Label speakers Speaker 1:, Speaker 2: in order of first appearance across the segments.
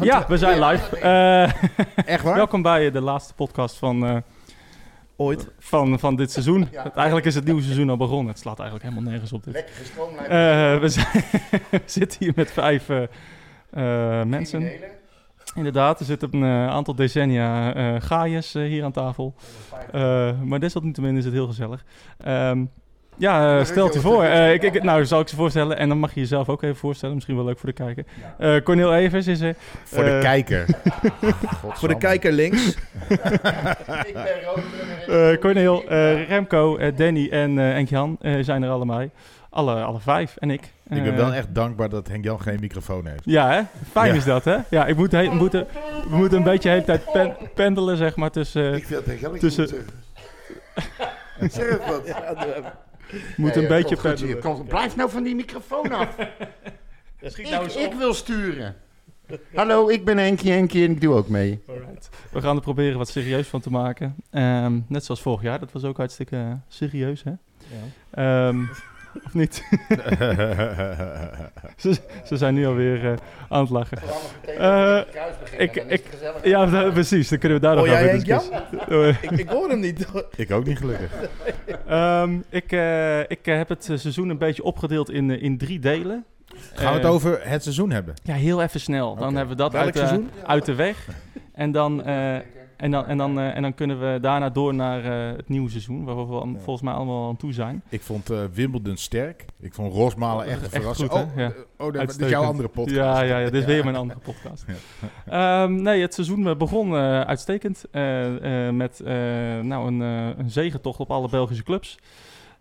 Speaker 1: Ja, we zijn live. Eh,
Speaker 2: Echt waar?
Speaker 1: welkom bij eh, de laatste podcast van, eh,
Speaker 2: Ooit.
Speaker 1: van, van dit seizoen. Het- Eigenlijk is het nieuwe seizoen al begonnen. Het slaat eigenlijk helemaal nergens op. Dit.
Speaker 2: Lekker gestroomlijnd.
Speaker 1: Eh, we, zijn, we zitten hier met vijf eh, eh, mensen. Inderdaad, er zitten een eh, aantal decennia eh gaaiers eh, hier aan tafel. Eh, maar desalniettemin is het heel gezellig. Ehm, ja, eh, stelt u voor. Eh, ik, ik, nou, zal ik ze voorstellen. En dan mag je jezelf ook even voorstellen. Misschien wel leuk voor de kijker. Eh Cornel Evers is er.
Speaker 3: Voor de
Speaker 1: Eh,
Speaker 3: kijker.
Speaker 2: Voor de kijker links.
Speaker 1: Eh, Corneel, eh, Remco, eh, Danny en eh Henk Jan eh, zijn er allemaal. Alle, alle vijf en ik.
Speaker 3: Ik ben
Speaker 1: Eh,
Speaker 3: wel echt dankbaar dat Henk Jan geen microfoon heeft.
Speaker 1: Ja, hè? Fijn
Speaker 3: Ja.
Speaker 1: is dat, hè? Ja, ik moet he- we moeten- we moeten een beetje de hele tijd pen- pendelen, zeg maar, dus, eh, tussen...
Speaker 4: Ik vind dat gelijk
Speaker 1: Tussen-
Speaker 4: zeggen. zeg het wat. Ja, doe even.
Speaker 1: moet een
Speaker 4: Nee,
Speaker 1: beetje
Speaker 4: komt goed hier.
Speaker 1: pendelen.
Speaker 4: Komt- blijf nou van die microfoon af. ik,
Speaker 1: nou
Speaker 2: nou
Speaker 4: ik wil sturen. Hallo, ik ben Henkie Henkie en ik doe ook mee.
Speaker 1: We gaan er proberen wat serieus van te maken. Ehm, net zoals vorig jaar, dat was ook hartstikke eh, serieus, hè? Ehm, of niet? ze, ze zijn nu alweer eh, aan het lachen. Eh, ik- dan is het ik- Ja, da- precies. Dan kunnen we daar nog
Speaker 2: Hoor jij
Speaker 1: over
Speaker 2: Henk Jan?
Speaker 1: discussiëren.
Speaker 2: Ik, ik hoor hem niet.
Speaker 3: ik ook niet gelukkig.
Speaker 1: Ehm, ik, eh, ik eh, heb het eh, seizoen een beetje opgedeeld in, eh, in drie delen.
Speaker 3: Gaan we het
Speaker 1: Eh,
Speaker 3: over het seizoen hebben?
Speaker 1: Ja, heel even snel. Dan
Speaker 3: Oké.
Speaker 1: hebben we dat
Speaker 2: Welk
Speaker 1: uit, eh,
Speaker 2: seizoen?
Speaker 1: uit de weg. En dan, eh, en, dan, en, dan, eh, en dan kunnen we daarna door naar eh, het nieuwe seizoen, waar we wel-
Speaker 3: Ja.
Speaker 1: volgens mij allemaal aan toe zijn.
Speaker 3: Ik vond eh, Wimbledon sterk. Ik vond Rosmalen echt een
Speaker 1: Echt
Speaker 3: verrassing.
Speaker 1: goed, hè?
Speaker 3: oh,
Speaker 1: Ja.
Speaker 3: eh, oh dat- dit is
Speaker 1: Uitstekend.
Speaker 3: jouw andere podcast.
Speaker 1: Ja, ja, ja, dit is weer mijn andere podcast. Ehm, nee, het seizoen eh, begon eh, uitstekend eh, eh, met eh, nou, een, eh een zegentocht op alle Belgische clubs.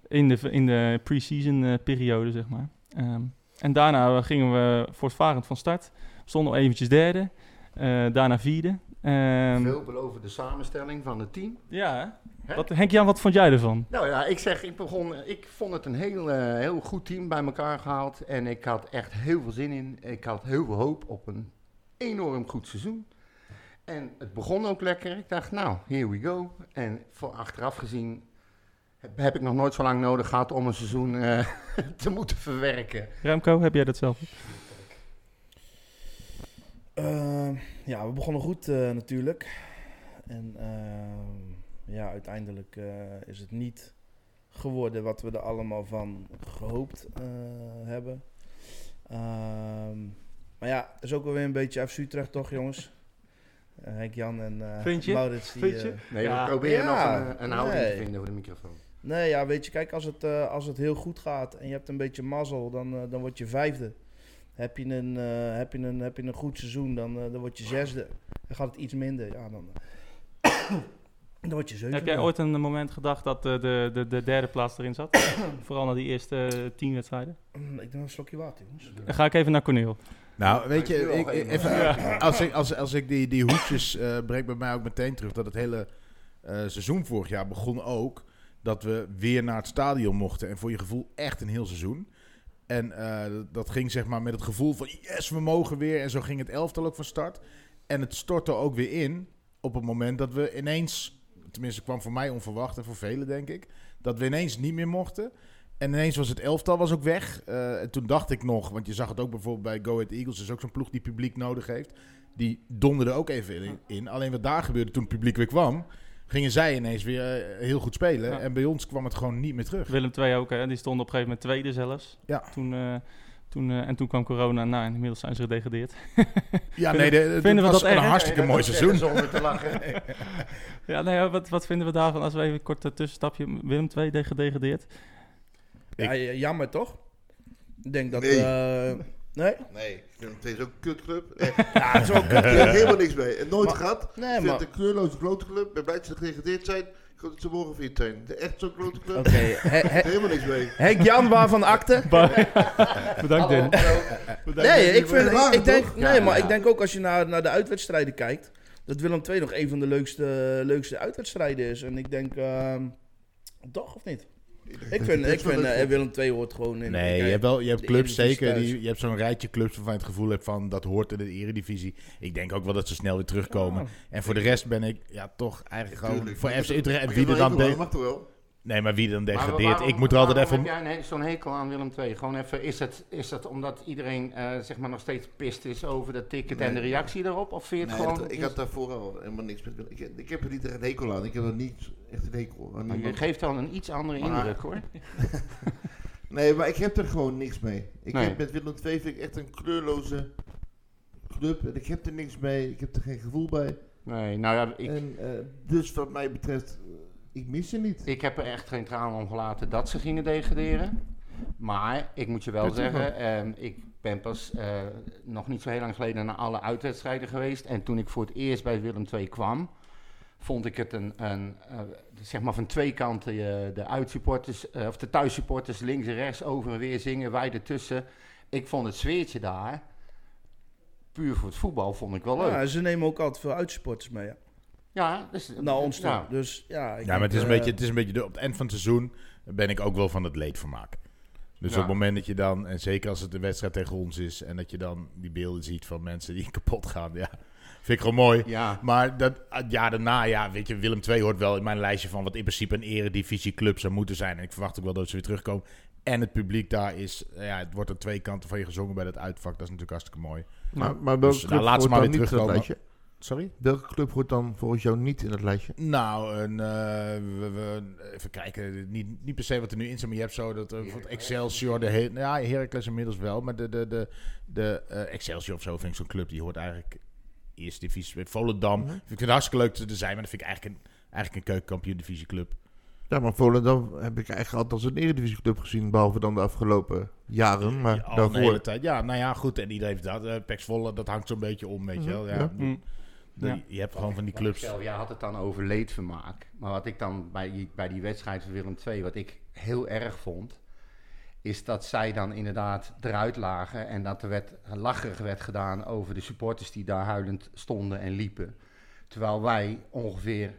Speaker 1: In de, in de pre-season eh, periode, zeg maar. Ehm, en daarna eh, gingen we voortvarend van start. We stonden al eventjes derde, eh, daarna vierde. Ehm,
Speaker 4: Veel beloven de samenstelling van het team.
Speaker 1: ja, hè?
Speaker 4: Hè?
Speaker 1: wat, Henk-Jan, wat vond jij ervan?
Speaker 4: Nou ja, ik zeg, ik, begon, ik vond het een heel, eh, heel goed team bij elkaar gehaald. En ik had echt heel veel zin in. Ik had heel veel hoop op een enorm goed seizoen. En het begon ook lekker. Ik dacht, nou, here we go. En voor achteraf gezien heb, heb ik nog nooit zo lang nodig gehad om een seizoen eh, te moeten verwerken.
Speaker 1: Remco, heb jij dat zelf?
Speaker 2: Ehm, ja, we begonnen goed eh, natuurlijk. En ehm, ja, uiteindelijk eh, is het niet geworden wat we er allemaal van gehoopt eh, hebben. Ehm, maar ja, het is ook wel weer een beetje FC Utrecht toch, jongens? Eh, Henk Jan en eh,
Speaker 1: Vind je?
Speaker 2: Maurits. Die,
Speaker 1: Vind je?
Speaker 2: eh,
Speaker 4: Nee,
Speaker 1: Ja.
Speaker 4: we proberen
Speaker 2: Ja,
Speaker 4: nog een, een houding
Speaker 2: nee.
Speaker 4: te vinden voor de microfoon.
Speaker 2: Nee, ja, weet je, kijk, als het, eh, als het heel goed gaat en je hebt een beetje mazzel, dan, eh, dan word je vijfde. Heb je een, eh, heb je een, heb je een goed seizoen, dan, eh, dan word je zesde. Dan gaat het iets minder, ja, dan, eh, dan word je zevende.
Speaker 1: Heb jij ooit een moment gedacht dat eh, de, de, de derde plaats erin zat? Vooral na die eerste eh, tien wedstrijden.
Speaker 2: Mm, Ik doe een slokje water, jongens.
Speaker 1: Dan ga ik even naar Corneel.
Speaker 3: Nou, weet je,
Speaker 4: Ik wil
Speaker 3: ik,
Speaker 4: even-
Speaker 3: even, eh, als, ik, als, als ik die, die hoedjes eh breng bij mij ook meteen terug dat het hele eh, seizoen vorig jaar begon ook dat we weer naar het stadion mochten en voor je gevoel echt een heel seizoen. En eh, dat ging zeg maar met het gevoel van yes, we mogen weer en zo ging het elftal ook van start. En het stortte ook weer in op het moment dat we ineens, tenminste kwam voor mij onverwacht en voor velen denk ik, dat we ineens niet meer mochten. En ineens was het elftal was ook weg. Eh, en toen dacht ik nog, want je zag het ook bijvoorbeeld bij Go Ahead Eagles, is ook zo'n ploeg die publiek nodig heeft. Die donderde ook even in. in. Alleen wat daar gebeurde toen het publiek weer kwam, gingen zij ineens weer eh, heel goed spelen.
Speaker 1: Ja.
Speaker 3: En bij ons kwam het gewoon niet meer terug.
Speaker 1: Willem II ook, hè? die stond op een gegeven moment tweede zelfs.
Speaker 3: Ja.
Speaker 1: Toen, eh, toen, eh, en toen kwam corona, nou, en inmiddels zijn ze gedegradeerd.
Speaker 3: Ja,
Speaker 1: Vinden-
Speaker 3: nee, de,
Speaker 1: vinden we
Speaker 3: was
Speaker 1: dat
Speaker 3: een
Speaker 1: erg?
Speaker 3: hartstikke
Speaker 4: Nee,
Speaker 3: mooi
Speaker 4: dat is
Speaker 3: seizoen.
Speaker 4: echt Zonder te lachen.
Speaker 1: ja, nee, wat, wat vinden we daarvan als we even een korte tussenstapje... Willem II de- gedegradeerd.
Speaker 2: Ja, ja, jammer toch? Ik denk dat...
Speaker 5: Nee.
Speaker 2: eh, nee?
Speaker 5: Nee, het is ook een kutclub. Echt,
Speaker 2: Ja, het is ook...
Speaker 5: Ik heb helemaal niks mee. En nooit gehad. Ik
Speaker 2: Nee,
Speaker 5: vind
Speaker 2: maar...
Speaker 5: het een kleurloze grote club. Bij mij dat ze gedegradeerd zijn. Ik hoop dat ze morgen fit zijn. De echt zo'n grote club.
Speaker 2: Oké, He- he-
Speaker 5: Helemaal niks mee.
Speaker 2: Henk Jan, waarvan akte?
Speaker 1: Bedankt,
Speaker 4: Hallo.
Speaker 1: Dennis.
Speaker 2: Nee, ik,
Speaker 5: jullie
Speaker 2: vind,
Speaker 5: waren,
Speaker 2: ik, ik denk,
Speaker 5: toch?
Speaker 2: nee
Speaker 4: Ja,
Speaker 2: maar
Speaker 4: ja.
Speaker 2: ik denk ook als je naar, naar de uitwedstrijden kijkt, dat Willem II nog een van de leukste, leukste uitwedstrijden is. En ik denk, ehm, toch of niet? Ik vind, ik vind eh, Willem II hoort gewoon in.
Speaker 3: Nee,
Speaker 2: ik-
Speaker 3: je hebt, wel, je hebt
Speaker 2: de
Speaker 3: clubs
Speaker 2: Eredivisie
Speaker 3: zeker.
Speaker 2: thuis.
Speaker 3: Die, je hebt zo'n rijtje clubs waarvan je het gevoel hebt van dat hoort in de eredivisie. Ik denk ook wel dat ze snel weer terugkomen.
Speaker 2: Ja.
Speaker 3: En voor de rest ben ik ja, toch eigenlijk gewoon
Speaker 5: Tuurlijk.
Speaker 3: voor
Speaker 5: Maar
Speaker 3: FC
Speaker 5: je
Speaker 3: Utrecht en
Speaker 5: mag
Speaker 3: wie er
Speaker 5: wel
Speaker 3: dan
Speaker 5: even,
Speaker 3: tegen-
Speaker 5: mag toch wel?
Speaker 3: Nee, maar wie dan
Speaker 4: Maar wa-
Speaker 3: degradeert?
Speaker 4: waarom-
Speaker 3: ik moet er altijd
Speaker 4: waarom
Speaker 3: even... om-
Speaker 4: Heb jij een he- zo'n hekel aan Willem II? Gewoon even, is dat, is dat omdat iedereen eh, zeg maar nog steeds pist is over dat ticket en de
Speaker 5: Nee.
Speaker 4: reactie daarop? Of vind je het
Speaker 5: Nee,
Speaker 4: gewoon...
Speaker 5: dat- ik had daarvoor al helemaal niks met. Ik, ik heb er niet echt een hekel aan. Ik heb er niet echt een hekel
Speaker 4: Maar
Speaker 5: aan.
Speaker 4: je
Speaker 5: niemand.
Speaker 4: geeft al een iets andere
Speaker 5: Maar-
Speaker 4: indruk hoor.
Speaker 5: Nee, maar ik heb er gewoon niks mee. Ik
Speaker 4: Nee.
Speaker 5: heb met Willem II vind ik echt een kleurloze club. En ik heb er niks mee. Ik heb er geen gevoel bij.
Speaker 4: Nee, nou ja, ik,
Speaker 5: En, eh, dus wat mij betreft, eh, ik mis ze niet.
Speaker 4: ik heb er echt geen traan om gelaten dat ze gingen degraderen. Maar ik moet je wel
Speaker 5: Dat is
Speaker 4: zeggen, ehm, ik ben pas eh, nog niet zo heel lang geleden naar alle uitwedstrijden geweest. En toen ik voor het eerst bij Willem II kwam, vond ik het een, een eh, zeg maar van twee kanten eh, de uitsupporters, eh, of de thuissupporters links en rechts over en weer zingen, wij ertussen. Ik vond het zweertje daar, puur voor het voetbal, vond ik wel leuk.
Speaker 2: Ja, ze nemen ook altijd veel uitsporters mee. Ja.
Speaker 4: Ja, dus,
Speaker 2: Naar ons toe.
Speaker 4: ja.
Speaker 2: Dus ja, ik
Speaker 3: Ja, maar het is een
Speaker 2: denk,
Speaker 3: beetje,
Speaker 2: eh,
Speaker 3: het is een beetje de, op het eind van het seizoen ben ik ook wel van het leedvermaak. Dus
Speaker 4: Ja.
Speaker 3: op het moment dat je dan, en zeker als het een wedstrijd tegen ons is, en dat je dan die beelden ziet van mensen die kapot gaan, ja, vind ik gewoon mooi.
Speaker 4: ja.
Speaker 3: Maar dat, het jaar daarna, ja, weet je, Willem II hoort wel in mijn lijstje van wat in principe een eredivisieclub zou moeten zijn. En ik verwacht ook wel dat ze weer terugkomen. En het publiek daar is, ja, het wordt aan twee kanten van je gezongen bij dat uitvak. Dat is natuurlijk hartstikke mooi.
Speaker 5: Maar, maar
Speaker 3: welke Dus, nou, club laat ze hoort maar dan weer niet in dat terugkomen.
Speaker 5: lijstje?
Speaker 3: lijstje? Sorry?
Speaker 5: Welke club hoort dan volgens jou niet in het lijstje?
Speaker 3: Nou, een, eh, we, we- even kijken. Niet, niet per se wat er nu in zit, maar je hebt zo dat eh, bijvoorbeeld Excelsior, de he- ja, Heracles inmiddels wel, maar de, de, de, de eh, Excelsior of zo vind ik zo'n club die hoort eigenlijk eerste divisie bij Volendam.
Speaker 5: Mhm.
Speaker 3: Vind ik het hartstikke leuk te zijn, maar dat vind ik eigenlijk een, eigenlijk een keukenkampioen divisieclub.
Speaker 5: Ja, maar Volendam heb ik eigenlijk altijd als een eredivisieclub gezien, behalve dan de afgelopen jaren. Maar
Speaker 3: Ja, oh, al een hele
Speaker 5: daarvoor.
Speaker 3: tijd. Ja, nou ja, goed. En iedereen heeft dat. eh Pax Volle, dat hangt zo'n beetje om, weet je wel. Ja,
Speaker 5: Ja.
Speaker 1: Mm.
Speaker 3: De-
Speaker 1: Ja.
Speaker 3: Je hebt gewoon van die
Speaker 4: Wat ik
Speaker 3: clubs.
Speaker 4: zelf- jij had het dan over leedvermaak. Maar wat ik dan bij die, bij die wedstrijd van Willem II, wat ik heel erg vond, is dat zij dan inderdaad eruit lagen en dat er werd, lacherig werd gedaan over de supporters die daar huilend stonden en liepen. Terwijl wij ongeveer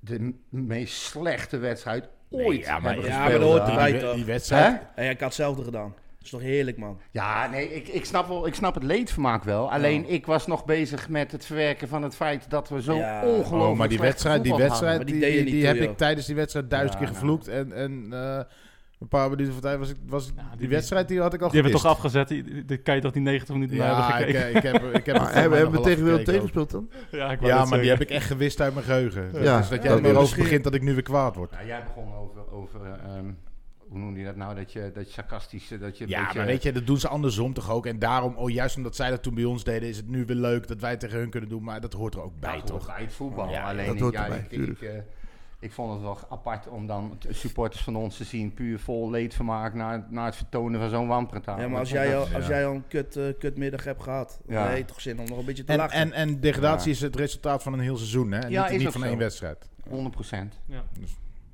Speaker 4: de m- meest slechte wedstrijd ooit
Speaker 3: Nee, ja, maar,
Speaker 4: hebben
Speaker 2: Ja,
Speaker 4: gespeeld.
Speaker 2: maar dat hoort
Speaker 4: daar.
Speaker 2: erbij.
Speaker 3: die,
Speaker 2: toch?
Speaker 3: die wedstrijd. Oh,
Speaker 4: Hè?
Speaker 2: ja, ik had hetzelfde gedaan. Dat is toch heerlijk, man.
Speaker 4: Ja, nee, ik, ik, snap wel, ik snap het leedvermaak wel. Alleen ik was nog bezig met het verwerken van het feit dat we zo
Speaker 2: Ja.
Speaker 4: ongelooflijk
Speaker 3: Oh, maar die
Speaker 4: slecht
Speaker 3: wedstrijd, die
Speaker 4: voetbal hadden.
Speaker 3: wedstrijd,
Speaker 2: Maar
Speaker 3: die,
Speaker 2: die deed je
Speaker 3: die,
Speaker 2: niet
Speaker 3: die
Speaker 2: toe,
Speaker 3: heb
Speaker 2: joh.
Speaker 3: ik tijdens die wedstrijd duizend
Speaker 4: Ja,
Speaker 3: keer
Speaker 4: nou.
Speaker 3: gevloekt. En, en eh, een paar minuten van tijd was ik, was ik- die,
Speaker 1: die-
Speaker 3: wedstrijd die had ik al
Speaker 1: Die hebben
Speaker 3: gemist.
Speaker 1: toch afgezet? Die- die- die- kan je toch die 90 minuten naar
Speaker 3: Ja,
Speaker 1: hebben
Speaker 3: ik,
Speaker 1: gekeken?
Speaker 3: ik heb, ik heb het
Speaker 5: Maar eh, hebben, hebben we tegen Willem II
Speaker 3: tegen
Speaker 5: gespeeld dan?
Speaker 1: ja, ik wou
Speaker 3: Ja,
Speaker 1: net
Speaker 3: maar die
Speaker 1: zeggen.
Speaker 3: heb ik echt gewist uit mijn geheugen.
Speaker 5: Ja,
Speaker 3: dus dat jij
Speaker 2: dat
Speaker 3: er weer over
Speaker 2: misschien.
Speaker 3: begint dat ik nu weer kwaad word.
Speaker 4: Nou, jij begon over, over eh, ehm, hoe noemde je dat nou, dat je, dat je sarcastisch, eh, dat je een
Speaker 3: Ja,
Speaker 4: beetje-
Speaker 3: maar weet je, dat doen ze andersom toch ook. En daarom, oh, juist omdat zij dat toen bij ons deden, is het nu weer leuk dat wij het tegen hun kunnen doen. Maar dat hoort er ook
Speaker 4: dat
Speaker 3: bij,
Speaker 4: hoort
Speaker 3: toch?
Speaker 4: bij het voetbal.
Speaker 3: Ja,
Speaker 4: Alleen
Speaker 5: dat
Speaker 4: ik-
Speaker 5: hoort
Speaker 4: ja,
Speaker 5: erbij,
Speaker 4: ik, ik,
Speaker 5: tuurlijk.
Speaker 4: eh, ik vond het wel apart om dan t- supporters van ons te zien, puur vol leedvermaak naar, naar het vertonen van zo'n wanpretaal.
Speaker 2: ja, maar
Speaker 4: Dat
Speaker 2: als
Speaker 4: vond
Speaker 2: jij,
Speaker 4: ik-
Speaker 2: al, als
Speaker 3: ja.
Speaker 2: jij al een kut, eh, kutmiddag hebt gehad,
Speaker 4: Ja.
Speaker 2: dan heb je toch zin om nog een beetje te
Speaker 3: En,
Speaker 2: lachen.
Speaker 3: en, en degradatie
Speaker 4: Ja.
Speaker 3: is het resultaat van een heel seizoen, hè? En
Speaker 4: Ja,
Speaker 3: niet,
Speaker 4: is
Speaker 3: niet
Speaker 4: ook
Speaker 3: van
Speaker 4: zo.
Speaker 3: één wedstrijd.
Speaker 4: 100 procent.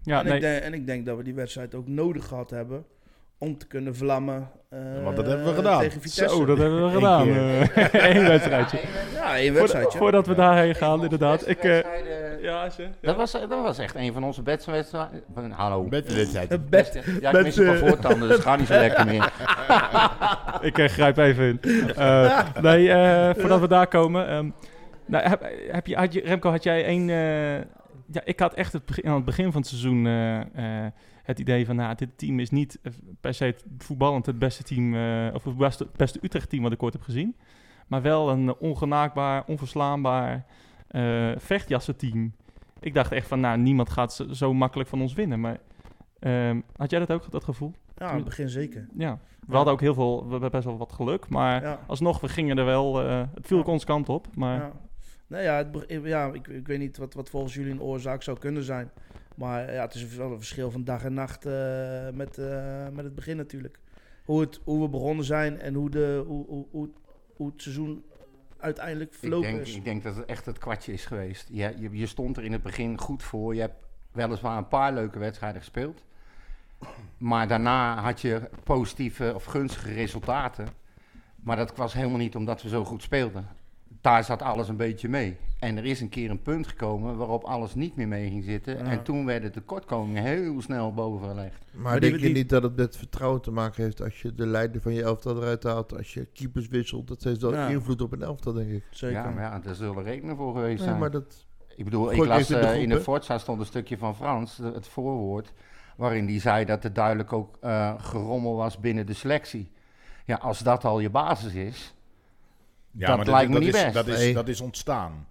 Speaker 1: Ja,
Speaker 2: en,
Speaker 1: nee.
Speaker 2: ik denk, en ik denk dat we die wedstrijd ook nodig gehad hebben om te kunnen vlammen. eh,
Speaker 3: Want dat hebben we gedaan.
Speaker 2: Tegen Vitesse.
Speaker 1: Zo, dat hebben we
Speaker 3: Eén
Speaker 1: gedaan.
Speaker 3: keer.
Speaker 1: eh. Eén wedstrijdje.
Speaker 2: Ja, één
Speaker 1: Voordat,
Speaker 2: wedstrijdje.
Speaker 1: voordat we daarheen gaan, inderdaad. Ik, eh, ja, ze.
Speaker 4: dat, was, eh, dat was echt een van onze beste wedstrijden. Hallo.
Speaker 3: Met de wedstrijd.
Speaker 2: Het bed. eh,
Speaker 4: ja, ik mis een paar voortanden, dus ga niet zo lekker meer.
Speaker 1: ik eh, grijp even in. Eh, nee, eh, voordat we daar komen. ehm, nou, heb, heb je, had je, Remco, had jij één... eh, ja, ik had echt het begin, aan het begin van het seizoen eh, eh, het idee van... Nou, dit team is niet eh, per se het voetballend het beste team... eh, of het beste, beste Utrecht-team wat ik ooit heb gezien. Maar wel een ongenaakbaar, onverslaanbaar eh vechtjassenteam. Ik dacht echt van, nou, niemand gaat zo, zo makkelijk van ons winnen. Maar ehm, had jij dat ook, dat gevoel?
Speaker 2: Ja, in het begin zeker.
Speaker 1: Ja, we hadden ook heel veel, we hebben best wel wat geluk, maar
Speaker 2: Ja.
Speaker 1: alsnog, we gingen er wel, eh, het viel ook
Speaker 2: Ja.
Speaker 1: onze kant op, maar
Speaker 2: Ja. Nou ja, het be- ja ik, ik weet niet wat, wat volgens jullie een oorzaak zou kunnen zijn. Maar ja, het is wel een verschil van dag en nacht eh, met, eh, met het begin natuurlijk. Hoe, het, hoe we begonnen zijn en hoe, de, hoe, hoe, hoe, hoe het seizoen uiteindelijk
Speaker 4: Ik
Speaker 2: verlopen
Speaker 4: denk,
Speaker 2: is.
Speaker 4: ik denk dat het echt het kwartje is geweest. Je, je, je stond er in het begin goed voor. Je hebt weliswaar een paar leuke wedstrijden gespeeld. Maar daarna had je positieve of gunstige resultaten. Maar dat was helemaal niet omdat we zo goed speelden. Daar zat alles een beetje mee. En er is een keer een punt gekomen waarop alles niet meer mee ging zitten.
Speaker 2: Ja.
Speaker 4: En toen werden de tekortkomingen heel snel bovengelegd.
Speaker 5: Maar
Speaker 2: die-
Speaker 5: denk je
Speaker 2: die-
Speaker 5: niet dat het met vertrouwen te maken heeft als je de leider van je elftal eruit haalt, als je keepers wisselt? Dat heeft wel
Speaker 2: Ja.
Speaker 5: invloed op een elftal, denk ik.
Speaker 2: Zeker.
Speaker 4: Ja, maar ja, daar zullen redenen voor geweest
Speaker 5: Nee,
Speaker 4: zijn.
Speaker 5: maar dat,
Speaker 4: Ik bedoel, ik
Speaker 5: Goed,
Speaker 4: las
Speaker 5: heeft het
Speaker 4: eh,
Speaker 5: begroepen?
Speaker 4: in de Forza stond een stukje van Frans, de- het voorwoord, waarin die zei dat er duidelijk ook eh, gerommel was binnen de selectie. Ja, als dat al je basis is.
Speaker 3: Ja,
Speaker 4: Dat lijkt me
Speaker 3: dat
Speaker 4: niet
Speaker 3: is,
Speaker 4: best.
Speaker 3: Dat is,
Speaker 5: Nee.
Speaker 3: dat is ontstaan.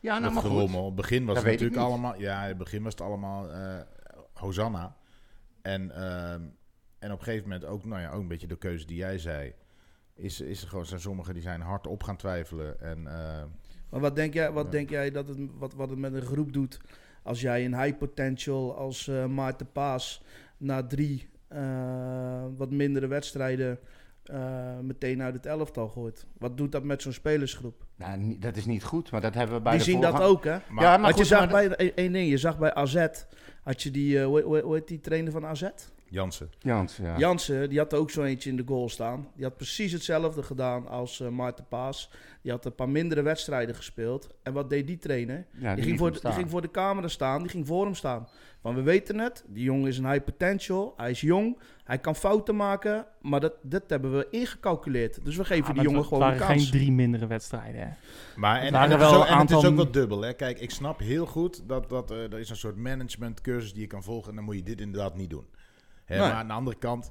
Speaker 4: Ja, nou
Speaker 3: dat
Speaker 4: maar goed.
Speaker 3: gerommel. Begin was
Speaker 4: Dat
Speaker 3: het
Speaker 4: weet ik
Speaker 3: natuurlijk
Speaker 4: niet.
Speaker 3: allemaal. Ja, in het begin was het allemaal eh, Hosanna. En, ehm, en op een gegeven moment ook, nou ja, ook een beetje de keuze die jij zei. Is, is er gewoon, zijn sommigen die zijn hard op gaan twijfelen. En eh,
Speaker 2: Maar wat denk jij, wat
Speaker 3: Ja.
Speaker 2: denk jij dat het, wat, wat het met een groep doet als jij een high potential als eh, Maarten Paas na drie eh, wat mindere wedstrijden eh, meteen uit het elftal gooit? Wat doet dat met zo'n spelersgroep?
Speaker 4: Nou, niet- dat is niet goed, maar dat hebben we bij
Speaker 2: Die
Speaker 4: de
Speaker 2: zien dat
Speaker 4: voorgang-
Speaker 2: ook, hè?
Speaker 3: Maar-
Speaker 4: ja, maar
Speaker 2: Want je
Speaker 4: goed,
Speaker 2: zag
Speaker 4: maar dat-
Speaker 2: bij één ding, je zag bij AZ, had je die, eh, hoe, hoe- hoe heet die trainer van AZ?
Speaker 3: Jansen.
Speaker 4: Jans, ja.
Speaker 2: Jansen, die had er ook zo eentje in de goal staan. Die had precies hetzelfde gedaan als eh, Maarten Paas. Die had een paar mindere wedstrijden gespeeld. En wat deed die trainer?
Speaker 4: Ja, die
Speaker 2: die,
Speaker 4: liet
Speaker 2: ging voor
Speaker 4: hem
Speaker 2: de, die
Speaker 4: staan.
Speaker 2: ging voor de camera staan, die ging voor hem staan. Want we weten het, die jongen is een high potential, hij is jong, hij kan fouten maken, maar dat, dat hebben we ingecalculeerd. Dus we geven die jongen gewoon een
Speaker 1: waren
Speaker 2: kans.
Speaker 1: geen drie mindere wedstrijden. Hè?
Speaker 3: Maar en,
Speaker 1: Er waren
Speaker 3: en het,
Speaker 1: wel
Speaker 3: is ook,
Speaker 1: een
Speaker 3: en het is
Speaker 1: aantal-
Speaker 3: ook wat dubbel. Hè? Kijk, ik snap heel goed dat, dat eh, er is een soort managementcursus die je kan volgen. En dan moet je dit inderdaad niet doen. Hè,
Speaker 2: Nee.
Speaker 3: Maar aan de andere kant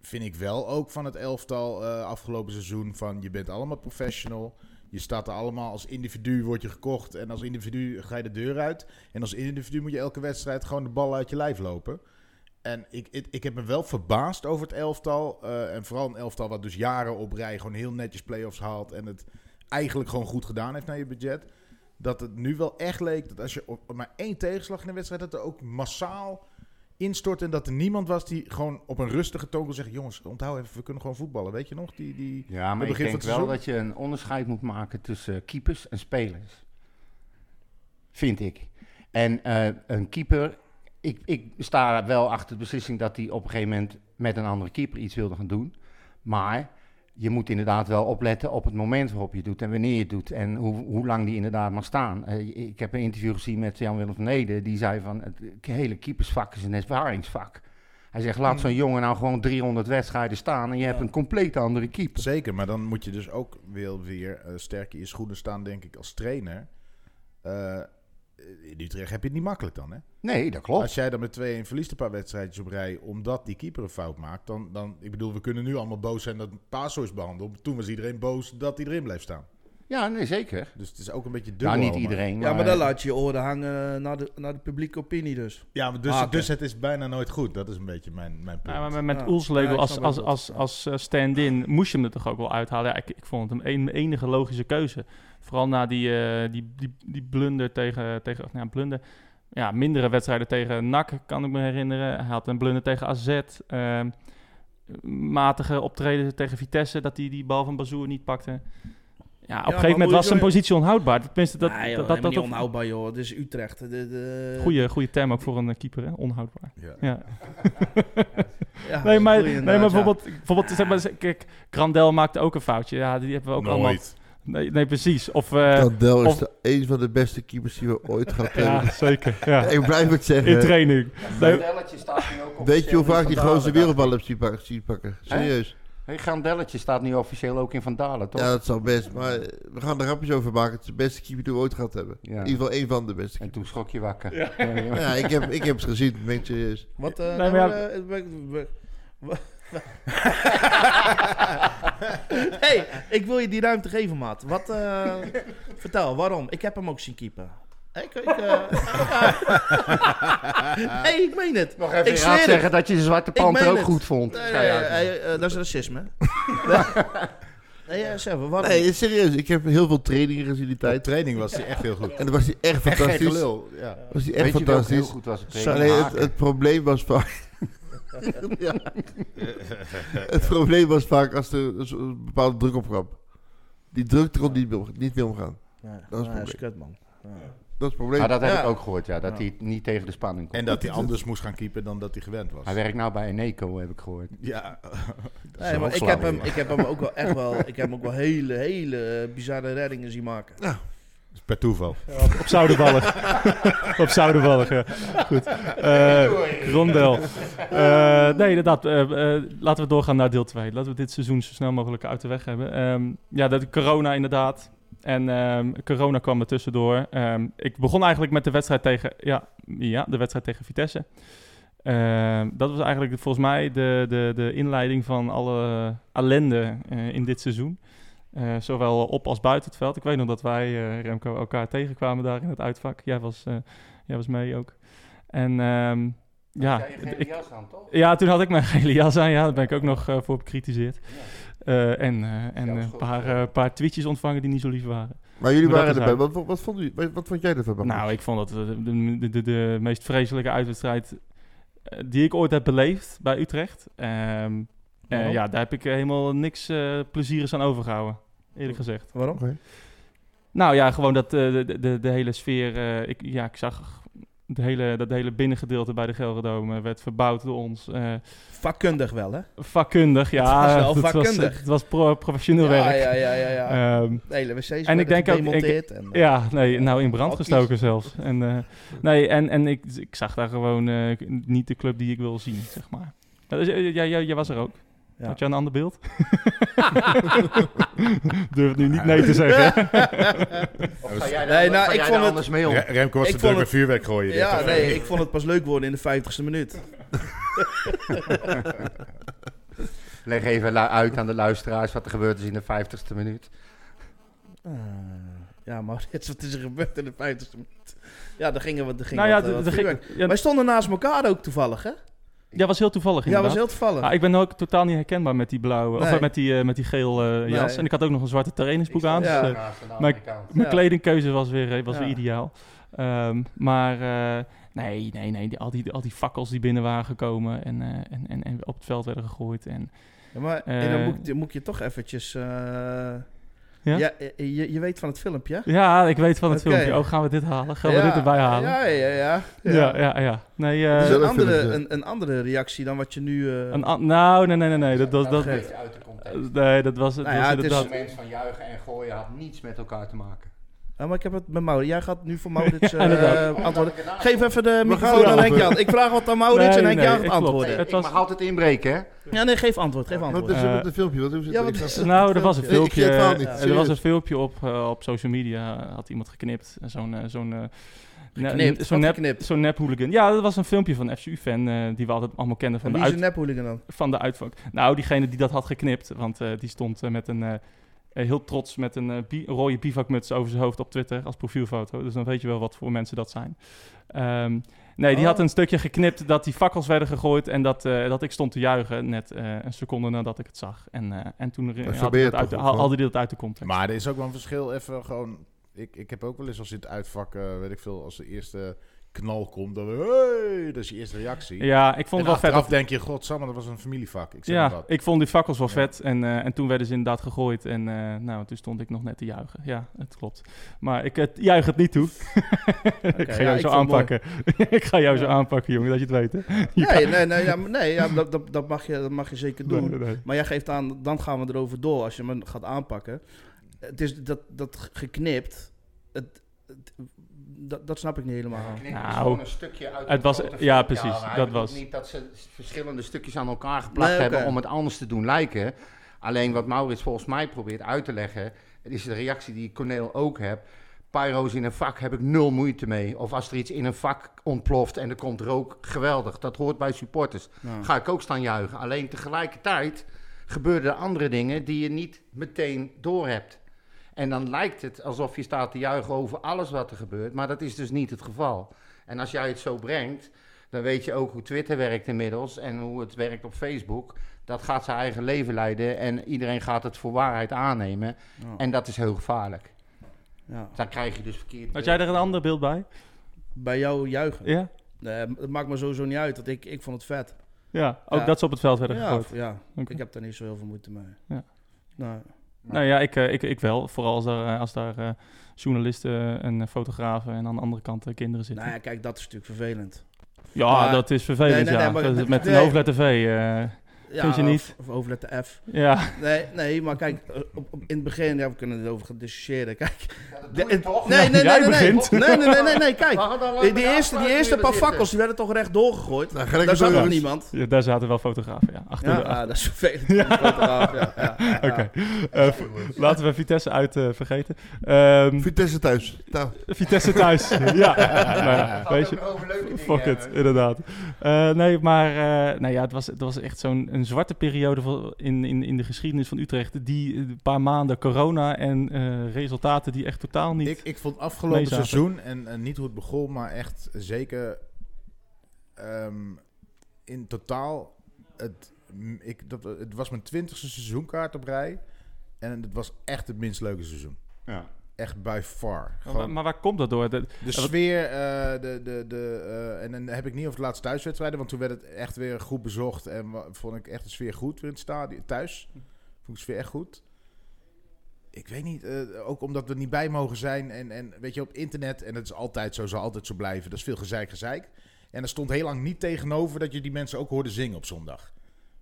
Speaker 3: vind ik wel ook van het elftal eh, afgelopen seizoen van je bent allemaal professional. Je staat er allemaal als individu, word je gekocht. En als individu ga je de deur uit. En als individu moet je elke wedstrijd gewoon de bal uit je lijf lopen. En ik, ik, ik heb me wel verbaasd over het elftal. eh, en vooral een elftal wat dus jaren op rij gewoon heel netjes play-offs haalt. En het eigenlijk gewoon goed gedaan heeft naar je budget. Dat het nu wel echt leek dat als je op op maar één tegenslag in een wedstrijd... dat er ook massaal instort en dat er niemand was die gewoon op een rustige toon kon zeggen... jongens, onthoud even, we kunnen gewoon voetballen. Weet je nog? Die, die...
Speaker 4: Ja, maar ik
Speaker 3: Het begin
Speaker 4: denk
Speaker 3: van
Speaker 4: wel
Speaker 3: het seizoen.
Speaker 4: dat je een onderscheid moet maken tussen eh, keepers en spelers. Vind ik. En eh, een keeper, ik, ik sta wel achter de beslissing dat hij op een gegeven moment met een andere keeper iets wilde gaan doen. Maar je moet inderdaad wel opletten op het moment waarop je het doet en wanneer je het doet. En hoe, hoe lang die inderdaad mag staan. Eh, ik heb een interview gezien met Jan-Willem van Nede. Die zei van het hele keepersvak is een ervaringsvak. Hij zegt, laat zo'n jongen nou gewoon 300 wedstrijden staan en je hebt een compleet andere keeper.
Speaker 3: Zeker, maar dan moet je dus ook wel weer eh, sterk in je schoenen staan, denk ik, als trainer. Eh, in Utrecht heb je het niet makkelijk dan, hè?
Speaker 4: Nee, dat klopt.
Speaker 3: Als jij dan met 2-1 verliest een paar wedstrijdjes op rij... omdat die keeper een fout maakt... dan, dan ik bedoel, we kunnen nu allemaal boos zijn dat Paso is behandeld. Toen was iedereen boos dat hij erin blijft staan.
Speaker 4: Ja, nee, zeker.
Speaker 3: Dus het is ook een beetje dubbel.
Speaker 4: Nou, niet
Speaker 3: allemaal.
Speaker 4: iedereen. Maar,
Speaker 2: Ja, maar dan laat je je oren hangen naar de, naar de publieke opinie dus.
Speaker 3: Ja, maar dus,
Speaker 2: Haken.
Speaker 3: dus het is bijna nooit goed. Dat is een beetje mijn, mijn punt.
Speaker 1: Ja, maar met, met
Speaker 2: Ja.
Speaker 1: Oelslabel
Speaker 2: Ja, ik
Speaker 1: als,
Speaker 2: snap wel
Speaker 1: als,
Speaker 2: wat
Speaker 1: als,
Speaker 2: je
Speaker 1: als eh, stand-in moest je hem er toch ook wel uithalen. Ja, ik, ik vond het een een enige logische keuze. Vooral na die, eh, die, die, die blunder tegen, tegen of, nou ja, blunder. Ja, mindere wedstrijden tegen NAC kan ik me herinneren. Hij had een blunder tegen AZ. ehm, matige optreden tegen Vitesse, dat hij die bal van Bazoer niet pakte. Ja, op een
Speaker 2: maar
Speaker 1: gegeven
Speaker 2: moet
Speaker 1: moment
Speaker 2: je
Speaker 1: was zijn
Speaker 2: zo-
Speaker 1: positie onhoudbaar. Tenminste, dat,
Speaker 2: nee, joh,
Speaker 1: dat, dat, dat,
Speaker 2: helemaal niet onhoudbaar joh, het is Utrecht. De, de,
Speaker 1: goede, goede term ook voor een eh, keeper, hè? onhoudbaar.
Speaker 3: Ja.
Speaker 1: Ja.
Speaker 2: Ja,
Speaker 1: Nee, maar,
Speaker 2: Ah, goeie
Speaker 1: nee, maar
Speaker 2: inderdaad, ja.
Speaker 1: bijvoorbeeld, bijvoorbeeld zeg maar, kijk, Grandel maakte ook een foutje. Ja, die hebben we ook allemaal.
Speaker 3: nooit.
Speaker 1: Nee, nee, precies. Of, eh,
Speaker 5: Tandel is
Speaker 1: of-
Speaker 5: de, een van de beste keepers die we ooit gehad hebben.
Speaker 1: ja, zeker. Ja.
Speaker 5: Ik blijf het
Speaker 2: eh,
Speaker 1: In
Speaker 5: zeggen.
Speaker 1: training. Nee,
Speaker 4: Grandelletje staat nu ook
Speaker 5: Weet je hoe vaak die grootste
Speaker 4: grote
Speaker 5: wereldbal hebt zien pak- zien pakken? Serieus.
Speaker 4: Hey, Grandelletje staat nu officieel ook in Van Dalen, toch?
Speaker 5: Ja, dat zal best. Maar eh, we gaan er grapjes over maken. Het is de beste keeper die we ooit gehad hebben.
Speaker 4: Ja.
Speaker 5: In ieder geval één van de beste
Speaker 4: En
Speaker 5: keepers.
Speaker 4: toen schrok je wakker. Ja, ja.
Speaker 5: Ja, ik heb, ik heb het gezien, ben ik serieus.
Speaker 2: Wat, eh
Speaker 1: maar
Speaker 2: nou,
Speaker 1: ja-
Speaker 2: eh, we- we- we- hey, ik wil je die ruimte geven, maat. Wat, eh, vertel, waarom? Ik heb hem ook zien keepen. Ik, ik, eh, nee, ik meen het.
Speaker 4: Nog even
Speaker 2: ik zweer
Speaker 4: inderdaad
Speaker 2: het.
Speaker 4: zeggen dat je de Zwarte
Speaker 2: meen
Speaker 4: Panter ook
Speaker 2: het.
Speaker 4: goed vond.
Speaker 2: Nee,
Speaker 4: Ga
Speaker 2: nee,
Speaker 4: je
Speaker 2: nee,
Speaker 4: uit.
Speaker 2: eh, eh, dat is racisme. nee, eh, zeg maar, waarom?
Speaker 5: Nee, serieus. Ik heb heel veel trainingen gezien die
Speaker 3: Bij
Speaker 5: tijd.
Speaker 3: training was hij echt heel goed.
Speaker 5: En dan was hij echt
Speaker 3: Echt geen
Speaker 5: fantastisch.
Speaker 3: gelul. Ja.
Speaker 5: Was hij echt
Speaker 4: Weet je wie ook heel
Speaker 5: fantastisch.
Speaker 4: goed was op
Speaker 5: Zo- nee, het, het probleem was vaak. ja. het probleem was vaak als er een soort- een bepaalde druk op kwam. Die druk er niet mee om- niet mee omgaan.
Speaker 2: Nee,
Speaker 5: dat is
Speaker 2: nee,
Speaker 5: probleem.
Speaker 2: kut, man. Ja.
Speaker 5: Dat is het probleem.
Speaker 4: Maar dat heb
Speaker 2: Ja.
Speaker 4: ik ook gehoord, ja. Dat hij het niet tegen de spanning komt.
Speaker 3: En dat hij anders moest gaan keepen dan dat hij gewend was.
Speaker 4: Hij werkt nou bij Eneco, heb ik gehoord.
Speaker 3: Ja.
Speaker 2: Nee, maar ik, heb hem, ik heb hem ook wel echt wel, ik heb hem ook wel hele, hele eh, bizarre reddingen zien maken.
Speaker 3: Dat is Per toeval.
Speaker 1: op Zouderballig. op Zouderballig, ja. Goed. Eh Rondel. Eh, nee, inderdaad. eh, eh, laten we doorgaan naar deel 2. Laten we dit seizoen zo snel mogelijk uit de weg hebben. Ehm, ja, dat corona inderdaad. En ehm, corona kwam er tussendoor. Ehm, ik begon eigenlijk met de wedstrijd tegen, ja, ja, de wedstrijd tegen Vitesse. Ehm, dat was eigenlijk volgens mij de, de, de inleiding van alle ellende eh, in dit seizoen. Eh, zowel op als buiten het veld. Ik weet nog dat wij, eh, Remco, elkaar tegenkwamen daar in het uitvak. Jij was, eh, jij was mee ook. En ehm, ja,
Speaker 4: Jij geen
Speaker 1: ik,
Speaker 4: jas aan, toch?
Speaker 1: ja, toen had ik mijn gele jas aan. Ja, daar ben ik ook nog eh, voor bekritiseerd. Eh, en eh, en
Speaker 4: Ja, dat is
Speaker 1: een
Speaker 4: goed.
Speaker 1: paar, eh, paar tweetjes ontvangen die niet zo lief waren.
Speaker 5: Maar jullie
Speaker 1: Maar dat
Speaker 5: waren
Speaker 1: is hij.
Speaker 5: erbij. Wat, wat, wat vond u, wat, wat vond jij ervan? Marcus?
Speaker 1: Nou, ik vond dat eh, de, de, de, de meest vreselijke uitwedstrijd eh, die ik ooit heb beleefd bij Utrecht. Ehm, eh,
Speaker 4: Nou.
Speaker 2: Waarom?
Speaker 1: ja, daar heb ik helemaal niks eh plezierigs aan overgehouden, eerlijk gezegd.
Speaker 2: Waarom?
Speaker 5: Oké.
Speaker 1: Nou ja, gewoon dat eh, de, de, de hele sfeer. eh, ik, ja, ik zag de hele, dat hele binnengedeelte bij de Gelredome eh, werd verbouwd door ons. eh,
Speaker 2: Vakkundig wel, hè?
Speaker 1: vakkundig, ja.
Speaker 2: Het was wel
Speaker 1: het was,
Speaker 2: vakkundig.
Speaker 1: het was pro- professioneel
Speaker 2: ja,
Speaker 1: werk.
Speaker 2: ja, ja, ja. ja.
Speaker 1: Ehm,
Speaker 2: de hele wc's en
Speaker 1: ik denk ook- ik-
Speaker 2: en, eh,
Speaker 1: ja, nee, nou in brand
Speaker 2: Hakkies.
Speaker 1: gestoken zelfs. En, eh, nee, en, en ik, ik zag daar gewoon eh, niet de club die ik wil zien, zeg maar. Ja, dus, eh, jij, jij, jij was er ook.
Speaker 2: Ja.
Speaker 1: Had je een ander beeld? Durf nu niet nee te zeggen.
Speaker 4: Of ga jij
Speaker 2: Nee,
Speaker 4: daar-
Speaker 2: nou,
Speaker 4: ga jij
Speaker 2: ik vond
Speaker 4: daar
Speaker 2: het-
Speaker 4: anders mee om?
Speaker 3: Re- Remco was
Speaker 2: Ik
Speaker 3: te
Speaker 2: vond
Speaker 3: druk met vuurwerk gooien. dit,
Speaker 2: eh, Ja,
Speaker 3: hè?
Speaker 2: nee, ik vond het pas leuk worden in de vijftigste minuut.
Speaker 4: Leg even lu- uit aan de luisteraars wat er gebeurd is in de 50ste minuut.
Speaker 2: Ah, ja, maar dit is wat is er gebeurd in de vijftigste minuut. Ja, daar gingen we... Daar gingen
Speaker 1: nou ja,
Speaker 2: wat, eh, wat
Speaker 1: de- de-
Speaker 2: vuurwerk.
Speaker 1: ja,
Speaker 2: Wij stonden naast elkaar ook toevallig, hè?
Speaker 1: ja, was heel toevallig
Speaker 2: Ja,
Speaker 1: inderdaad.
Speaker 2: was heel toevallig.
Speaker 1: Ah, ik ben ook totaal niet herkenbaar met die blauwe, of
Speaker 2: Nee.
Speaker 1: eh, met die, eh, met die geel eh, jas.
Speaker 2: Nee.
Speaker 1: En ik had ook nog een zwarte trainingsbroek aan.
Speaker 2: ja.
Speaker 1: Dus, eh,
Speaker 4: Naast een
Speaker 1: maar-
Speaker 4: Amerikaan.
Speaker 1: mijn
Speaker 2: Ja.
Speaker 1: kledingkeuze was weer, eh, was weer
Speaker 2: Ja.
Speaker 1: ideaal. Ehm, maar eh, nee, nee, nee. Die, al, die, al die fakkels die binnen waren gekomen en, eh, en, en, en op het veld werden gegooid. En,
Speaker 2: Ja, maar
Speaker 1: Eh,
Speaker 2: eh, dan moet, dan moet je toch eventjes... eh,
Speaker 1: Ja?
Speaker 2: ja, eh, je, je weet van het filmpje, hè?
Speaker 1: ja, ik weet van het
Speaker 2: Oké.
Speaker 1: filmpje. Oh, gaan we dit halen? Gaan
Speaker 2: Ja,
Speaker 1: we dit erbij halen? Ja,
Speaker 2: Ja, ja, ja.
Speaker 1: ja, ja. Nee, eh,
Speaker 5: Dus
Speaker 2: Dus een,
Speaker 5: Zelf
Speaker 2: andere,
Speaker 5: filmpje.
Speaker 2: een, een andere reactie dan wat je nu... eh,
Speaker 1: een an- nou, nee, nee, nee. nee dat, dat,
Speaker 4: Nou,
Speaker 1: dat,
Speaker 4: een beetje uit de context.
Speaker 1: nee, dat was, dat
Speaker 2: Nou ja,
Speaker 1: was
Speaker 2: het is-
Speaker 4: Het
Speaker 1: inderdaad...
Speaker 4: moment van juichen en gooien had niets met elkaar te maken.
Speaker 2: Ah, maar ik heb het met Maurits. Jij gaat nu voor Maurits eh,
Speaker 1: Ja, inderdaad.
Speaker 2: eh, antwoorden. Geef even de
Speaker 5: gaan
Speaker 2: microfoon aan Henk
Speaker 5: erover.
Speaker 2: Jan. Ik vraag wat aan Maurits
Speaker 1: Nee,
Speaker 2: en Henk
Speaker 1: nee,
Speaker 2: Jan gaat
Speaker 1: ik klopt.
Speaker 4: Nee,
Speaker 2: antwoorden.
Speaker 1: Het
Speaker 4: ik
Speaker 1: was-
Speaker 4: mag altijd inbreken, hè?
Speaker 2: Ja, nee, geef antwoord. Geef
Speaker 5: Wat
Speaker 2: antwoord.
Speaker 5: is er
Speaker 1: Eh,
Speaker 5: met een filmpje? Wat hoe zit
Speaker 2: ja,
Speaker 5: het?
Speaker 2: wat is-
Speaker 1: Nou, er was een
Speaker 5: Ik- ik zie het
Speaker 1: filmpje.
Speaker 5: verhaal niet,
Speaker 1: er was
Speaker 5: serieus.
Speaker 1: een filmpje op, eh, op social media. eh, Had iemand geknipt. Eh, Zo'n eh, zo'n eh, ne-
Speaker 2: Geknipt?
Speaker 1: zo'n
Speaker 2: Wat
Speaker 1: nep,
Speaker 2: geknipt?
Speaker 1: zo'n nep hooligan. Ja, dat was een filmpje van een FCU-fan eh, die we altijd allemaal kenden van
Speaker 2: En
Speaker 1: de,
Speaker 2: wie is
Speaker 1: uit,
Speaker 2: een nephooligan dan?
Speaker 1: van de uitvak. Nou, diegene die dat had geknipt, want eh, die stond eh, met een eh, eh, heel trots met een eh, bi- rode bivakmuts over zijn hoofd op Twitter als profielfoto. Dus dan weet je wel wat voor mensen dat zijn. Ehm, nee, die
Speaker 2: Oh.
Speaker 1: had een stukje geknipt dat die fakkels werden gegooid en dat, eh, dat ik stond te juichen net eh, een seconde nadat ik het zag. En, eh, en toen eh, had
Speaker 5: probeer
Speaker 1: hij
Speaker 5: het
Speaker 1: dat uit, de-
Speaker 5: toch ook
Speaker 1: haal-
Speaker 5: wel.
Speaker 1: haalde hij dat uit de context.
Speaker 3: Maar er is ook wel een verschil. Even gewoon. Ik, ik heb ook wel eens als je het uitvak, eh, weet ik veel, als de eerste knal komt, dan hey, dat is je eerste reactie.
Speaker 1: ja, ik vond
Speaker 3: en
Speaker 1: het wel vet.
Speaker 3: achteraf
Speaker 1: dat-
Speaker 3: denk je, godsamme, dat was een familievak. Ik zeg maar
Speaker 1: ja,
Speaker 3: wat.
Speaker 1: ik vond die fakkels wel
Speaker 3: Ja.
Speaker 1: vet. En, eh, en toen werden ze inderdaad gegooid. En eh, nou, toen stond ik nog net te juichen. Ja, het klopt. Maar ik eh, juich het niet toe. ik ga
Speaker 2: ja,
Speaker 1: jou zo
Speaker 2: ik vond het mooi.
Speaker 1: aanpakken. ik ga jou zo
Speaker 2: Ja.
Speaker 1: aanpakken, jongen, dat je het weet. Hè? Je kan-
Speaker 2: Nee, nee, nee, ja, maar nee ja, dat, dat, dat, mag je, dat mag je zeker doen.
Speaker 1: Nee, nee, nee.
Speaker 2: Maar jij geeft aan, dan gaan we erover door als je me gaat aanpakken. Het is dat, dat ge- geknipt, het, het- dat, dat snap ik niet helemaal.
Speaker 4: Geknipt is
Speaker 1: Nou,
Speaker 4: gewoon een stukje uit
Speaker 1: het
Speaker 4: een
Speaker 1: was-
Speaker 4: grote
Speaker 1: ja,
Speaker 4: film.
Speaker 1: precies,
Speaker 4: maar hij
Speaker 1: dat
Speaker 4: bedoelt
Speaker 1: was-
Speaker 4: niet dat ze verschillende stukjes aan elkaar geplakt
Speaker 2: Nee, oké.
Speaker 4: hebben om het anders te doen lijken. Alleen wat Maurits volgens mij probeert uit te leggen, het is de reactie die ik Corneel ook heb. Pyro's in een vak heb ik nul moeite mee. Of als er iets in een vak ontploft en er komt rook, geweldig. Dat hoort bij supporters.
Speaker 2: Nou.
Speaker 4: Ga ik ook staan juichen. Alleen tegelijkertijd gebeuren er andere dingen die je niet meteen doorhebt. En dan lijkt het alsof je staat te juichen over alles wat er gebeurt, maar dat is dus niet het geval. En als jij het zo brengt, dan weet je ook hoe Twitter werkt inmiddels en hoe het werkt op Facebook. Dat gaat zijn eigen leven leiden en iedereen gaat het voor waarheid aannemen.
Speaker 2: Ja.
Speaker 4: En dat is heel gevaarlijk.
Speaker 2: Ja.
Speaker 4: Dan krijg je dus verkeerd.
Speaker 1: Had jij er een ander beeld bij?
Speaker 2: Bij jou juichen.
Speaker 1: Ja?
Speaker 2: Nee, het maakt me sowieso niet uit, want ik, ik vond het vet.
Speaker 1: Ja, ook
Speaker 2: Ja.
Speaker 1: dat ze op het veld werden
Speaker 2: Ja,
Speaker 1: gegooid.
Speaker 2: of- ja.
Speaker 1: Oké.
Speaker 2: ik heb daar niet zo heel veel moeite mee.
Speaker 1: Ja.
Speaker 2: Nou,
Speaker 1: Nou ja, ik, eh, ik, ik wel. Vooral als daar, eh, als daar eh, journalisten en eh, fotografen en aan de andere kant eh, kinderen zitten.
Speaker 2: nou ja, kijk, dat is natuurlijk vervelend.
Speaker 1: ja,
Speaker 2: maar-
Speaker 1: dat is vervelend,
Speaker 2: Nee, nee, nee,
Speaker 1: ja.
Speaker 2: maar-
Speaker 1: Dat is met een
Speaker 2: nee.
Speaker 1: hoofdletter V. eh, Vind je niet?
Speaker 2: Of, of hoofdletter F.
Speaker 1: Ja,
Speaker 2: Nee, nee, maar kijk, eh, op, op- in het begin, ja, we kunnen erover gaan discussiëren. Kijk,
Speaker 4: Ja, dat
Speaker 2: de-
Speaker 4: doe je toch?
Speaker 2: Nee, nee,
Speaker 1: Jij
Speaker 2: nee, nee,
Speaker 1: begint.
Speaker 2: nee, nee, nee, nee, nee, nee, kijk.
Speaker 4: Waarom dan laat
Speaker 2: Die,
Speaker 4: me
Speaker 2: die
Speaker 4: de
Speaker 2: eerste, die
Speaker 4: afspraak
Speaker 2: eerste
Speaker 4: weer
Speaker 2: paar
Speaker 4: zitten?
Speaker 2: fakkels, die werden toch recht doorgegooid.
Speaker 5: Nou, ga lekker
Speaker 2: Daar zat
Speaker 5: door,
Speaker 2: nog
Speaker 5: Ruud.
Speaker 2: niemand.
Speaker 1: ja, daar zaten wel fotografen, ja. Achter
Speaker 2: Ja,
Speaker 1: de-
Speaker 2: ah, dat is vervelend. Ja. Ja, ja.
Speaker 1: Oké, Eh, v- laten we Vitesse uit eh, vergeten. Ehm,
Speaker 5: Vitesse thuis. Nou,
Speaker 1: Vitesse thuis, ja. Nou ja,
Speaker 4: Gaat
Speaker 1: weet
Speaker 4: ook
Speaker 1: je,
Speaker 4: nog over leuke dingen
Speaker 1: Fuck it,
Speaker 4: hebben.
Speaker 1: inderdaad. Eh, nee, maar eh, nou ja, het, was, het was echt zo'n een zwarte periode voor- in, in, in de geschiedenis van Utrecht. Die eh, een paar maanden corona en eh, resultaten die echt totaal niet...
Speaker 3: Ik, ik vond afgelopen
Speaker 1: meezaten.
Speaker 3: seizoen, en, en niet hoe het begon, maar echt zeker ehm, in totaal. Het, m- ik, dat, het was mijn twintigste seizoenkaart op rij. En het was echt het minst leuke seizoen.
Speaker 4: Ja.
Speaker 3: Echt by far.
Speaker 1: Maar-
Speaker 3: Gewoon
Speaker 1: maar waar komt dat door? Dat-
Speaker 3: de
Speaker 1: wat-
Speaker 3: sfeer, eh, de, de, de, eh, en dan heb ik niet over de laatste thuiswedstrijden, want toen werd het echt weer goed bezocht. En wa- vond ik echt de sfeer goed weer in het stadion. Thuis vond ik de sfeer echt goed. Ik weet niet, eh, ook omdat we er niet bij mogen zijn. En, en weet je, op internet, en dat is altijd zo, zal altijd zo blijven. Dat is veel gezeik, gezeik. En er stond heel lang niet tegenover dat je die mensen ook hoorde zingen op zondag.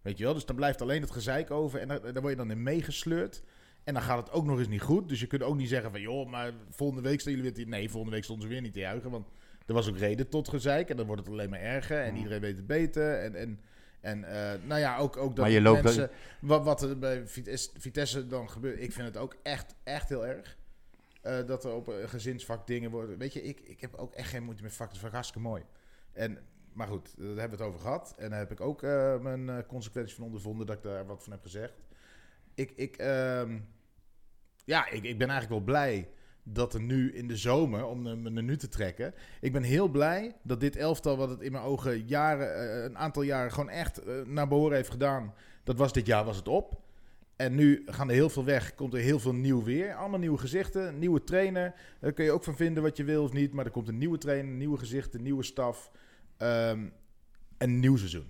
Speaker 3: Weet je wel, dus dan blijft alleen het gezeik over. En daar, daar word je dan in meegesleurd. En dan gaat het ook nog eens niet goed. Dus je kunt ook niet zeggen van, joh, maar volgende week staan jullie weer te... Nee, volgende week stonden ze weer niet te juichen. Want er was ook reden tot gezeik. En dan wordt het alleen maar erger. En iedereen weet het beter. En, en, en eh, nou ja, ook, ook dat
Speaker 4: Maar je loopt
Speaker 3: mensen... Wat, wat er bij Vitesse, Vitesse dan gebeurt... Ik vind het ook echt, echt heel erg. eh, dat er op eh, gezinsvak dingen worden... Weet je, ik, ik heb ook echt geen moeite met vak. Het is vak hartstikke mooi. En, maar goed, daar hebben we het over gehad. En daar heb ik ook eh, mijn eh, consequenties van ondervonden... dat ik daar wat van heb gezegd. Ik, ik, ehm, ja, ik, ik ben eigenlijk wel blij dat er nu in de zomer, om hem er nu te trekken. Ik ben heel blij dat dit elftal, wat het in mijn ogen jaren, eh, een aantal jaren gewoon echt eh, naar behoren heeft gedaan. Dat was dit jaar was het op. En nu gaan er heel veel weg, komt er heel veel nieuw weer. Allemaal nieuwe gezichten, nieuwe trainer. Daar kun je ook van vinden wat je wil of niet. Maar er komt een nieuwe trainer, nieuwe gezichten, nieuwe staf. ehm, een nieuw seizoen.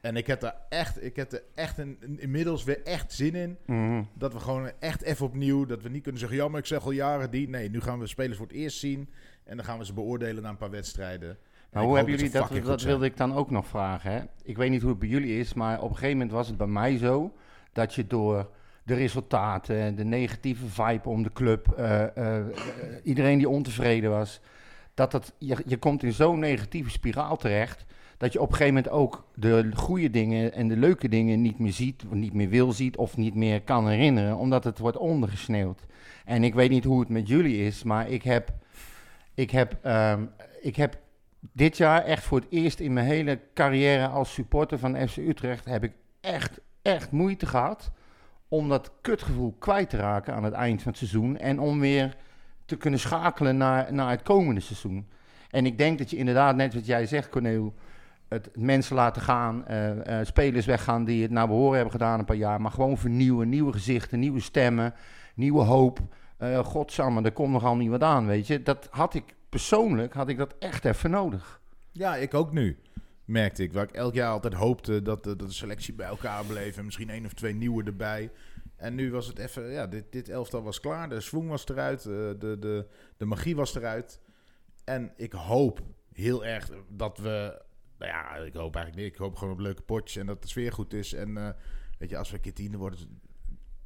Speaker 3: En ik heb daar echt, ik heb er echt een, een- inmiddels weer echt zin in.
Speaker 4: Mhm.
Speaker 3: Dat we gewoon echt even opnieuw, dat we niet kunnen zeggen, jammer, ik zeg al jaren die. Nee, nu gaan we spelers voor het eerst zien en dan gaan we ze beoordelen na een paar wedstrijden. En
Speaker 4: Maar
Speaker 3: ik
Speaker 4: Nou, hoe
Speaker 3: hoop
Speaker 4: hebben jullie
Speaker 3: ze
Speaker 4: dat?
Speaker 3: fucking
Speaker 4: Dat
Speaker 3: goed zijn.
Speaker 4: wilde ik dan ook nog vragen. Hè? Ik weet niet hoe het bij jullie is, maar op een gegeven moment was het bij mij zo dat je door de resultaten, de negatieve vibe om de club, eh, eh, eh, iedereen die ontevreden was, dat dat, je, je komt in zo'n negatieve spiraal terecht dat je op een gegeven moment ook de goede dingen en de leuke dingen niet meer ziet, of niet meer wil ziet of niet meer kan herinneren, omdat het wordt ondergesneeuwd. En ik weet niet hoe het met jullie is, maar ik heb, ik heb, ehm, ik heb dit jaar echt voor het eerst in mijn hele carrière als supporter van FC Utrecht heb ik echt, echt moeite gehad om dat kutgevoel kwijt te raken aan het eind van het seizoen en om weer te kunnen schakelen naar, naar het komende seizoen. En ik denk dat je inderdaad, net wat jij zegt, Corneel, het mensen laten gaan, eh, eh, spelers weggaan die het naar behoren hebben gedaan een paar jaar, maar gewoon vernieuwen, nieuwe gezichten, nieuwe stemmen, nieuwe hoop. Eh godsamme, er komt nogal niet wat aan, weet je. Dat had ik persoonlijk, had ik dat echt even nodig.
Speaker 3: Ja, ik ook nu, merkte ik. Waar ik elk jaar altijd hoopte dat, de- dat de selectie bij elkaar bleef en misschien één of twee nieuwe erbij. En nu was het even, ja, dit, dit elftal was klaar. De swing was eruit, eh, de, de, de magie was eruit. En ik hoop heel erg dat we, nou ja, ik hoop eigenlijk niet. Ik hoop gewoon op leuke potjes en dat de sfeer goed is. En eh, weet je, als we een keer tiende worden,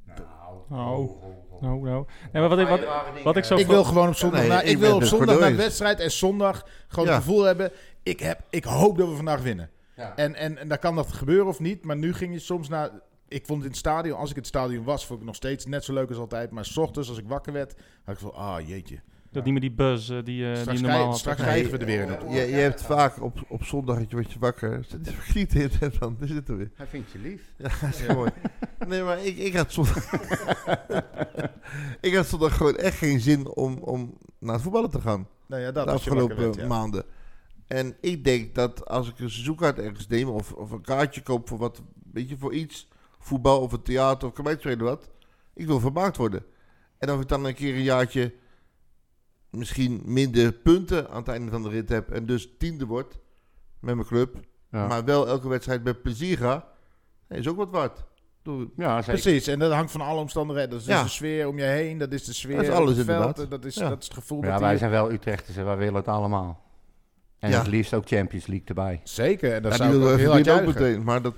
Speaker 1: Oh, nou, nou. Nee, maar wat, ik- wat, wat ik zo...
Speaker 3: Ik wil gewoon op zondag,
Speaker 5: Nee,
Speaker 3: naar-
Speaker 5: ik
Speaker 3: ik
Speaker 5: ben
Speaker 3: wil op
Speaker 5: het
Speaker 3: zondag naar
Speaker 5: Cornelis.
Speaker 3: de wedstrijd en zondag gewoon
Speaker 5: Ja.
Speaker 3: het gevoel hebben. Ik, heb, ik hoop dat we vandaag winnen.
Speaker 4: Ja.
Speaker 3: En, en, en dan kan dat gebeuren of niet. Maar nu ging je soms naar. Ik vond het in het stadion, als ik in het stadion was, vond ik het nog steeds net zo leuk als altijd. Maar 's ochtends, als ik wakker werd, had ik van, ah jeetje.
Speaker 1: Dat niet meer die buzz eh, die, eh, die
Speaker 3: Straks,
Speaker 1: je
Speaker 3: krijg-
Speaker 1: normaal had.
Speaker 3: straks
Speaker 5: Nee,
Speaker 3: krijgen we er weer een.
Speaker 5: je, je hebt vaak op, op zondag, je wordt je wakker. Zit je vergeten en dan daar zitten we weer.
Speaker 4: Hij vindt je lief.
Speaker 5: Ja, dat is mooi. Nee, maar ik, ik had zondag... ik had zondag gewoon echt geen zin om, om naar het voetballen te gaan.
Speaker 3: Nou ja, dat
Speaker 5: de
Speaker 3: als je wakker
Speaker 5: afgelopen
Speaker 3: werd, ja.
Speaker 5: maanden. En ik denk dat als ik een seizoenkaart ergens neem of, of een kaartje koop voor wat, weet je, voor iets, voetbal of een theater of kan mij spelen wat, ik wil vermaakt worden. En of ik dan een keer een jaartje misschien minder punten aan het einde van de rit heb en dus tiende word met mijn club,
Speaker 4: Ja,
Speaker 5: maar wel elke wedstrijd met plezier ga, nee, is ook wat waard. Ik bedoel,
Speaker 4: ja zeker.
Speaker 3: Precies, en dat hangt van alle omstandigheden. Dat is dus
Speaker 5: Ja.
Speaker 3: de sfeer om je heen, dat is de sfeer
Speaker 5: Dat is
Speaker 3: op
Speaker 5: alles
Speaker 3: het veld.
Speaker 5: inderdaad.
Speaker 3: Dat is,
Speaker 5: Ja.
Speaker 3: dat is het gevoel
Speaker 4: Ja,
Speaker 3: dat
Speaker 4: wij
Speaker 3: die-
Speaker 4: zijn wel Utrechters en wij willen het allemaal. En
Speaker 5: Ja.
Speaker 4: het liefst ook Champions League erbij.
Speaker 3: Zeker, en dat
Speaker 5: ja, die
Speaker 3: zou ik
Speaker 5: wilde
Speaker 3: ook heel
Speaker 5: even
Speaker 3: hard
Speaker 5: die ook
Speaker 3: juichen.
Speaker 5: meteen, maar dat,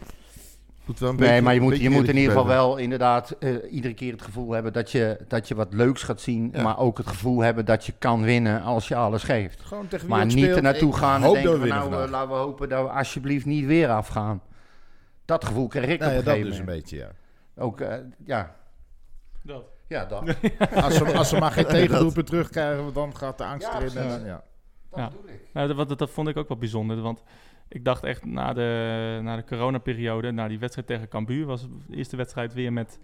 Speaker 5: Moet wel een
Speaker 4: Nee,
Speaker 5: beetje-
Speaker 4: maar je moet,
Speaker 5: beetje
Speaker 4: je moet in
Speaker 5: eerlijk
Speaker 4: ieder geval
Speaker 5: blijven.
Speaker 4: wel inderdaad eh, iedere keer het gevoel hebben dat je, dat je wat leuks gaat zien.
Speaker 5: Ja.
Speaker 4: Maar ook het gevoel hebben dat je kan winnen als je alles geeft.
Speaker 3: Gewoon tegen wie
Speaker 4: Maar
Speaker 3: ook
Speaker 4: niet
Speaker 3: speelt,
Speaker 4: er naartoe
Speaker 3: ik
Speaker 4: gaan en
Speaker 3: hoop dat
Speaker 4: denken,
Speaker 3: we
Speaker 4: van,
Speaker 3: winnen
Speaker 4: nou eh,
Speaker 3: vandaag.
Speaker 4: laten we hopen dat we alsjeblieft niet weer afgaan. Dat gevoel kreeg ik op
Speaker 3: Nou ja,
Speaker 4: een
Speaker 3: dat
Speaker 4: gegeven
Speaker 3: dus een
Speaker 4: moment.
Speaker 3: beetje, ja.
Speaker 4: Ook, eh, ja.
Speaker 1: Dat.
Speaker 4: Ja, dat.
Speaker 3: Als ze, als ze maar geen tegendoelpunt terugkrijgen, want dan gaat de angst
Speaker 4: Ja,
Speaker 3: erin.
Speaker 4: precies.
Speaker 3: eh, ja.
Speaker 4: Dat
Speaker 1: Ja.
Speaker 4: bedoel ik.
Speaker 1: Nou, dat, wat- dat, dat vond ik ook wel bijzonder. Want ik dacht echt na de, na de coronaperiode, na die wedstrijd tegen Cambuur, was de eerste wedstrijd weer met,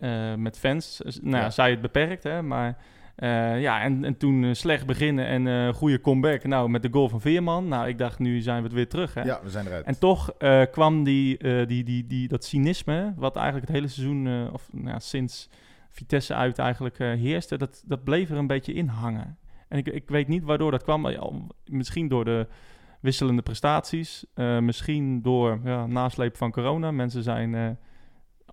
Speaker 1: eh, met fans. Dus, Nou, ja.
Speaker 3: Ja.
Speaker 1: zij het beperkt, hè, maar. eh, ja, en, en toen eh, slecht beginnen en eh goede comeback. Nou, met de goal van Veerman. Nou, ik dacht, nu zijn we het weer terug. Hè?
Speaker 3: ja, we zijn eruit.
Speaker 1: En toch eh, kwam die, eh, die, die, die, dat cynisme, wat eigenlijk het hele seizoen, eh, of nou, ja, sinds Vitesse uit eigenlijk eh, heerste, dat, dat bleef er een beetje in hangen. En ik, ik weet niet waardoor dat kwam. Ja, om- Misschien door de wisselende prestaties, eh, misschien door ja, nasleep van corona. Mensen zijn eh,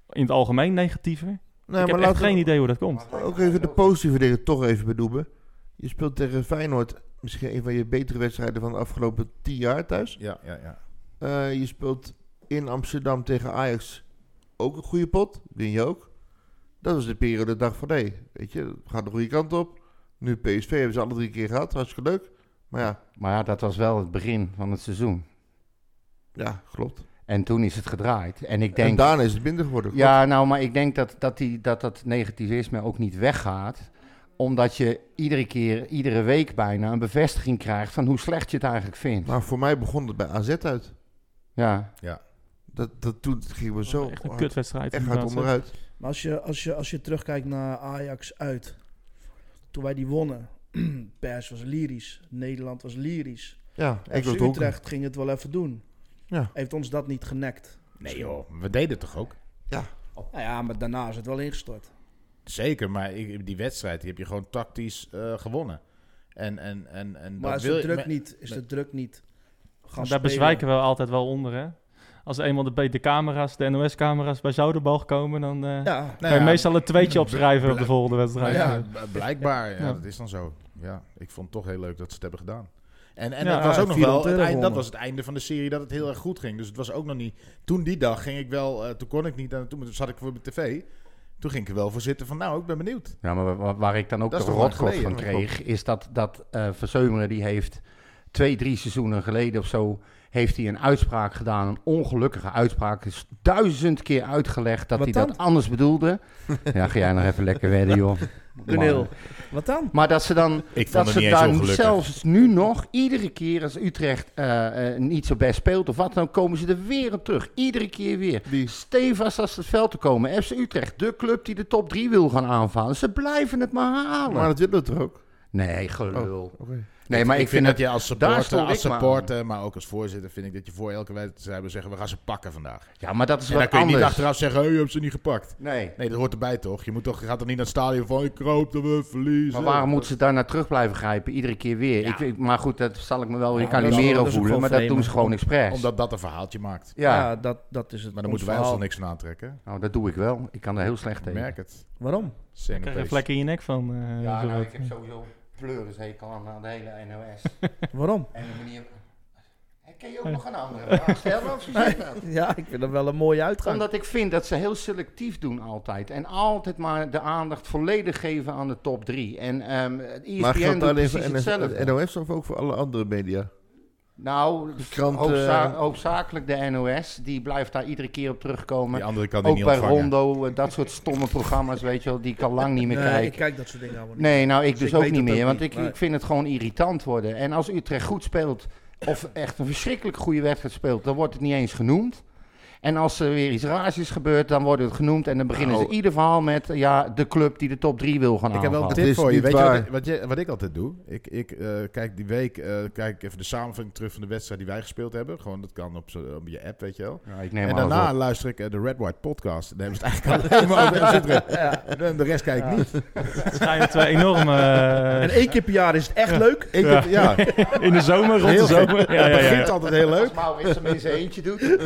Speaker 1: in het algemeen negatiever.
Speaker 5: Nee,
Speaker 1: ik heb echt
Speaker 5: laten we-
Speaker 1: geen idee hoe dat komt.
Speaker 5: Ook even de positieve dingen toch even benoemen. Je speelt tegen Feyenoord misschien een van je betere wedstrijden van de afgelopen tien jaar thuis.
Speaker 3: Ja, ja, ja.
Speaker 5: Eh, je speelt in Amsterdam tegen Ajax ook een goede pot. Win je ook. Dat was de periode dat ik dacht van hé, weet je, het gaat de goede kant op. Nu PSV hebben ze alle drie keer gehad, hartstikke leuk. Maar ja,
Speaker 4: Maar ja, dat was wel het begin van het seizoen.
Speaker 5: ja klopt.
Speaker 4: En toen is het gedraaid. En ik
Speaker 5: En
Speaker 4: denk,
Speaker 5: daarna is het minder geworden. klopt.
Speaker 4: Ja, nou, maar ik denk dat dat, die, dat dat negativisme ook niet weggaat. Omdat je iedere keer, iedere week bijna een bevestiging krijgt van hoe slecht je het eigenlijk vindt.
Speaker 5: Maar voor mij begon het bij AZ uit.
Speaker 4: Ja,
Speaker 5: Dat, dat toen gingen we zo
Speaker 1: Oh, echt een
Speaker 5: hard,
Speaker 1: kutwedstrijd.
Speaker 5: echt hard
Speaker 1: inderdaad, zeg.
Speaker 5: onderuit.
Speaker 2: Maar als je, als, je, als je terugkijkt naar Ajax uit, toen wij die wonnen, pers was lyrisch, Nederland was lyrisch.
Speaker 5: Ja, ik
Speaker 2: FC
Speaker 5: was ook.
Speaker 2: Utrecht ging het wel even doen.
Speaker 5: Ja.
Speaker 2: Heeft ons dat niet genekt?
Speaker 3: Nee joh, we deden het toch ook?
Speaker 2: Nou ja, maar daarna is het wel ingestort.
Speaker 3: Zeker, maar ik- die wedstrijd die heb je gewoon tactisch eh, gewonnen. En, en, en, en
Speaker 2: Maar
Speaker 3: dat
Speaker 2: is
Speaker 3: wil
Speaker 2: de
Speaker 3: je-
Speaker 2: druk
Speaker 3: maar-
Speaker 2: niet? Is de druk niet?
Speaker 1: Maar Daar bezwijken we altijd wel onder, hè? Als eenmaal de, be- de camera's, de NOS-camera's bij Zouderbalg komen, dan... eh,
Speaker 2: Ja,
Speaker 3: Nou
Speaker 1: Kan je
Speaker 3: ja,
Speaker 1: meestal een tweetje opschrijven op de volgende
Speaker 3: nou
Speaker 1: wedstrijd.
Speaker 3: ja, b- blijkbaar, ja,
Speaker 1: Ja.
Speaker 3: dat is dan zo. Ja, ik vond het toch heel leuk dat ze het hebben gedaan. En, en
Speaker 1: Ja,
Speaker 3: dat was
Speaker 2: ja,
Speaker 3: ook nog
Speaker 2: 400
Speaker 3: wel, het
Speaker 2: euro
Speaker 3: eind, dat
Speaker 2: gewonnen.
Speaker 3: was het einde van de serie dat het heel erg goed ging. Dus het was ook nog niet... Toen die dag ging ik wel, eh, toen kon ik niet, en toen zat ik voor mijn tv. Toen ging ik er wel voor zitten van, nou, ik ben benieuwd.
Speaker 4: ja maar wa- wa- waar ik dan ook
Speaker 3: Dat
Speaker 4: de
Speaker 3: is toch lang
Speaker 4: rotklop
Speaker 3: geleden,
Speaker 4: van
Speaker 3: dat klopt.
Speaker 4: kreeg, is dat, dat eh Verzeumeren die heeft twee, drie seizoenen geleden of zo, heeft hij een uitspraak gedaan, een ongelukkige uitspraak. Is duizend keer uitgelegd dat
Speaker 2: Wat
Speaker 4: hij dat
Speaker 2: dan?
Speaker 4: anders bedoelde. ja, ga jij nog even lekker wedden, joh.
Speaker 2: Gunil.
Speaker 4: Maar-
Speaker 2: Wat dan?
Speaker 4: Maar dat ze dan
Speaker 3: Ik
Speaker 4: dat ze daar zelfs nu nog, iedere keer als Utrecht eh, eh, niet zo best speelt of wat, dan komen ze er weer op terug. Iedere keer weer.
Speaker 5: Die,
Speaker 4: Stevast als het veld te komen. FC Utrecht, de club die de top 3 wil gaan aanvallen. Ze blijven het maar halen.
Speaker 5: maar dat willen we toch ook?
Speaker 4: nee, gelul.
Speaker 5: Oké.
Speaker 4: Nee, maar ik, vind
Speaker 3: dat
Speaker 4: het...
Speaker 3: je als
Speaker 4: daar stoor
Speaker 3: supporter,
Speaker 4: ik
Speaker 3: als
Speaker 4: me aan.
Speaker 3: supporter maar ook als voorzitter, vind ik dat je voor elke wedstrijd moet zeggen, we gaan ze pakken vandaag.
Speaker 4: Ja, maar dat is
Speaker 3: En dan
Speaker 4: wat
Speaker 3: kun je niet
Speaker 4: anders.
Speaker 3: achteraf zeggen, hey, je hebt ze niet gepakt.
Speaker 4: Nee.
Speaker 3: Nee, dat hoort erbij toch? Je, moet toch, je gaat toch niet naar het stadion van, ik hoop dat we verliezen.
Speaker 4: Maar waarom moeten ze daar naar terug blijven grijpen? Iedere keer weer.
Speaker 3: Ja.
Speaker 4: Ik, ik- maar goed, dat zal ik me wel weer
Speaker 2: Ja, dat is-
Speaker 4: Calimero
Speaker 2: dat is ook
Speaker 4: voelen.
Speaker 2: gewoon
Speaker 4: Maar dat
Speaker 2: vreemd.
Speaker 4: doen ze gewoon expres.
Speaker 3: Omdat dat een verhaaltje maakt.
Speaker 2: Ja,
Speaker 4: ja.
Speaker 2: dat, dat is het.
Speaker 3: Maar dan
Speaker 2: ons
Speaker 3: moeten wij ons
Speaker 2: verhaal.
Speaker 3: er niks van aantrekken.
Speaker 4: Nou, dat doe ik wel. Ik kan er heel slecht
Speaker 3: Ik
Speaker 4: tegen.
Speaker 3: merk het.
Speaker 2: Waarom?
Speaker 1: Ik krijg een vlek in je nek van. eh,
Speaker 4: Ja,
Speaker 1: zo
Speaker 4: nou,
Speaker 1: wat.
Speaker 4: ik heb sowieso pleurishekel aan, aan de hele NOS.
Speaker 2: Waarom?
Speaker 4: en de manier... Ken je ook nog een andere vraag stellen? Of hoe zit dat?
Speaker 2: Ja, ik vind dat wel een mooie uitgang.
Speaker 4: Omdat ik vind dat ze heel selectief doen altijd. En altijd maar de aandacht volledig geven aan de top drie. En ehm het
Speaker 5: Maar
Speaker 4: ESPN
Speaker 5: geldt
Speaker 4: doet
Speaker 5: alleen
Speaker 4: precies
Speaker 5: voor NS,
Speaker 4: hetzelfde.
Speaker 5: NOS of ook voor alle andere media?
Speaker 4: nou,
Speaker 5: kranten-
Speaker 4: hoofdza- hoofdzakelijk de NOS. Die blijft daar iedere keer op terugkomen.
Speaker 3: Die andere kan die
Speaker 4: ook
Speaker 3: niet
Speaker 4: bij
Speaker 3: ontvangen.
Speaker 4: Rondo, eh, dat soort stomme programma's, weet je wel, die ik al lang niet meer
Speaker 2: Nee,
Speaker 4: kijk.
Speaker 2: ik kijk dat soort dingen allemaal niet.
Speaker 4: Nee, nou ik
Speaker 2: Dus
Speaker 4: dus
Speaker 2: ik
Speaker 4: ook
Speaker 2: weet
Speaker 4: niet
Speaker 2: het
Speaker 4: meer.
Speaker 2: ook
Speaker 4: want
Speaker 2: niet,
Speaker 4: ik,
Speaker 2: maar-
Speaker 4: ik vind het gewoon irritant worden. En als Utrecht goed speelt, of echt een verschrikkelijk goede wedstrijd speelt, dan wordt het niet eens genoemd. En als er weer iets raars is gebeurd, dan wordt het genoemd. En dan beginnen
Speaker 5: Nou.
Speaker 4: ze ieder verhaal met eh, ja, de club die de top 3 wil gaan
Speaker 3: Ik heb wel een
Speaker 4: aanvallen.
Speaker 5: Dat
Speaker 3: tip
Speaker 5: is
Speaker 3: voor je.
Speaker 5: niet
Speaker 3: Weet je wat,
Speaker 5: waar.
Speaker 3: wat, je- wat ik altijd doe? Ik, ik eh, kijk die week eh, kijk ik even de samenvatting terug van de wedstrijd die wij gespeeld hebben. Gewoon, dat kan op, z'n- op je app, weet je wel.
Speaker 4: Ja, ik neem
Speaker 3: en
Speaker 4: alles
Speaker 3: daarna
Speaker 4: op.
Speaker 3: luister ik eh, de Red White podcast. Dan hebben ze het eigenlijk alleen maar over FC Utrecht. En De rest kijk ik niet.
Speaker 1: Het zijn twee enorme. eh,
Speaker 2: En één keer per jaar is het echt leuk.
Speaker 3: Ik
Speaker 1: Ja.
Speaker 3: heb- ja.
Speaker 1: in de zomer, rond de
Speaker 3: Heel gek.
Speaker 1: zomer. Ja, ja,
Speaker 3: Het
Speaker 1: ja.
Speaker 3: begint altijd heel leuk.
Speaker 4: Als Maurits hem in zijn eentje doet.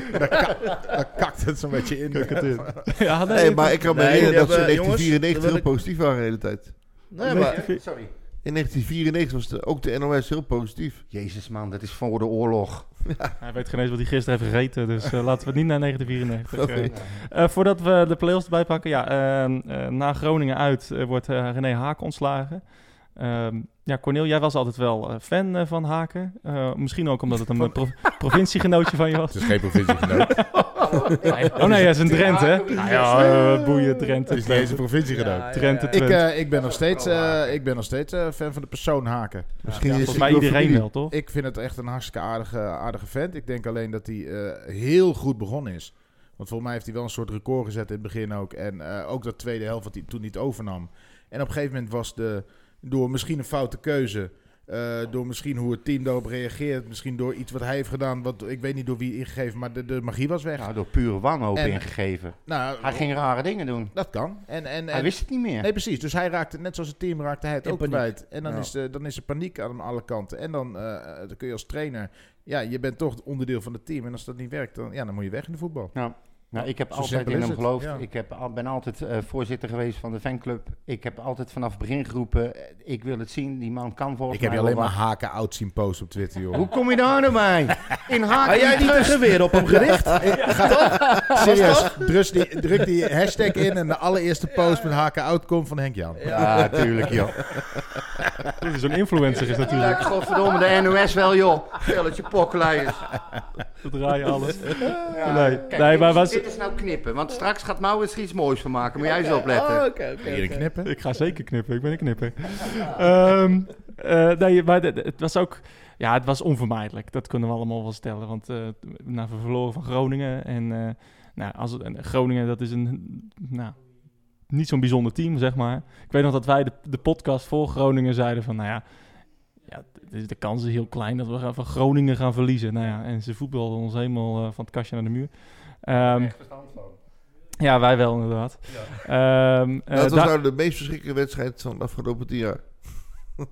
Speaker 3: Dan kakt het zo'n beetje in.
Speaker 1: Ja, nee,
Speaker 5: Nee, maar ik kan me
Speaker 2: Nee,
Speaker 5: herinneren dat ze in
Speaker 2: jullie hebben- jongens,
Speaker 5: 1994
Speaker 2: dat wil
Speaker 5: heel
Speaker 2: ik-
Speaker 5: positief waren de hele tijd.
Speaker 2: Nee, maar
Speaker 4: Sorry.
Speaker 5: Ja, In 1994 was de, ook de NOS heel positief.
Speaker 4: Jezus man, dat is voor de oorlog.
Speaker 1: Hij weet geen eens wat hij gisteren heeft gegeten, dus eh, laten we het niet naar 1994. eh,
Speaker 5: Oké.
Speaker 1: Eh, voordat we de play-offs erbij pakken, ja, ehm, eh, na Groningen uit eh, wordt eh, René Haak ontslagen. Ehm, ja, Cornel, jij was altijd wel eh, fan eh, van Haken. Eh, misschien ook omdat het een pro- provinciegenootje van je was.
Speaker 3: Het is geen provinciegenoot.
Speaker 1: Oh nee, hij is een Drent, hè? Nou ja, eh, boeien, Drent.
Speaker 3: Het is niet eens een provinciegenoot.
Speaker 1: Drenthe
Speaker 3: Ik,
Speaker 1: Twente.
Speaker 3: eh, ik ben nog steeds, eh, ik ben nog steeds eh, fan van de persoon Haken.
Speaker 5: Misschien is
Speaker 1: Volgens
Speaker 5: het
Speaker 1: mij
Speaker 5: wel
Speaker 1: iedereen
Speaker 5: familie.
Speaker 1: wel, toch?
Speaker 3: Ik vind het echt een hartstikke aardige, aardige vent. Ik denk alleen dat hij eh, heel goed begonnen is. Want volgens mij heeft hij wel een soort record gezet in het begin ook. En eh, ook dat tweede helft wat hij toen niet overnam. En op een gegeven moment was de, door misschien een foute keuze... eh, door misschien hoe het team daarop reageert. Misschien door iets wat hij heeft gedaan. Wat, ik weet niet door wie ingegeven, maar de, de magie was weg.
Speaker 4: Nou, door pure wanhoop
Speaker 3: En-
Speaker 4: ingegeven.
Speaker 3: Nou,
Speaker 4: Hij ging rare dingen doen.
Speaker 3: dat kan. En, en,
Speaker 4: Hij
Speaker 3: en,
Speaker 4: wist het niet meer.
Speaker 3: Nee, precies. Dus hij raakte, net zoals het team, raakte hij het
Speaker 2: In
Speaker 3: ook
Speaker 2: paniek.
Speaker 3: kwijt. En dan,
Speaker 2: Ja.
Speaker 3: is de, dan is er paniek aan alle kanten. En dan, eh, dan kun je als trainer... Ja, je bent toch onderdeel van het team. En als dat niet werkt, dan, ja, dan moet je weg in de voetbal.
Speaker 4: Nou, nou, ik heb
Speaker 3: Zo
Speaker 4: altijd
Speaker 3: simpel
Speaker 4: in
Speaker 3: is
Speaker 4: hem
Speaker 3: het,
Speaker 4: geloofd.
Speaker 3: ja.
Speaker 4: Ik heb, al- ben altijd eh, voorzitter geweest van de fanclub. Ik heb altijd vanaf het begin geroepen, eh, ik wil het zien, die man kan volgens
Speaker 3: Ik heb je
Speaker 4: mij
Speaker 3: alleen
Speaker 4: wel
Speaker 3: maar
Speaker 4: wat.
Speaker 3: haken oud zien posten op Twitter, joh.
Speaker 4: Hoe kom je daar nou bij? In haak
Speaker 2: Had
Speaker 4: en
Speaker 2: jij niet een
Speaker 4: Trust.
Speaker 2: geweer op hem gericht?
Speaker 3: Serieus, druk die, druk die hashtag in en de allereerste post met haken oud komt van Henk Jan.
Speaker 4: Ja, tuurlijk joh.
Speaker 1: Dat is zo'n influencer is natuurlijk.
Speaker 4: Tuurlijk, godverdomme, de NOS wel joh. Velletje pokkenleiers.
Speaker 1: Dat draai je alles.
Speaker 4: Ja,
Speaker 1: Nee,
Speaker 4: kijk,
Speaker 1: nee,
Speaker 4: dit,
Speaker 1: maar
Speaker 4: is-
Speaker 1: was,
Speaker 4: dit is nou knippen, want straks gaat Maurits er iets moois van maken. Moet jij eens opletten.
Speaker 2: Oh, Oké,
Speaker 3: Hier een knippen.
Speaker 1: Ik ga zeker knippen, ik ben een knipper. Ehm, eh, nee, maar de- de- het was ook... Ja, het was onvermijdelijk. Dat kunnen we allemaal wel stellen. Want eh nou, we verloren van Groningen. En eh, nou, als, en Groningen, dat is een... Nou, niet zo'n bijzonder team, zeg maar. Ik weet nog dat wij de, de podcast voor Groningen zeiden van... Nou ja, ja d- de, de kans is heel klein dat we gaan- van Groningen gaan verliezen. Nou ja, en ze voetbalden ons helemaal eh, van het kastje naar de muur. Ehm, ja, wij wel inderdaad. Ehm, eh,
Speaker 5: Dat was
Speaker 1: daar-
Speaker 5: nou de meest verschrikkelijke wedstrijd van de afgelopen tien jaar.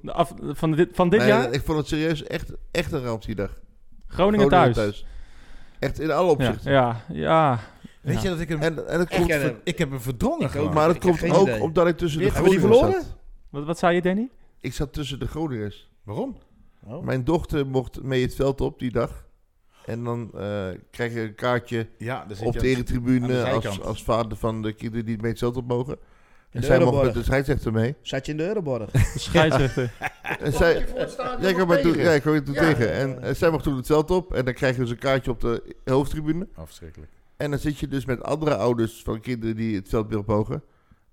Speaker 1: de af- van dit, van dit
Speaker 5: Nee,
Speaker 1: jaar?
Speaker 5: Ik vond het serieus echt, echt een ramp die dag.
Speaker 1: Groningen, thuis.
Speaker 5: Echt in alle
Speaker 1: Ja,
Speaker 5: opzichten.
Speaker 1: ja, ja.
Speaker 3: Weet
Speaker 1: Ja.
Speaker 3: je dat ik hem...
Speaker 5: En, en dat
Speaker 2: Ik
Speaker 5: komt,
Speaker 2: ken hem.
Speaker 3: Ik heb hem verdrongen
Speaker 2: Ik
Speaker 3: gewoon.
Speaker 2: ook.
Speaker 5: maar dat
Speaker 2: Ik heb
Speaker 5: komt
Speaker 2: geen
Speaker 5: ook
Speaker 2: idee.
Speaker 5: omdat ik tussen de
Speaker 2: Hebben we die
Speaker 5: Groningers
Speaker 2: verloren?
Speaker 5: zat.
Speaker 1: Wat, wat zei je, Danny?
Speaker 5: Ik zat tussen de Groningers.
Speaker 3: Waarom?
Speaker 1: Oh.
Speaker 5: Mijn dochter mocht mee het veld op die dag. En dan eh, krijg je een kaartje
Speaker 3: Ja, daar zit
Speaker 5: op
Speaker 3: je
Speaker 5: de
Speaker 3: aan de
Speaker 5: eretribune als,
Speaker 3: zijkant.
Speaker 5: als vader van de kinderen die mee het veld op mogen. En
Speaker 2: de
Speaker 5: zij mocht
Speaker 2: Euroborg.
Speaker 5: met de scheidsrechter mee.
Speaker 2: Zat je in de Euroborg?
Speaker 1: De scheidsrechter.
Speaker 5: En zij, jij kwam mij toen, ja, ik kwam je toen
Speaker 4: Ja.
Speaker 5: tegen. En, en zij mocht toen het veld op. En dan krijg je dus een kaartje op de hoofdtribune.
Speaker 3: Afschrikkelijk.
Speaker 5: En dan zit je dus met andere ouders van kinderen die het veld willen pogen.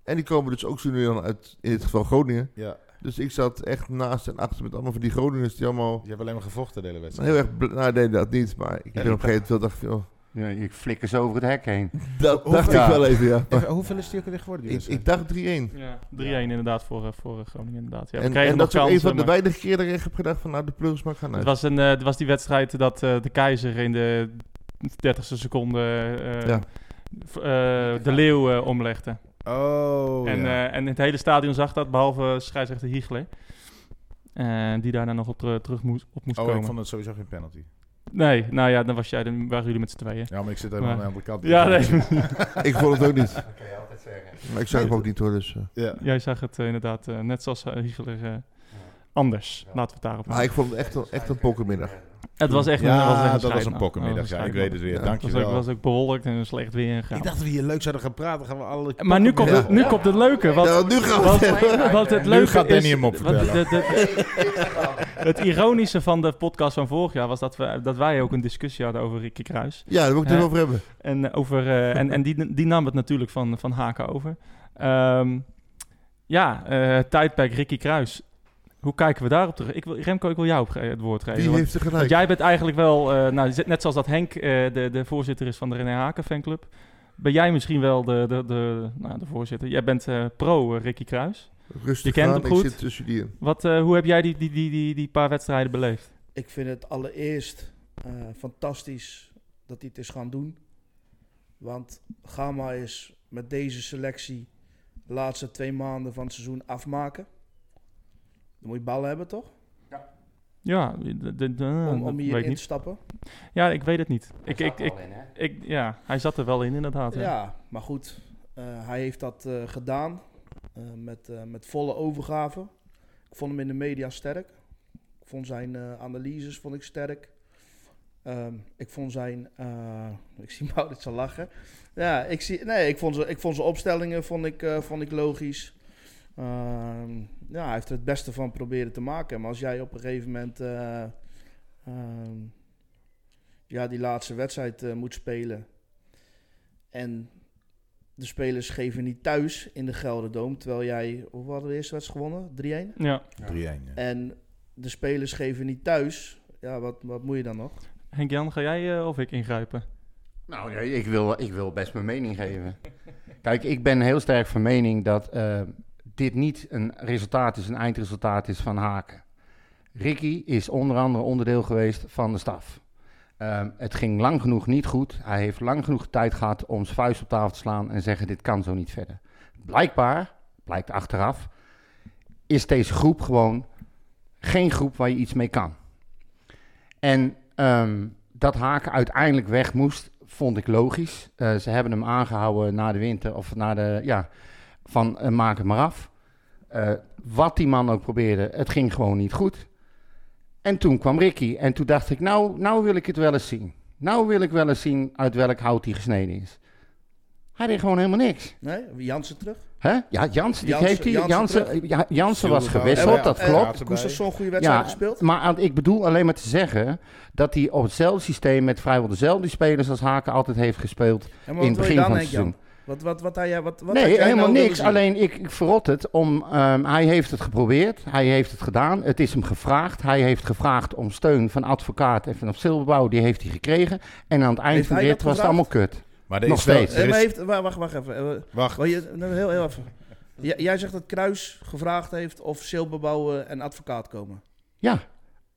Speaker 5: En die komen dus ook zo nu en dan uit, in dit geval Groningen.
Speaker 3: Ja,
Speaker 5: Dus ik zat echt naast en achter met allemaal van die Groningers die allemaal...
Speaker 3: je hebt alleen maar gevochten de hele wedstrijd.
Speaker 5: Heel erg, bl- nou nee, dat niet, maar ik ben op een gegeven moment dacht ik, joh,
Speaker 4: Ja, je flikker ze over het hek heen.
Speaker 5: dat
Speaker 3: Hoe-
Speaker 5: dacht
Speaker 3: ja.
Speaker 5: ik wel even, ja. Maar
Speaker 3: Even, hoeveel is die ook weer geworden? Die
Speaker 5: ik,
Speaker 3: wedstrijd?
Speaker 5: ik dacht 3-1. En,
Speaker 1: 3-1 inderdaad voor, eh, voor eh, Groningen, inderdaad. Ja, we
Speaker 5: en
Speaker 1: kregen nog
Speaker 5: dat is ook
Speaker 1: kansen,
Speaker 5: een van de
Speaker 1: maar
Speaker 5: weinige keren dat ik heb gedacht van, nou, de pleurs maar gaan
Speaker 1: Het
Speaker 5: uit.
Speaker 1: was, een, eh, het was die wedstrijd dat eh, de keizer in de 30ste seconde eh,
Speaker 5: Ja.
Speaker 1: v- eh, de leeuw eh, omlegde.
Speaker 3: Oh,
Speaker 1: en,
Speaker 3: ja.
Speaker 1: eh, en het hele stadion zag dat, behalve scheidsrechter Hiegler. Eh, die daarna nog op ter- terug moest, op moest
Speaker 3: Oh,
Speaker 1: komen.
Speaker 3: ik vond het sowieso geen penalty.
Speaker 1: Nee, nou ja, dan, was jij, dan waren jullie met z'n tweeën.
Speaker 3: Ja, maar ik zit helemaal
Speaker 1: Maar-
Speaker 3: aan de andere kant.
Speaker 1: Ja, nee.
Speaker 5: Ik vond het ook niet.
Speaker 4: Dat kan je altijd zeggen.
Speaker 5: Maar ik zag hem ook niet hoor, dus... eh.
Speaker 3: Ja.
Speaker 1: Jij zag het eh, inderdaad eh, net zoals eh, Hiegler eh, anders. Laten we het daarop
Speaker 5: Maar
Speaker 1: houden.
Speaker 5: ik vond het echt een, echt een pokkenmiddag.
Speaker 1: Het was echt
Speaker 3: Ja,
Speaker 1: een, was echt een Oh,
Speaker 3: dat was een
Speaker 1: scheidnacht.
Speaker 3: pokkenmiddag.
Speaker 1: Dat was
Speaker 3: Ja,
Speaker 1: een
Speaker 3: ik weet het weer.
Speaker 5: Ja,
Speaker 1: Het was
Speaker 3: Dankjewel.
Speaker 1: ook, was ook bewolkt en slecht weer. En grauw.
Speaker 3: Ik dacht dat we hier leuk zouden gaan praten. Gaan we alle
Speaker 1: maar nu komt, het, nu
Speaker 5: Ja.
Speaker 1: komt het leuke. Wat,
Speaker 5: Nou, nu gaan we
Speaker 1: wat,
Speaker 5: het hebben.
Speaker 1: wat het
Speaker 3: Nu
Speaker 1: leuke
Speaker 3: gaat Danny
Speaker 1: is,
Speaker 3: hem op
Speaker 1: wat
Speaker 3: vertellen.
Speaker 1: de- de- het ironische van de podcast van vorig jaar was dat, we, dat wij ook een discussie hadden over Ricky Kruis.
Speaker 5: Ja, daar wil ik het
Speaker 1: Ja.
Speaker 5: even over hebben.
Speaker 1: En, eh, over, eh, en, en die, die nam het natuurlijk van, van Haken over. Ehm, ja, eh, tijdperk Ricky Kruis. Hoe kijken we daarop terug? Ik wil, Remco, ik wil jou op ge- het woord geven.
Speaker 5: Wie
Speaker 1: want-
Speaker 5: heeft er
Speaker 1: Want
Speaker 5: gelijk?
Speaker 1: jij bent eigenlijk wel, eh, nou, net zoals dat Henk eh, de, de voorzitter is van de René Haken fanclub, ben jij misschien wel de, de, de, nou, de voorzitter. Jij bent eh, pro eh, Ricky Kruis.
Speaker 5: Rustig
Speaker 1: je kent
Speaker 5: aan,
Speaker 1: hem
Speaker 5: ik
Speaker 1: goed.
Speaker 5: zit tussen die in.
Speaker 1: Wat, eh, hoe heb jij die, die, die, die, die paar wedstrijden beleefd?
Speaker 2: Ik vind het allereerst eh, fantastisch dat hij het is gaan doen. Want Gama is met deze selectie de laatste twee maanden van het seizoen afmaken. Dan moet je ballen hebben, toch?
Speaker 1: Ja, de, de- de-
Speaker 2: Om, om
Speaker 1: dat weet
Speaker 2: hier
Speaker 1: ik
Speaker 2: in te
Speaker 1: niet.
Speaker 2: stappen.
Speaker 1: Ja, ik weet het niet. Ik,
Speaker 4: Daar
Speaker 1: ik,
Speaker 4: staat
Speaker 1: ik,
Speaker 4: al in, hè?
Speaker 1: ik- ja, hij zat er wel in inderdaad. hè.
Speaker 2: Ja, maar goed. eh, hij heeft dat eh, gedaan eh, met, eh, met volle overgave. Ik vond hem in de media sterk. Ik vond zijn eh, analyses vond ik sterk. Ehm, ik vond zijn. eh, ik zie Maurits al lachen. Ja, ik, zie, nee, ik, vond, ze, ik vond zijn opstellingen vond ik, eh, vond ik logisch. Ehm, ja, hij heeft er het beste van proberen te maken. Maar als jij op een gegeven moment. eh, ehm, ja, die laatste wedstrijd eh, moet spelen. En de spelers geven niet thuis in de Gelderdoom. Terwijl jij, hoe hadden we de eerste wedstrijd gewonnen? 3-1?
Speaker 1: Ja.
Speaker 3: 3-1. ja.
Speaker 2: En de spelers geven niet thuis. Ja, wat, wat moet je dan nog?
Speaker 1: Henk-Jan, ga jij eh, of ik ingrijpen?
Speaker 4: Nou, ja, ik, wil, ik wil best mijn mening geven. Kijk, ik ben heel sterk van mening dat eh, dit niet een resultaat is, een eindresultaat is van Haken. Ricky is onder andere onderdeel geweest van de staf. Ehm, het ging lang genoeg niet goed. Hij heeft lang genoeg tijd gehad om zijn vuist op tafel te slaan en zeggen: Dit kan zo niet verder. Blijkbaar, blijkt achteraf, is deze groep gewoon geen groep waar je iets mee kan. En ehm, dat Haken uiteindelijk weg moest, vond ik logisch. Eh, ze hebben hem aangehouden na de winter, of na de, ja, van eh, maak het maar af. Eh, wat die man ook probeerde, het ging gewoon niet goed. En toen kwam Ricky en toen dacht ik, nou, nou wil ik het wel eens zien. Nou wil ik wel eens zien uit welk hout hij gesneden is. Hij deed gewoon helemaal niks.
Speaker 2: Nee, Jansen terug.
Speaker 4: hè? Ja, Jansen, die
Speaker 2: Jansen-
Speaker 4: heeft hij.
Speaker 2: Jansen
Speaker 4: Jansen,
Speaker 2: terug.
Speaker 4: ja, Jansen was
Speaker 3: Zilderhout.
Speaker 4: gewisseld,
Speaker 3: Ja,
Speaker 4: dat
Speaker 3: ja.
Speaker 4: klopt.
Speaker 3: erbij.
Speaker 2: Koestersson een goede wedstrijd gespeeld.
Speaker 4: Maar aan- ik bedoel alleen maar te zeggen dat hij op hetzelfde systeem met vrijwel dezelfde spelers als Haken altijd heeft gespeeld
Speaker 2: Ja, maar
Speaker 4: in
Speaker 2: wat
Speaker 4: het
Speaker 2: wil je
Speaker 4: begin
Speaker 2: dan,
Speaker 4: van het
Speaker 2: Henk Jan?
Speaker 4: seizoen.
Speaker 2: Wat, wat, wat, had jij- wat, wat had
Speaker 4: Nee,
Speaker 2: jij
Speaker 4: helemaal
Speaker 2: nou willen
Speaker 4: niks.
Speaker 2: zien?
Speaker 4: Alleen ik, ik verrot het om. ehm, hij heeft het geprobeerd, hij heeft het gedaan. Het is hem gevraagd. Hij heeft gevraagd om steun van advocaat en vanaf Silberbouw. Die heeft hij gekregen. En aan het eind
Speaker 2: Heeft
Speaker 4: van
Speaker 2: hij
Speaker 4: dit
Speaker 2: dat
Speaker 4: was het allemaal kut.
Speaker 3: Maar er
Speaker 4: Nog
Speaker 3: is wel-
Speaker 4: steeds.
Speaker 3: er
Speaker 2: Eh, maar
Speaker 3: is-
Speaker 2: heeft, wa- wacht, wacht even. Eh,
Speaker 3: Wacht,
Speaker 2: wa- je- nou, heel, heel even. J- jij zegt dat Kruis gevraagd heeft of Silberbouwen en advocaat komen.
Speaker 4: Ja,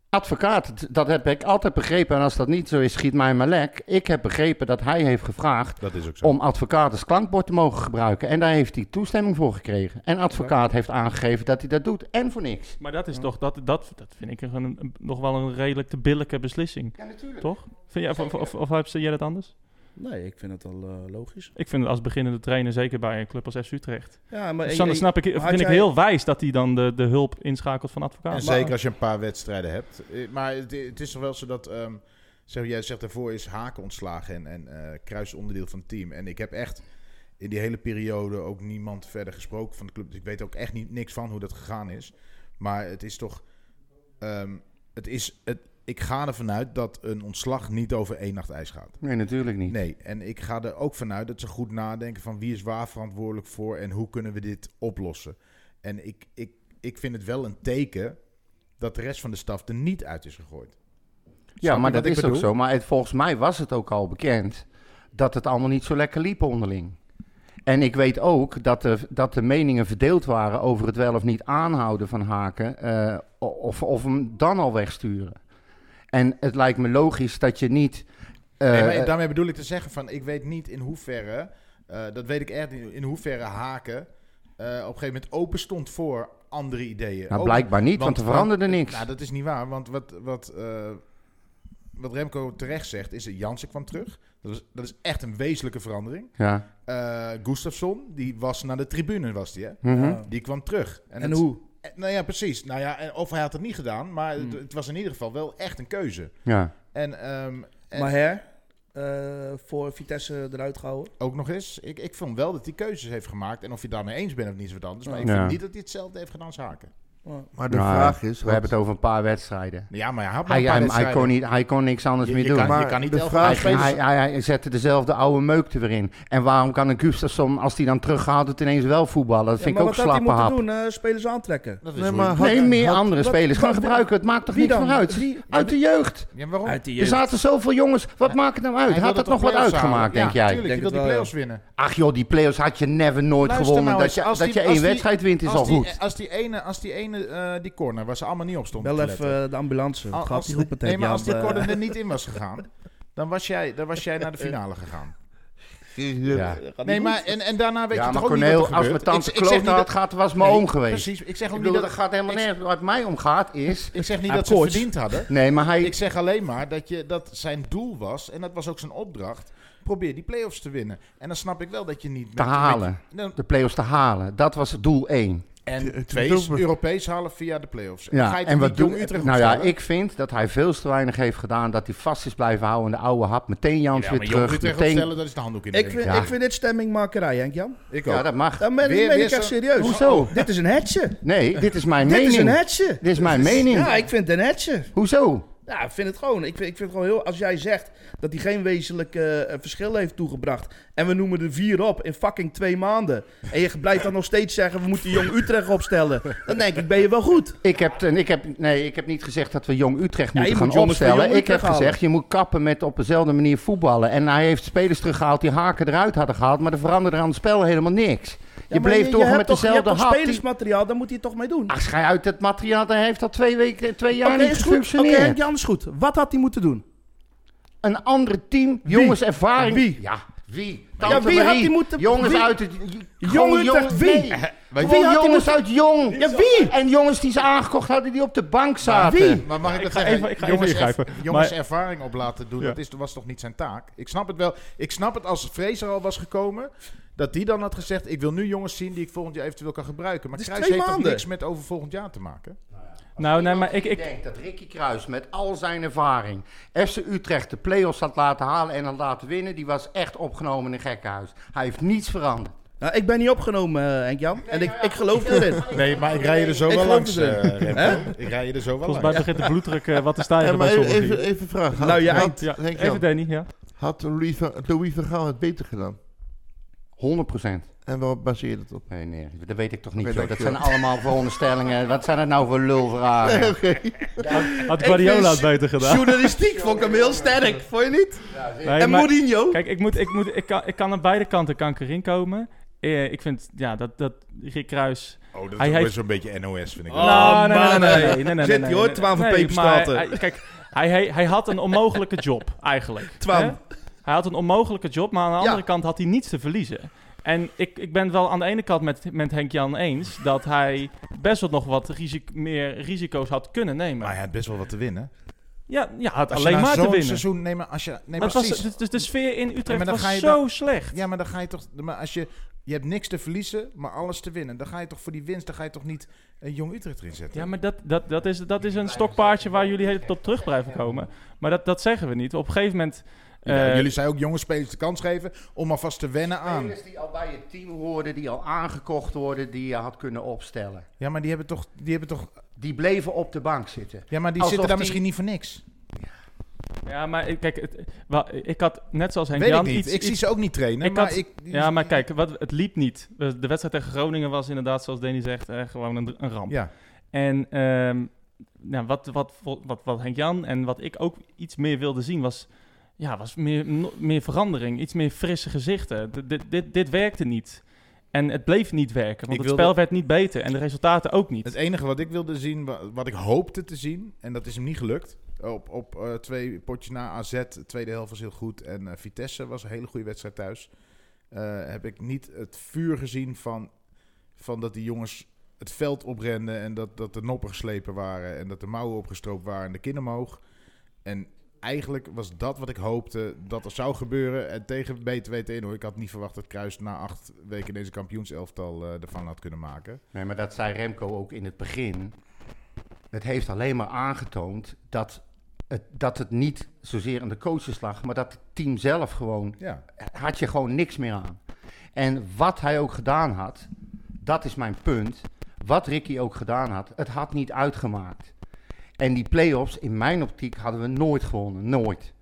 Speaker 4: advocaat, d- dat heb ik altijd begrepen. En als dat niet zo is, schiet mij maar lek. Ik heb begrepen dat hij heeft gevraagd.
Speaker 3: dat is ook zo.
Speaker 4: om advocaat als klankbord te mogen gebruiken. En daar heeft hij toestemming voor gekregen. En advocaat heeft aangegeven dat hij dat doet. En voor niks.
Speaker 1: Maar dat is
Speaker 2: Ja.
Speaker 1: toch, dat, dat, dat vind ik een, een- nog wel een redelijk te billijke beslissing,
Speaker 4: Ja, natuurlijk.
Speaker 1: toch? Vind jij, of, of, of, of zie jij dat anders?
Speaker 2: Nee, ik vind het al eh, logisch.
Speaker 1: Ik vind het als beginnende trainer, zeker bij een club als FC Utrecht.
Speaker 2: Ja, maar
Speaker 1: Dus
Speaker 2: en-
Speaker 1: dan
Speaker 2: en-
Speaker 1: snap ik,
Speaker 2: had
Speaker 1: vind ik
Speaker 2: jij-
Speaker 1: heel wijs dat hij dan de, de hulp inschakelt van
Speaker 3: En
Speaker 1: advocaat.
Speaker 3: zeker als je een paar wedstrijden hebt. Eh, Maar het, het is toch wel zo dat... ehm, zeg, jij zegt daarvoor is Haken ontslagen en, en eh, Kruis onderdeel van het team. En ik heb echt in die hele periode ook niemand verder gesproken van de club. Dus ik weet ook echt niet, niks van hoe dat gegaan is. Maar het is toch... ehm, het is, het, ik ga ervan uit dat een ontslag niet over één nacht ijs gaat.
Speaker 4: Nee, natuurlijk niet.
Speaker 3: Nee, en ik ga er ook vanuit dat ze goed nadenken van wie is waar verantwoordelijk voor en hoe kunnen we dit oplossen. En ik, ik, ik vind het wel een teken dat de rest van de staf er niet uit is gegooid.
Speaker 4: ja, maar
Speaker 3: je
Speaker 4: dat
Speaker 3: wat ik
Speaker 4: is ook
Speaker 3: bedoel?
Speaker 4: zo. Maar het, volgens mij was het ook al bekend dat het allemaal niet zo lekker liep onderling. En ik weet ook dat de, dat de meningen verdeeld waren over het wel of niet aanhouden van Haken. eh, o- of, of hem dan al wegsturen. En het lijkt me logisch dat je niet. eh,
Speaker 3: Nee, maar daarmee bedoel ik te zeggen van ik weet niet in hoeverre, eh, dat weet ik echt niet, in hoeverre Haken eh, op een gegeven moment open stond voor andere ideeën.
Speaker 4: nou,
Speaker 3: Ook-
Speaker 4: blijkbaar niet, want, er veranderde niks.
Speaker 3: Oh, Nou, dat is niet waar, want wat, wat, eh, wat Remco terecht zegt is dat Jansen kwam terug. Dat is, dat is echt een wezenlijke verandering.
Speaker 4: ja.
Speaker 3: eh Gustafsson, die was naar de tribune, was die, hè?
Speaker 4: Mhm.
Speaker 2: Ja.
Speaker 3: Die kwam terug.
Speaker 2: En,
Speaker 3: het-
Speaker 2: hoe?
Speaker 3: eh, Nou ja, precies. Nou ja, en of hij had het niet gedaan, maar het,
Speaker 2: Hmm.
Speaker 3: het was in ieder geval wel echt een keuze.
Speaker 4: ja.
Speaker 3: En ehm, en-
Speaker 2: Maar her, eh, voor Vitesse eruit gehouden.
Speaker 3: ook nog eens, ik, ik vond wel dat hij keuzes heeft gemaakt. En of je daarmee eens bent of niet, is wat anders. Maar ik
Speaker 4: Ja.
Speaker 3: vind niet dat hij hetzelfde heeft gedaan als Haken.
Speaker 2: Ja.
Speaker 5: Maar de
Speaker 4: Nou,
Speaker 5: vraag is...
Speaker 4: We hebben het over een paar wedstrijden.
Speaker 3: Ja, maar hij had maar
Speaker 4: Hij,
Speaker 3: een paar
Speaker 4: hij, hij,
Speaker 3: wedstrijden.
Speaker 4: kon, niet, hij kon niks anders
Speaker 3: Je-
Speaker 4: meer
Speaker 3: je
Speaker 4: doen.
Speaker 3: kan-
Speaker 4: Maar
Speaker 5: maar
Speaker 3: je niet
Speaker 5: de
Speaker 3: elke
Speaker 5: vraag
Speaker 4: hij,
Speaker 3: paar
Speaker 5: is...
Speaker 4: ging- hij, hij, hij zette dezelfde oude meuk er weer in. En waarom kan een Gustafsson, als hij dan teruggehaald het ineens wel voetballen? Dat
Speaker 2: Ja,
Speaker 4: vind
Speaker 2: maar
Speaker 4: ik ook
Speaker 2: wat had hij
Speaker 4: slappe
Speaker 2: moeten
Speaker 4: hap.
Speaker 2: doen? Eh, spelers aantrekken.
Speaker 3: Dat is
Speaker 5: Nee,
Speaker 3: hoe
Speaker 5: maar
Speaker 3: je-
Speaker 5: had-
Speaker 4: nee, meer
Speaker 5: had-
Speaker 4: andere
Speaker 2: wat-
Speaker 4: spelers gaan
Speaker 2: wat-
Speaker 4: gebruiken. Het maakt toch
Speaker 2: Wie
Speaker 4: niks
Speaker 2: dan?
Speaker 4: meer uit?
Speaker 2: Wie?
Speaker 4: Uit de jeugd.
Speaker 3: Ja, waarom?
Speaker 2: Uit die
Speaker 4: Er zaten zoveel jongens. Wat maakt het nou uit?
Speaker 3: Hij
Speaker 4: Had
Speaker 3: wilde
Speaker 4: het
Speaker 3: toch
Speaker 4: nog wat
Speaker 3: play-offs
Speaker 4: uitgemaakt,
Speaker 3: halen?
Speaker 4: denk
Speaker 3: ja,
Speaker 4: jij?
Speaker 3: Tuurlijk, je
Speaker 2: Denk
Speaker 3: wil
Speaker 2: het
Speaker 3: die
Speaker 2: wel, ja.
Speaker 3: play-offs winnen.
Speaker 4: Ach joh, die play-offs had je never nooit
Speaker 3: Luister
Speaker 4: gewonnen.
Speaker 3: nou
Speaker 4: dat,
Speaker 3: eens,
Speaker 4: je,
Speaker 3: als
Speaker 4: dat
Speaker 3: die-
Speaker 4: je
Speaker 3: als
Speaker 4: één
Speaker 3: die-
Speaker 4: wedstrijd wint is
Speaker 3: als
Speaker 4: al
Speaker 3: die,
Speaker 4: goed.
Speaker 3: Als die ene, als die, ene eh, die corner, waar ze allemaal niet op stonden
Speaker 2: Bel
Speaker 3: te letten.
Speaker 2: even eh, de ambulance.
Speaker 3: Al-
Speaker 2: Wat gaat
Speaker 3: als
Speaker 2: die
Speaker 3: de-
Speaker 2: roepen
Speaker 3: nee,
Speaker 2: tegen
Speaker 3: maar als die
Speaker 2: Jan? eh.
Speaker 3: corner er niet in was gegaan, dan was jij, dan was jij naar de finale gegaan.
Speaker 4: Ja.
Speaker 3: Nee, maar en, en daarna weet
Speaker 4: Ja,
Speaker 3: je
Speaker 4: maar
Speaker 3: toch ook niet
Speaker 4: Corneel,
Speaker 3: wat er
Speaker 4: als mijn
Speaker 3: gebeurt.
Speaker 4: tante
Speaker 3: Ik- ik zeg
Speaker 4: kloot
Speaker 3: niet
Speaker 4: had
Speaker 3: dat-
Speaker 4: gehad, was mijn
Speaker 3: Nee,
Speaker 4: oom geweest.
Speaker 3: Precies, ik zeg ook
Speaker 4: Ik
Speaker 3: niet
Speaker 4: bedoel,
Speaker 3: dat,
Speaker 4: dat gaat helemaal
Speaker 3: ik-
Speaker 4: nergens. Wat mij omgaat is...
Speaker 3: ik zeg niet
Speaker 2: Ah,
Speaker 3: dat ze
Speaker 2: koorts.
Speaker 3: verdiend hadden.
Speaker 4: Nee, maar hij...
Speaker 3: Ik zeg alleen maar dat, je, dat zijn doel was, en dat was ook zijn opdracht, probeer die play-offs te winnen. En dan snap ik wel dat je niet...
Speaker 4: te
Speaker 3: met- met-
Speaker 4: halen.
Speaker 3: dan-
Speaker 4: De play-offs te halen. Dat was het doel 1.
Speaker 3: En
Speaker 5: Het-
Speaker 3: twee
Speaker 5: het is over.
Speaker 3: Europees halen via de play-offs. Ga
Speaker 4: Ja,
Speaker 3: je
Speaker 4: en wat
Speaker 3: doen
Speaker 4: doen
Speaker 3: Utrecht
Speaker 4: Nou ja,
Speaker 3: opstellen?
Speaker 4: ik vind dat hij veel te weinig heeft gedaan. Dat hij vast is blijven houden in de oude hap. Meteen Jans
Speaker 3: Ja, maar
Speaker 4: weer
Speaker 3: Jong
Speaker 4: terug.
Speaker 3: Utrecht
Speaker 4: meteen...
Speaker 3: opstellen, dat is de handdoek in de
Speaker 2: Ik
Speaker 3: ring.
Speaker 2: vind,
Speaker 4: Ja.
Speaker 2: ik vind dit stemmingmakerij, Henk Jan.
Speaker 3: Ik
Speaker 4: Ja, dat mag.
Speaker 2: Dat meen,
Speaker 3: Weer-
Speaker 2: meen
Speaker 3: weer
Speaker 2: ik echt
Speaker 3: zo-
Speaker 2: serieus.
Speaker 4: Hoezo?
Speaker 2: Dit is een hetje.
Speaker 4: Nee, dit is mijn
Speaker 2: Dit
Speaker 4: mening.
Speaker 2: is een hetje.
Speaker 4: Dit is mijn mening.
Speaker 2: Ja, ik vind het een hetje.
Speaker 4: Hoezo?
Speaker 2: Ja, ik vind het gewoon. Ik vind, ik vind het gewoon heel. Als jij zegt dat hij geen wezenlijk eh, eh, verschil heeft toegebracht. En we noemen er vier op in fucking twee maanden. En je blijft dan nog steeds zeggen: we moeten jong Utrecht opstellen. Dan denk ik: ben je wel goed?
Speaker 4: Ik heb, en ik heb, nee, ik heb niet gezegd dat we Jong Utrecht
Speaker 2: Ja, je
Speaker 4: moeten
Speaker 2: moet
Speaker 4: gaan
Speaker 2: jongens van
Speaker 4: opstellen.
Speaker 2: Jong
Speaker 4: ik heb
Speaker 2: Utrecht halen.
Speaker 4: gezegd, je moet kappen met op dezelfde manier voetballen. En hij heeft spelers teruggehaald die haken eruit hadden gehaald. Maar er veranderde aan het spel helemaal niks. je
Speaker 2: Ja, maar
Speaker 4: bleef toch
Speaker 2: hebt
Speaker 4: met
Speaker 2: Je hebt
Speaker 4: dezelfde
Speaker 2: toch
Speaker 4: hap. die-
Speaker 2: spelersmateriaal, daar moet hij toch mee doen.
Speaker 4: Ach, schij uit het materiaal. Hij heeft al twee, weken, twee jaar
Speaker 2: Oké,
Speaker 4: niet
Speaker 2: is goed. Oké,
Speaker 4: gefunctioneerd.
Speaker 2: Henk Jan is goed. Wat had hij moeten doen?
Speaker 4: Een ander team, jongens ervaring.
Speaker 2: Wie?
Speaker 4: Ja, wie?
Speaker 2: Ja, wie had die moeten-
Speaker 4: Jongens
Speaker 2: wie?
Speaker 4: uit het...
Speaker 2: Jong Utrecht, wie?
Speaker 4: Wie
Speaker 2: Wie had die
Speaker 4: jongens
Speaker 2: moeten-
Speaker 4: uit Jong.
Speaker 2: Ja, wie?
Speaker 4: En jongens die ze aangekocht hadden die op de bank zaten.
Speaker 2: wie?
Speaker 3: Maar mag ik, dat
Speaker 1: ga
Speaker 3: zeggen?
Speaker 1: even- ik ga
Speaker 3: jongens,
Speaker 1: even ingrijpen.
Speaker 3: erv- jongens
Speaker 1: Maar-
Speaker 3: ervaring op laten doen,
Speaker 1: Ja.
Speaker 3: dat is, was toch niet zijn taak? Ik snap het wel. Ik snap het als Fraser al was gekomen, dat die dan had gezegd... ik wil nu jongens zien die ik volgend jaar eventueel kan gebruiken. Maar
Speaker 2: Het is
Speaker 3: Kruis
Speaker 2: twee
Speaker 3: heeft toch
Speaker 2: maanden.
Speaker 3: niks met over volgend jaar te maken?
Speaker 1: Nou, nee, maar ik,
Speaker 4: Ik
Speaker 1: ik,
Speaker 4: denk dat Ricky Kruis met al zijn ervaring FC Utrecht de play-offs had laten halen en had laten winnen. Die was echt opgenomen in een gekkenhuis. Hij heeft niets veranderd.
Speaker 2: Nou, ik ben niet opgenomen, eh, Henk Jan. En ik, ik geloof erin.
Speaker 3: Nee, maar ik rij je er zo
Speaker 2: Ik
Speaker 3: wel
Speaker 2: geloof
Speaker 3: langs,
Speaker 2: het
Speaker 3: eh, Remco. Ik rij je er zo wel
Speaker 1: volgens mij
Speaker 3: langs.
Speaker 1: begint de bloeddruk eh, wat te
Speaker 5: Ja,
Speaker 1: stijgen
Speaker 5: maar
Speaker 1: bij
Speaker 5: even,
Speaker 1: sommigen.
Speaker 5: even, even vragen. Had,
Speaker 2: Nou, je
Speaker 5: had,
Speaker 2: eind.
Speaker 1: Ja,
Speaker 5: Henk
Speaker 1: even
Speaker 5: Jan,
Speaker 1: Danny, ja.
Speaker 5: had Louis van- Louis van Gaal het beter gedaan?
Speaker 4: 100 procent.
Speaker 5: En waar baseer je dat op?
Speaker 4: Nee, nee, dat weet ik toch niet.
Speaker 5: Oké,
Speaker 4: joh. Dat
Speaker 5: dankjewel.
Speaker 4: zijn allemaal veronderstellingen. Wat zijn het nou voor lulvragen?
Speaker 1: Had Guardiola het
Speaker 2: vind-
Speaker 1: beter gedaan?
Speaker 2: Journalistiek vond ik hem heel sterk, vond je niet?
Speaker 1: Nee,
Speaker 2: en
Speaker 1: maar-
Speaker 2: Mourinho?
Speaker 1: Kijk, ik, moet, ik, moet, ik, kan, ik kan aan beide kanten kan ik erin komen. Eh, ik vind ja, dat, dat Rick Kruis.
Speaker 3: Oh, dat
Speaker 1: Hij
Speaker 3: is ook
Speaker 1: heeft-
Speaker 3: zo'n beetje NOS, vind ik.
Speaker 2: Oh, man, nee. Zit je, hoor, Twaan van Peperstraten.
Speaker 1: maar hij- Kijk, hij, hij, hij had een onmogelijke job, eigenlijk.
Speaker 2: Twaan.
Speaker 1: Hè? Hij had een onmogelijke job, maar aan de
Speaker 2: Ja.
Speaker 1: andere kant had hij niets te verliezen. En ik, ik ben het wel aan de ene kant met, met Henk-Jan eens... dat hij best wel nog wat risic- meer risico's had kunnen nemen.
Speaker 3: Maar hij had best wel wat te winnen.
Speaker 1: Ja, ja had
Speaker 3: Als je
Speaker 1: alleen
Speaker 3: na
Speaker 1: maar te
Speaker 3: zo'n
Speaker 1: winnen.
Speaker 3: seizoen... Nee, maar als je... Nee,
Speaker 1: maar het was,
Speaker 3: precies.
Speaker 1: dus, dus de sfeer in Utrecht
Speaker 3: maar dan ga
Speaker 1: was
Speaker 3: je
Speaker 1: zo slecht.
Speaker 3: Ja, maar dan ga je toch. Maar als je, je hebt niks te verliezen, maar alles te winnen. Dan ga je toch voor die winst, dan ga je toch niet een jong Utrecht erin zetten.
Speaker 1: Ja, maar dat, dat, dat, is, dat is een stokpaardje waar jullie hele top terug blijven komen. Maar dat, dat zeggen we niet. Op een gegeven moment...
Speaker 3: Ja,
Speaker 1: eh,
Speaker 3: jullie zeiden ook jonge spelers de kans geven om alvast te wennen aan.
Speaker 4: Spelers die al bij het team hoorden, die al aangekocht worden, die je had kunnen opstellen.
Speaker 3: Ja, maar die hebben toch. Die hebben toch
Speaker 4: Die bleven op de bank zitten.
Speaker 3: ja, maar die
Speaker 4: Alsof
Speaker 3: zitten daar
Speaker 4: die-
Speaker 3: misschien niet voor niks.
Speaker 1: Ja, maar ik- kijk, het, wel, ik had net zoals Henk
Speaker 3: Weet
Speaker 1: Jan
Speaker 3: ik niet.
Speaker 1: iets...
Speaker 3: ik zie
Speaker 1: iets-
Speaker 3: ze ook niet trainen.
Speaker 1: ik
Speaker 3: maar
Speaker 1: had-
Speaker 3: ik,
Speaker 1: ja, maar kijk, wat, het liep niet. We- De wedstrijd tegen Groningen was inderdaad, zoals Danny zegt, eh, gewoon een, een ramp.
Speaker 3: Ja,
Speaker 1: En ehm, nou, wat, wat, wat, wat, wat Henk Jan en wat ik ook iets meer wilde zien was... Ja, was meer, no- meer verandering, iets meer frisse gezichten. D- dit, dit, dit werkte niet. En het bleef niet werken,
Speaker 3: Ik
Speaker 1: want het
Speaker 3: wilde-
Speaker 1: spel werd niet beter en de resultaten ook niet.
Speaker 3: het enige wat ik wilde zien, wa- wat ik hoopte te zien, en dat is hem niet gelukt. Op, op eh, twee potjes na AZ, tweede helft was heel goed. En eh, Vitesse was een hele goede wedstrijd thuis. eh, heb ik niet het vuur gezien van, van dat die jongens het veld oprenden en dat, dat de noppen geslepen waren en dat de mouwen opgestroopt waren en de kin omhoog. En eigenlijk was dat wat ik hoopte dat er zou gebeuren. En tegen BTW Tenor, ik had niet verwacht dat Kruis na acht weken deze kampioenselftal eh ervan had kunnen maken.
Speaker 4: Nee, maar dat zei Remco ook in het begin. Het heeft alleen maar aangetoond dat het, dat het niet zozeer aan de coaches lag, maar dat het team zelf gewoon,
Speaker 3: Ja,
Speaker 4: had je gewoon niks meer aan. En wat hij ook gedaan had, dat is mijn punt, wat Ricky ook gedaan had, het had niet uitgemaakt. En die play-offs, in mijn optiek, hadden we nooit gewonnen, nooit.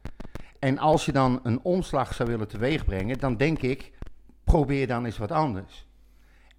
Speaker 4: En als je dan een omslag zou willen teweegbrengen, dan denk ik, probeer dan eens wat anders.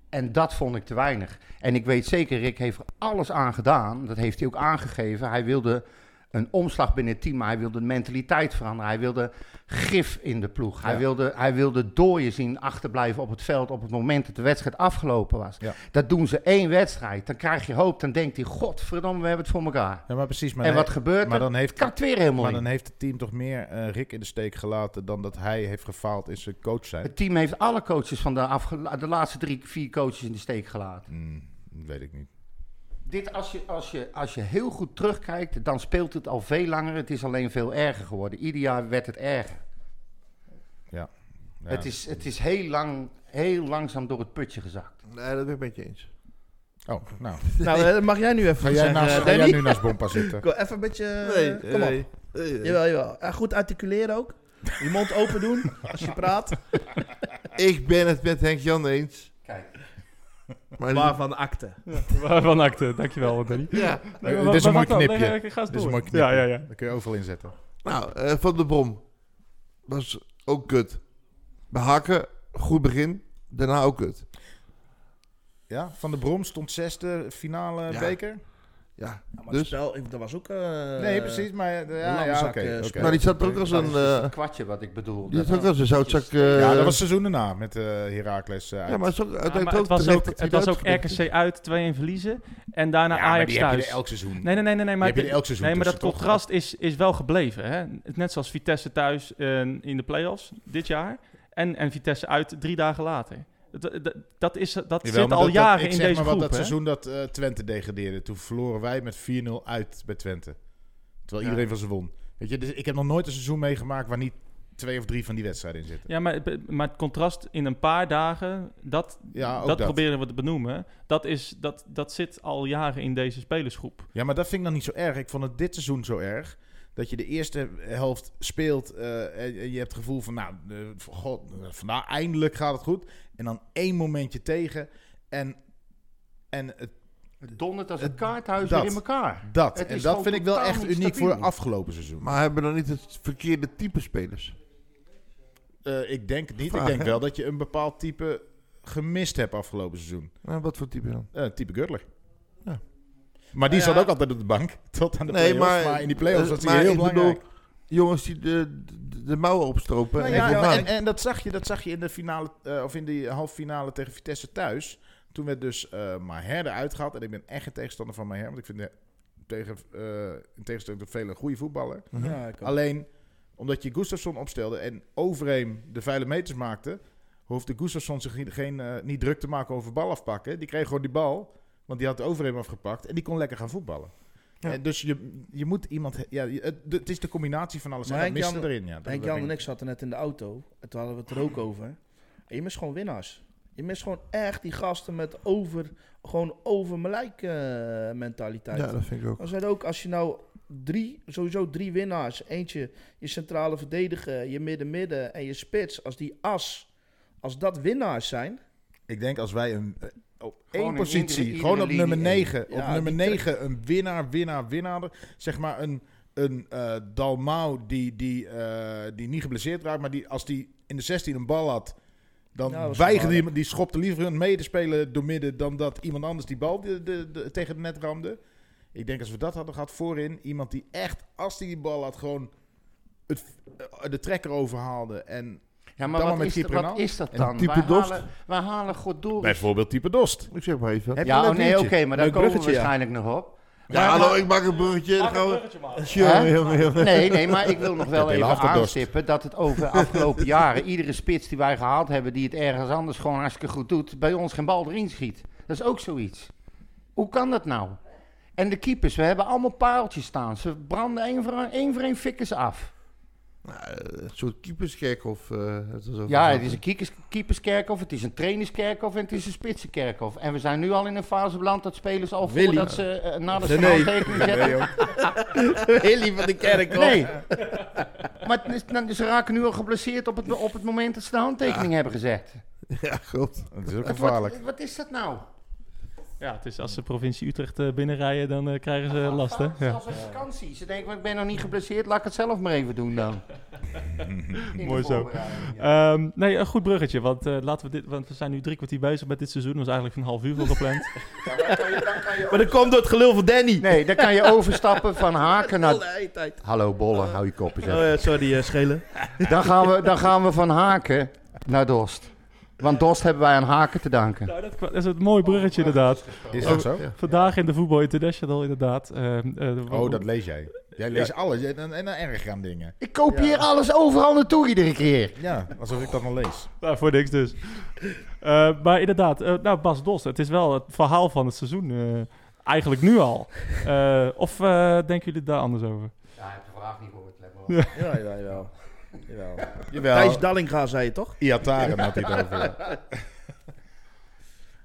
Speaker 4: En dat vond ik te weinig. En ik weet zeker, Rick heeft er alles aan gedaan. Dat heeft hij ook aangegeven. Hij wilde een omslag binnen het team, maar hij wilde de mentaliteit veranderen. Hij wilde gif in de ploeg. Hij,
Speaker 3: Ja.
Speaker 4: wilde, hij wilde dooien zien achterblijven op het veld op het moment dat de wedstrijd afgelopen was.
Speaker 3: Ja.
Speaker 4: Dat doen ze één wedstrijd. Dan krijg je hoop. Dan denkt hij, godverdomme, we hebben het voor elkaar.
Speaker 3: ja maar precies. Maar
Speaker 4: en
Speaker 3: hij-
Speaker 4: wat gebeurt
Speaker 3: maar
Speaker 4: er?
Speaker 3: dan heeft
Speaker 4: Kakt weer helemaal
Speaker 3: Maar
Speaker 4: in.
Speaker 3: dan heeft het team toch meer eh, Rick in de steek gelaten dan dat hij heeft gefaald in zijn coach zijn.
Speaker 4: Het team heeft alle coaches van de, afgela- de laatste drie, vier coaches in de steek gelaten.
Speaker 3: Hmm, weet ik niet.
Speaker 4: Dit, als je, als, je, als je heel goed terugkijkt, dan speelt het al veel langer. Het is alleen veel erger geworden. Ieder jaar werd het erger.
Speaker 3: Ja.
Speaker 4: Het, is, het is heel, lang, heel langzaam door het putje gezakt.
Speaker 5: Nee, dat ben ik met je eens.
Speaker 3: Oh, nou.
Speaker 2: Nou, eh, mag jij nu even
Speaker 3: Ga jij,
Speaker 2: zeggen,
Speaker 3: naast,
Speaker 2: eh,
Speaker 3: ga jij
Speaker 2: Danny?
Speaker 3: nu eh, naast Bompa zitten?
Speaker 2: Ik wil even een beetje... eh,
Speaker 5: Nee,
Speaker 2: kom op.
Speaker 5: nee, nee.
Speaker 2: Jawel, jawel. Eh, goed articuleren ook. Je mond open doen als je praat.
Speaker 5: Ik ben het met Henk-Jan eens.
Speaker 4: Kijk.
Speaker 5: Maar
Speaker 2: Waarvan akte.
Speaker 1: Waarvan acte, eh, dankjewel Danny.
Speaker 5: Ja,
Speaker 1: Nee,
Speaker 3: dit
Speaker 1: wa-
Speaker 3: is een
Speaker 1: wa-
Speaker 3: mooi
Speaker 1: wacht wel.
Speaker 3: knipje.
Speaker 1: Nee, ga- ga eens
Speaker 3: Dit is
Speaker 1: door.
Speaker 3: een mooi knipje.
Speaker 1: Ja, ja, ja.
Speaker 3: Dat kun je overal inzetten.
Speaker 5: nou, eh, Van de Brom was ook kut. Bij Hakken, goed begin. Daarna ook kut.
Speaker 3: Ja, Van de Brom stond zesde finale
Speaker 5: Ja.
Speaker 3: beker.
Speaker 5: Ja,
Speaker 2: maar
Speaker 5: dus.
Speaker 2: spel, dat was ook... eh,
Speaker 3: Nee, precies. Maar eh,
Speaker 2: een
Speaker 3: ja,
Speaker 2: lange
Speaker 3: ja oké.
Speaker 2: zak, eh,
Speaker 3: oké.
Speaker 2: spel.
Speaker 5: Maar die zat er ook als
Speaker 4: Dat
Speaker 5: een...
Speaker 4: is dus
Speaker 5: eh
Speaker 4: het kwartje wat ik bedoel.
Speaker 5: die
Speaker 4: Dat-
Speaker 3: dus
Speaker 5: zat ook als een zoutzak... eh,
Speaker 3: ja, dat was het seizoen daarna met eh Herakles uit.
Speaker 5: Ja, maar het is ook
Speaker 3: Eh,
Speaker 1: Ja,
Speaker 5: uiteindelijk
Speaker 1: maar het
Speaker 5: ook
Speaker 1: was
Speaker 5: terecht
Speaker 1: ook,
Speaker 5: dat hij
Speaker 1: het was ook
Speaker 5: eruit gespeeld
Speaker 1: RKC uit, 2-1 verliezen. En daarna
Speaker 3: Ja, maar
Speaker 1: Ajax
Speaker 3: die heb
Speaker 1: thuis.
Speaker 3: je er elk seizoen.
Speaker 1: Nee, nee, nee, nee, nee, maar,
Speaker 3: heb je
Speaker 1: dit-
Speaker 3: er elk seizoen
Speaker 1: nee, maar dat
Speaker 3: tussen, toch?
Speaker 1: contrast is, is wel gebleven. Hè? Net zoals Vitesse thuis eh, in de play-offs dit jaar en, en Vitesse uit drie dagen later. Dat, dat, dat is, dat
Speaker 3: Jawel,
Speaker 1: zit
Speaker 3: maar
Speaker 1: al
Speaker 3: dat- dat-
Speaker 1: jaren
Speaker 3: ik
Speaker 1: in
Speaker 3: zeg
Speaker 1: deze
Speaker 3: maar
Speaker 1: groep.
Speaker 3: wat dat
Speaker 1: hè?
Speaker 3: seizoen dat eh, Twente degradeerde. Toen verloren wij met 4-0 uit bij Twente. Terwijl
Speaker 4: Ja.
Speaker 3: iedereen van ze won. Weet je, dus ik heb nog nooit een seizoen meegemaakt waar niet twee of drie van die wedstrijden in zitten.
Speaker 1: Ja, maar, het- maar het contrast in een paar dagen, dat,
Speaker 3: Ja, ook
Speaker 1: dat,
Speaker 3: dat.
Speaker 1: proberen we te benoemen. Dat, is, dat, dat zit al jaren in deze spelersgroep.
Speaker 3: Ja, maar dat vind ik dan niet zo erg. Ik vond het dit seizoen zo erg. Dat je de eerste helft speelt eh, en en je hebt het gevoel van, nou, eh, van, god, eh, vandaag eindelijk gaat het goed. En dan één momentje tegen en, en het,
Speaker 4: Het dondert als een kaarthuis
Speaker 3: dat.
Speaker 4: weer in elkaar.
Speaker 3: dat.
Speaker 4: Het
Speaker 3: En
Speaker 4: is
Speaker 3: dat
Speaker 4: gewoon
Speaker 3: vind ik wel
Speaker 4: totaal
Speaker 3: echt
Speaker 4: niet
Speaker 3: uniek
Speaker 4: stabiel.
Speaker 3: voor afgelopen seizoen.
Speaker 5: Maar hebben we dan niet het verkeerde type spelers?
Speaker 3: Eh, ik denk het niet.
Speaker 5: Vraag,
Speaker 3: ik denk
Speaker 5: hè?
Speaker 3: wel dat je een bepaald type gemist hebt afgelopen seizoen.
Speaker 5: Nou, wat voor type dan?
Speaker 3: Eh, type Gurler.
Speaker 5: Ja. Nou
Speaker 3: Maar die
Speaker 4: Ja.
Speaker 3: zat ook altijd op de bank. Tot aan de
Speaker 5: Nee,
Speaker 3: play-offs.
Speaker 5: maar-
Speaker 3: Maar, in die play-offs
Speaker 5: eh,
Speaker 3: was hij
Speaker 5: maar
Speaker 3: heel
Speaker 5: ik bedoel-
Speaker 3: belangrijk.
Speaker 5: Jongens die de, de, de mouwen opstropen.
Speaker 3: Nou
Speaker 5: en
Speaker 3: ja,
Speaker 5: eh, even
Speaker 3: ja,
Speaker 5: gaan.
Speaker 3: en, en dat zag je, dat zag je in de finale, eh, of in die halve finale tegen Vitesse thuis. Toen werd dus eh Maher eruit gehaald. En ik ben echt een tegenstander van Maher. Want ik vind eh, tegen, eh, in tegenstelling tot vele goede voetballer.
Speaker 2: Ja, ik ook.
Speaker 3: Alleen omdat je Gustafsson opstelde en Overeem de vuile meters maakte, hoefde Gustafsson zich niet, geen, eh, niet druk te maken over bal afpakken. Die kreeg gewoon die bal, want die had Overeem afgepakt en die kon lekker gaan voetballen.
Speaker 5: Ja.
Speaker 3: En dus je, je moet iemand. he- Ja, je- het, het is de combinatie van alles.
Speaker 2: Maar
Speaker 3: en dat
Speaker 2: Henk-Jan-
Speaker 3: miste erin. Ja, Dat-
Speaker 2: Henk
Speaker 3: dat
Speaker 2: Jan en
Speaker 3: denk
Speaker 2: ik zaten net in de auto. En toen hadden we het er ook over. En je mist gewoon winnaars. Je mist gewoon echt die gasten met over, gewoon over mijn lijk eh, mentaliteit.
Speaker 5: ja, dat vind ik ook.
Speaker 2: Dan zijn er ook, als je nou drie, sowieso drie winnaars. Eentje, je centrale verdediger, je midden-midden en je spits. Als die as, als dat winnaars zijn.
Speaker 3: Ik denk als wij een, eh, op
Speaker 4: Gewoon
Speaker 3: één
Speaker 4: in
Speaker 3: positie,
Speaker 4: iedere- iedere
Speaker 3: gewoon op
Speaker 4: linie
Speaker 3: nummer
Speaker 4: één.
Speaker 3: 9,
Speaker 2: Ja,
Speaker 3: op nummer
Speaker 2: die
Speaker 3: 9 een winnaar, winnaar, winnaar. Zeg maar een, een eh Dalmau die, die, eh, die niet geblesseerd raakt, maar die, als die in de 16 een bal had, dan
Speaker 2: Ja, Nou, dat was
Speaker 3: weigerde
Speaker 2: gevaarlijk.
Speaker 3: iemand, die schopte liever een medespeler door midden dan dat iemand anders die bal de, de, de- tegen het net ramde. Ik denk als we dat hadden gehad voorin, iemand die echt, als die die bal had, gewoon het, eh, de trekker overhaalde. En
Speaker 4: Ja, maar
Speaker 3: Dan maar
Speaker 4: wat
Speaker 3: met
Speaker 4: is, dat-
Speaker 3: Cyprian
Speaker 4: wat
Speaker 3: al.
Speaker 4: is dat
Speaker 3: En
Speaker 4: dan?
Speaker 5: type
Speaker 4: wij,
Speaker 5: Dost.
Speaker 4: halen, wij halen Goddori.
Speaker 3: bijvoorbeeld type Dost.
Speaker 5: Ik zeg maar even.
Speaker 3: Heb je
Speaker 4: Ja,
Speaker 3: een
Speaker 4: oh
Speaker 3: leuk
Speaker 4: nee, oké,
Speaker 3: nieuwtje?
Speaker 4: maar daar
Speaker 2: Leuk
Speaker 4: komen we
Speaker 2: bruggetje, ja.
Speaker 4: waarschijnlijk nog op.
Speaker 5: Ja, hallo, ik maak een bruggetje. Dan gaan we... Jongen, jongen, jongen.
Speaker 4: Nee, nee, maar ik wil nog wel
Speaker 3: hele
Speaker 4: even
Speaker 3: haft op dorst.
Speaker 4: aanstippen dat het over de afgelopen jaren, iedere spits die wij gehaald hebben, die het ergens anders gewoon hartstikke goed doet, bij ons geen bal erin schiet. Dat is ook zoiets. Hoe kan dat nou? En de keepers, we hebben allemaal pareltjes staan. Ze branden één voor één, één, voor één fikken ze af.
Speaker 5: Nou, eh, een soort keeperskerkhof. eh, het was ook
Speaker 4: Ja,
Speaker 5: een-
Speaker 4: het is een keekers- keeperskerkhof, het is een trainerskerkhof en het is een spitsenkerkhof. En we zijn nu al in een fase beland dat spelers al
Speaker 2: Willy.
Speaker 4: voordat ze eh, na de
Speaker 2: Nee.
Speaker 4: straftekening zetten...
Speaker 2: Willy van de kerk. hoor.
Speaker 4: Nee. Maar het is- dan- ze raken nu al geblesseerd op het, op het moment dat ze de handtekening hebben gezet.
Speaker 5: Ja, klopt.
Speaker 3: Dat is ook
Speaker 4: Wat,
Speaker 3: gevaarlijk.
Speaker 4: wat, wat is dat nou?
Speaker 1: Ja, het is als ze provincie Utrecht eh, binnenrijden, dan eh, krijgen ze last, hè?
Speaker 4: Het is
Speaker 1: Ja.
Speaker 4: Als een vakantie. Ze denken, maar ik ben nog niet geblesseerd, laat ik het zelf maar even doen dan. In de
Speaker 1: Mooi zo.
Speaker 4: voorbereiding, ja.
Speaker 1: Ehm, nee, een goed bruggetje, want, eh, laten we dit, want we zijn nu drie kwartier bezig met dit seizoen. Er was eigenlijk een half uur voor gepland.
Speaker 4: Ja, maar dan kan je- dan kan je
Speaker 2: Maar dat komt door het gelul van Danny.
Speaker 4: Nee, dan kan je overstappen van haken naar...
Speaker 2: Alle tijd.
Speaker 4: Hallo Bolle, hou je kop eens
Speaker 2: Oh,
Speaker 4: even.
Speaker 2: ja, sorry, eh, schelen.
Speaker 4: Dan gaan, we, dan gaan we van Haken naar Dost. Want Dost hebben wij aan Haken te danken.
Speaker 1: nou, dat, kwa- dat is een
Speaker 2: Oh,
Speaker 1: mooi bruggetje, inderdaad.
Speaker 3: Is dat zo?
Speaker 1: Vandaag in de Voetbal International, inderdaad. Ehm, eh,
Speaker 3: Oh, dat lees jij. Jij leest alles en, en, en dan erg aan dingen.
Speaker 4: Ik kopieer alles overal naartoe iedere keer.
Speaker 3: Ja, alsof ik dat nog lees.
Speaker 1: Nou, voor niks dus. Eh, maar inderdaad, eh, nou Bas Dost, het is wel het verhaal van het seizoen. eh, eigenlijk nu al. Eh, of eh, denken jullie daar anders over?
Speaker 4: Ja, ik heb de vraag niet gehoord. Let maar op.
Speaker 2: Ja, ja, jawel. jawel.
Speaker 3: Jawel.
Speaker 2: Thijs Dallinga zei je toch?
Speaker 3: Iataren had hij het over.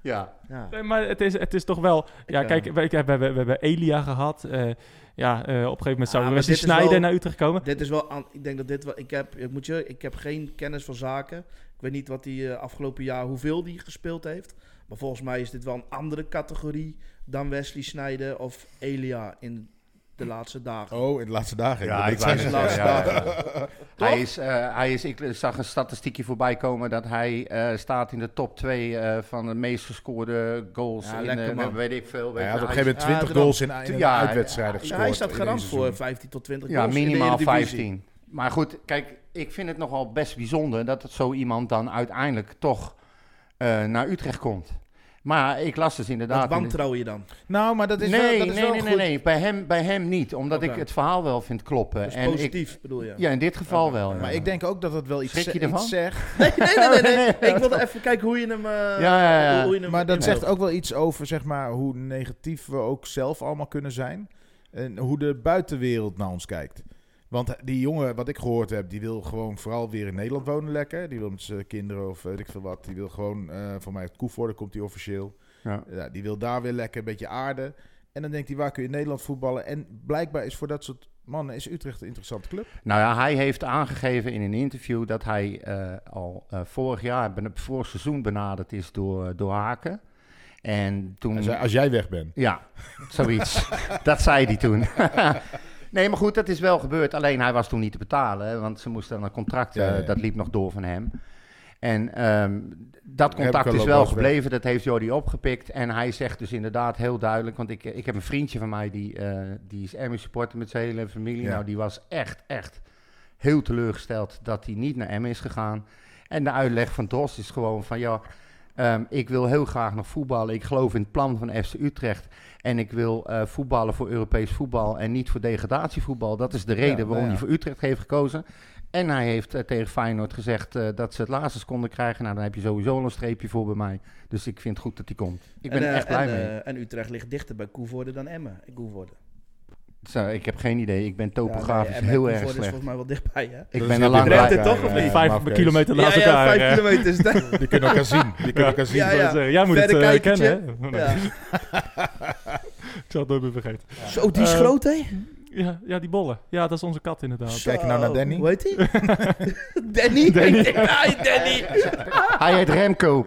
Speaker 4: Ja,
Speaker 2: Ja.
Speaker 1: Nee, maar het is, het is toch wel... Ja,
Speaker 2: Ja.
Speaker 1: kijk, we, we hebben, we hebben Elia gehad. eh, ja, eh, op een gegeven moment zou
Speaker 2: Ah,
Speaker 1: ah,
Speaker 2: maar
Speaker 1: Wesley
Speaker 2: dit is
Speaker 1: Sneijder
Speaker 2: wel-
Speaker 1: naar Utrecht komen.
Speaker 2: Dit is wel, aan- ik denk dat dit wel, ik heb, ik moet je, ik heb geen kennis van zaken. Ik weet niet wat hij eh, afgelopen jaar, hoeveel die gespeeld heeft. Maar volgens mij is dit wel een andere categorie dan Wesley Snijder of Elia in de laatste dagen.
Speaker 3: Oh, in de laatste dagen.
Speaker 4: ja
Speaker 3: ik
Speaker 4: wou
Speaker 3: zijn
Speaker 2: zijn
Speaker 4: net
Speaker 2: de laatste
Speaker 4: zeggen, ja, ja. Hij is, eh, hij is, ik zag een statistiekje voorbij komen dat hij eh, staat in de top 2 van de meest gescoorde goals.
Speaker 2: Ja,
Speaker 4: in,
Speaker 2: lekker,
Speaker 4: eh,
Speaker 2: man.
Speaker 4: weet ik veel. Weet
Speaker 3: Hij
Speaker 4: je,
Speaker 3: had op een
Speaker 4: hij
Speaker 3: gegeven moment
Speaker 2: Ja,
Speaker 3: 20
Speaker 2: daarom.
Speaker 3: goals in, in
Speaker 4: Ja,
Speaker 3: uitwedstrijden
Speaker 4: ja,
Speaker 2: Ja,
Speaker 3: gescoord.
Speaker 2: hij staat
Speaker 3: in één
Speaker 2: garant voor
Speaker 3: seizoen.
Speaker 2: 15 tot 20
Speaker 4: Ja,
Speaker 2: goals in de
Speaker 4: minimaal
Speaker 2: Eredivisie.
Speaker 4: 15. Maar goed, kijk, ik vind het nogal best bijzonder dat het zo iemand dan uiteindelijk toch eh, naar Utrecht komt. Maar ik las dus
Speaker 2: Wat
Speaker 4: inderdaad... in de-
Speaker 2: wantrouw je dan?
Speaker 3: Nou, maar dat is
Speaker 4: nee,
Speaker 3: wel, dat is
Speaker 4: nee,
Speaker 3: wel
Speaker 4: nee,
Speaker 3: goed.
Speaker 4: nee, nee, bij hem, bij hem niet. Omdat ik
Speaker 2: Oké.
Speaker 4: het verhaal wel vind kloppen.
Speaker 2: Dus
Speaker 4: Eh, en ik,
Speaker 2: positief bedoel je?
Speaker 4: ja, in dit geval
Speaker 2: Oké.
Speaker 4: wel. ja.
Speaker 3: Maar ik denk ook dat dat wel iets,
Speaker 4: Schrik je
Speaker 3: ze-
Speaker 4: ervan?
Speaker 3: iets zegt.
Speaker 2: Nee, nee, nee, nee. nee.
Speaker 4: Nee,
Speaker 2: ik wilde even kijken hoe je hem... eh,
Speaker 4: Ja, ja, ja.
Speaker 2: Hoe je hem
Speaker 3: Maar dat
Speaker 2: indeelt.
Speaker 3: zegt ook wel iets over zeg maar, hoe negatief we ook zelf allemaal kunnen zijn. En hoe de buitenwereld naar ons kijkt. Want die jongen, wat ik gehoord heb, die wil gewoon vooral weer in Nederland wonen lekker. Die wil met zijn kinderen of weet ik veel wat. Die wil gewoon, eh voor mij uit Koevoorde komt hij officieel.
Speaker 4: Ja.
Speaker 3: Ja, die wil daar weer lekker een beetje aarde. En dan denkt hij, waar kun je in Nederland voetballen? En blijkbaar is voor dat soort mannen is Utrecht een interessante club.
Speaker 4: Nou ja, hij heeft aangegeven in een interview dat hij eh, al eh, vorig jaar, ben- vorig seizoen benaderd is door, door Haken. En toen...
Speaker 3: Hij zei, als jij weg bent.
Speaker 4: Ja, zoiets. dat zei hij toen. nee, maar goed, dat is wel gebeurd. Alleen hij was toen niet te betalen, hè, want ze moesten dan een contract, eh,
Speaker 3: Ja, ja, ja.
Speaker 4: dat liep nog door van hem. En ehm, dat
Speaker 3: ik
Speaker 4: contact
Speaker 3: al
Speaker 4: is
Speaker 3: ook
Speaker 4: wel
Speaker 3: wel eens
Speaker 4: gebleven, dat heeft Jordi opgepikt. En hij zegt dus inderdaad heel duidelijk, want ik, ik heb een vriendje van mij die, eh, die is Emmy supporter met zijn hele familie.
Speaker 3: Ja.
Speaker 4: Nou, die was echt, echt heel teleurgesteld dat hij niet naar Emmen is gegaan. En de uitleg van Drost is gewoon van, ja, ehm, ik wil heel graag nog voetballen. Ik geloof in het plan van FC Utrecht. En ik wil eh, voetballen voor Europees voetbal en niet voor degradatievoetbal. Dat is de reden
Speaker 3: nou
Speaker 4: waarom
Speaker 3: ja.
Speaker 4: hij voor Utrecht heeft gekozen. En hij heeft eh, tegen Feyenoord gezegd eh, dat ze het laatste konden krijgen. Nou, dan heb je sowieso al een streepje voor bij mij. Dus ik vind het goed dat hij komt. Ik ben
Speaker 2: En,
Speaker 4: er
Speaker 2: eh,
Speaker 4: echt blij
Speaker 2: en,
Speaker 4: mee.
Speaker 2: eh, en Utrecht ligt dichter bij Koevoorde dan Emmen. Ik Koevoorde.
Speaker 4: Zo, ik heb geen idee. Ik ben topografisch
Speaker 2: Ja, nee, Emmen en
Speaker 4: heel
Speaker 2: Koevoorde
Speaker 4: erg
Speaker 2: is
Speaker 4: slecht.
Speaker 2: volgens mij wel dichtbij, hè?
Speaker 4: Ik ben
Speaker 3: Dat is
Speaker 4: er
Speaker 3: heel
Speaker 4: lang
Speaker 2: Redt
Speaker 4: blij
Speaker 2: het toch of
Speaker 3: Ja,
Speaker 2: niet?
Speaker 1: Vijf
Speaker 3: mafkees.
Speaker 1: kilometer naast
Speaker 2: ja,
Speaker 1: elkaar.
Speaker 2: vijf
Speaker 1: eh.
Speaker 2: kilometer is dat.
Speaker 3: Die kunnen elkaar zien. Die kunnen elkaar zien.
Speaker 1: Ik
Speaker 2: Ja,
Speaker 1: wou
Speaker 2: ja.
Speaker 1: zeggen, Jij moet het
Speaker 2: Verder
Speaker 1: eh,
Speaker 2: kijkertje.
Speaker 1: kennen, hè? Oh, nee.
Speaker 2: Ja.
Speaker 1: Ik zal het nooit meer vergeten.
Speaker 2: Zo, die is
Speaker 1: Eh,
Speaker 2: groot, hè?
Speaker 1: Ja, ja, die bollen. Ja, dat is onze kat inderdaad.
Speaker 3: nou, Kijk nou naar Danny.
Speaker 2: Hoe heet hij? Danny?
Speaker 1: Danny.
Speaker 2: Ik denk, "Hi, Danny.
Speaker 4: Hij heet Remco.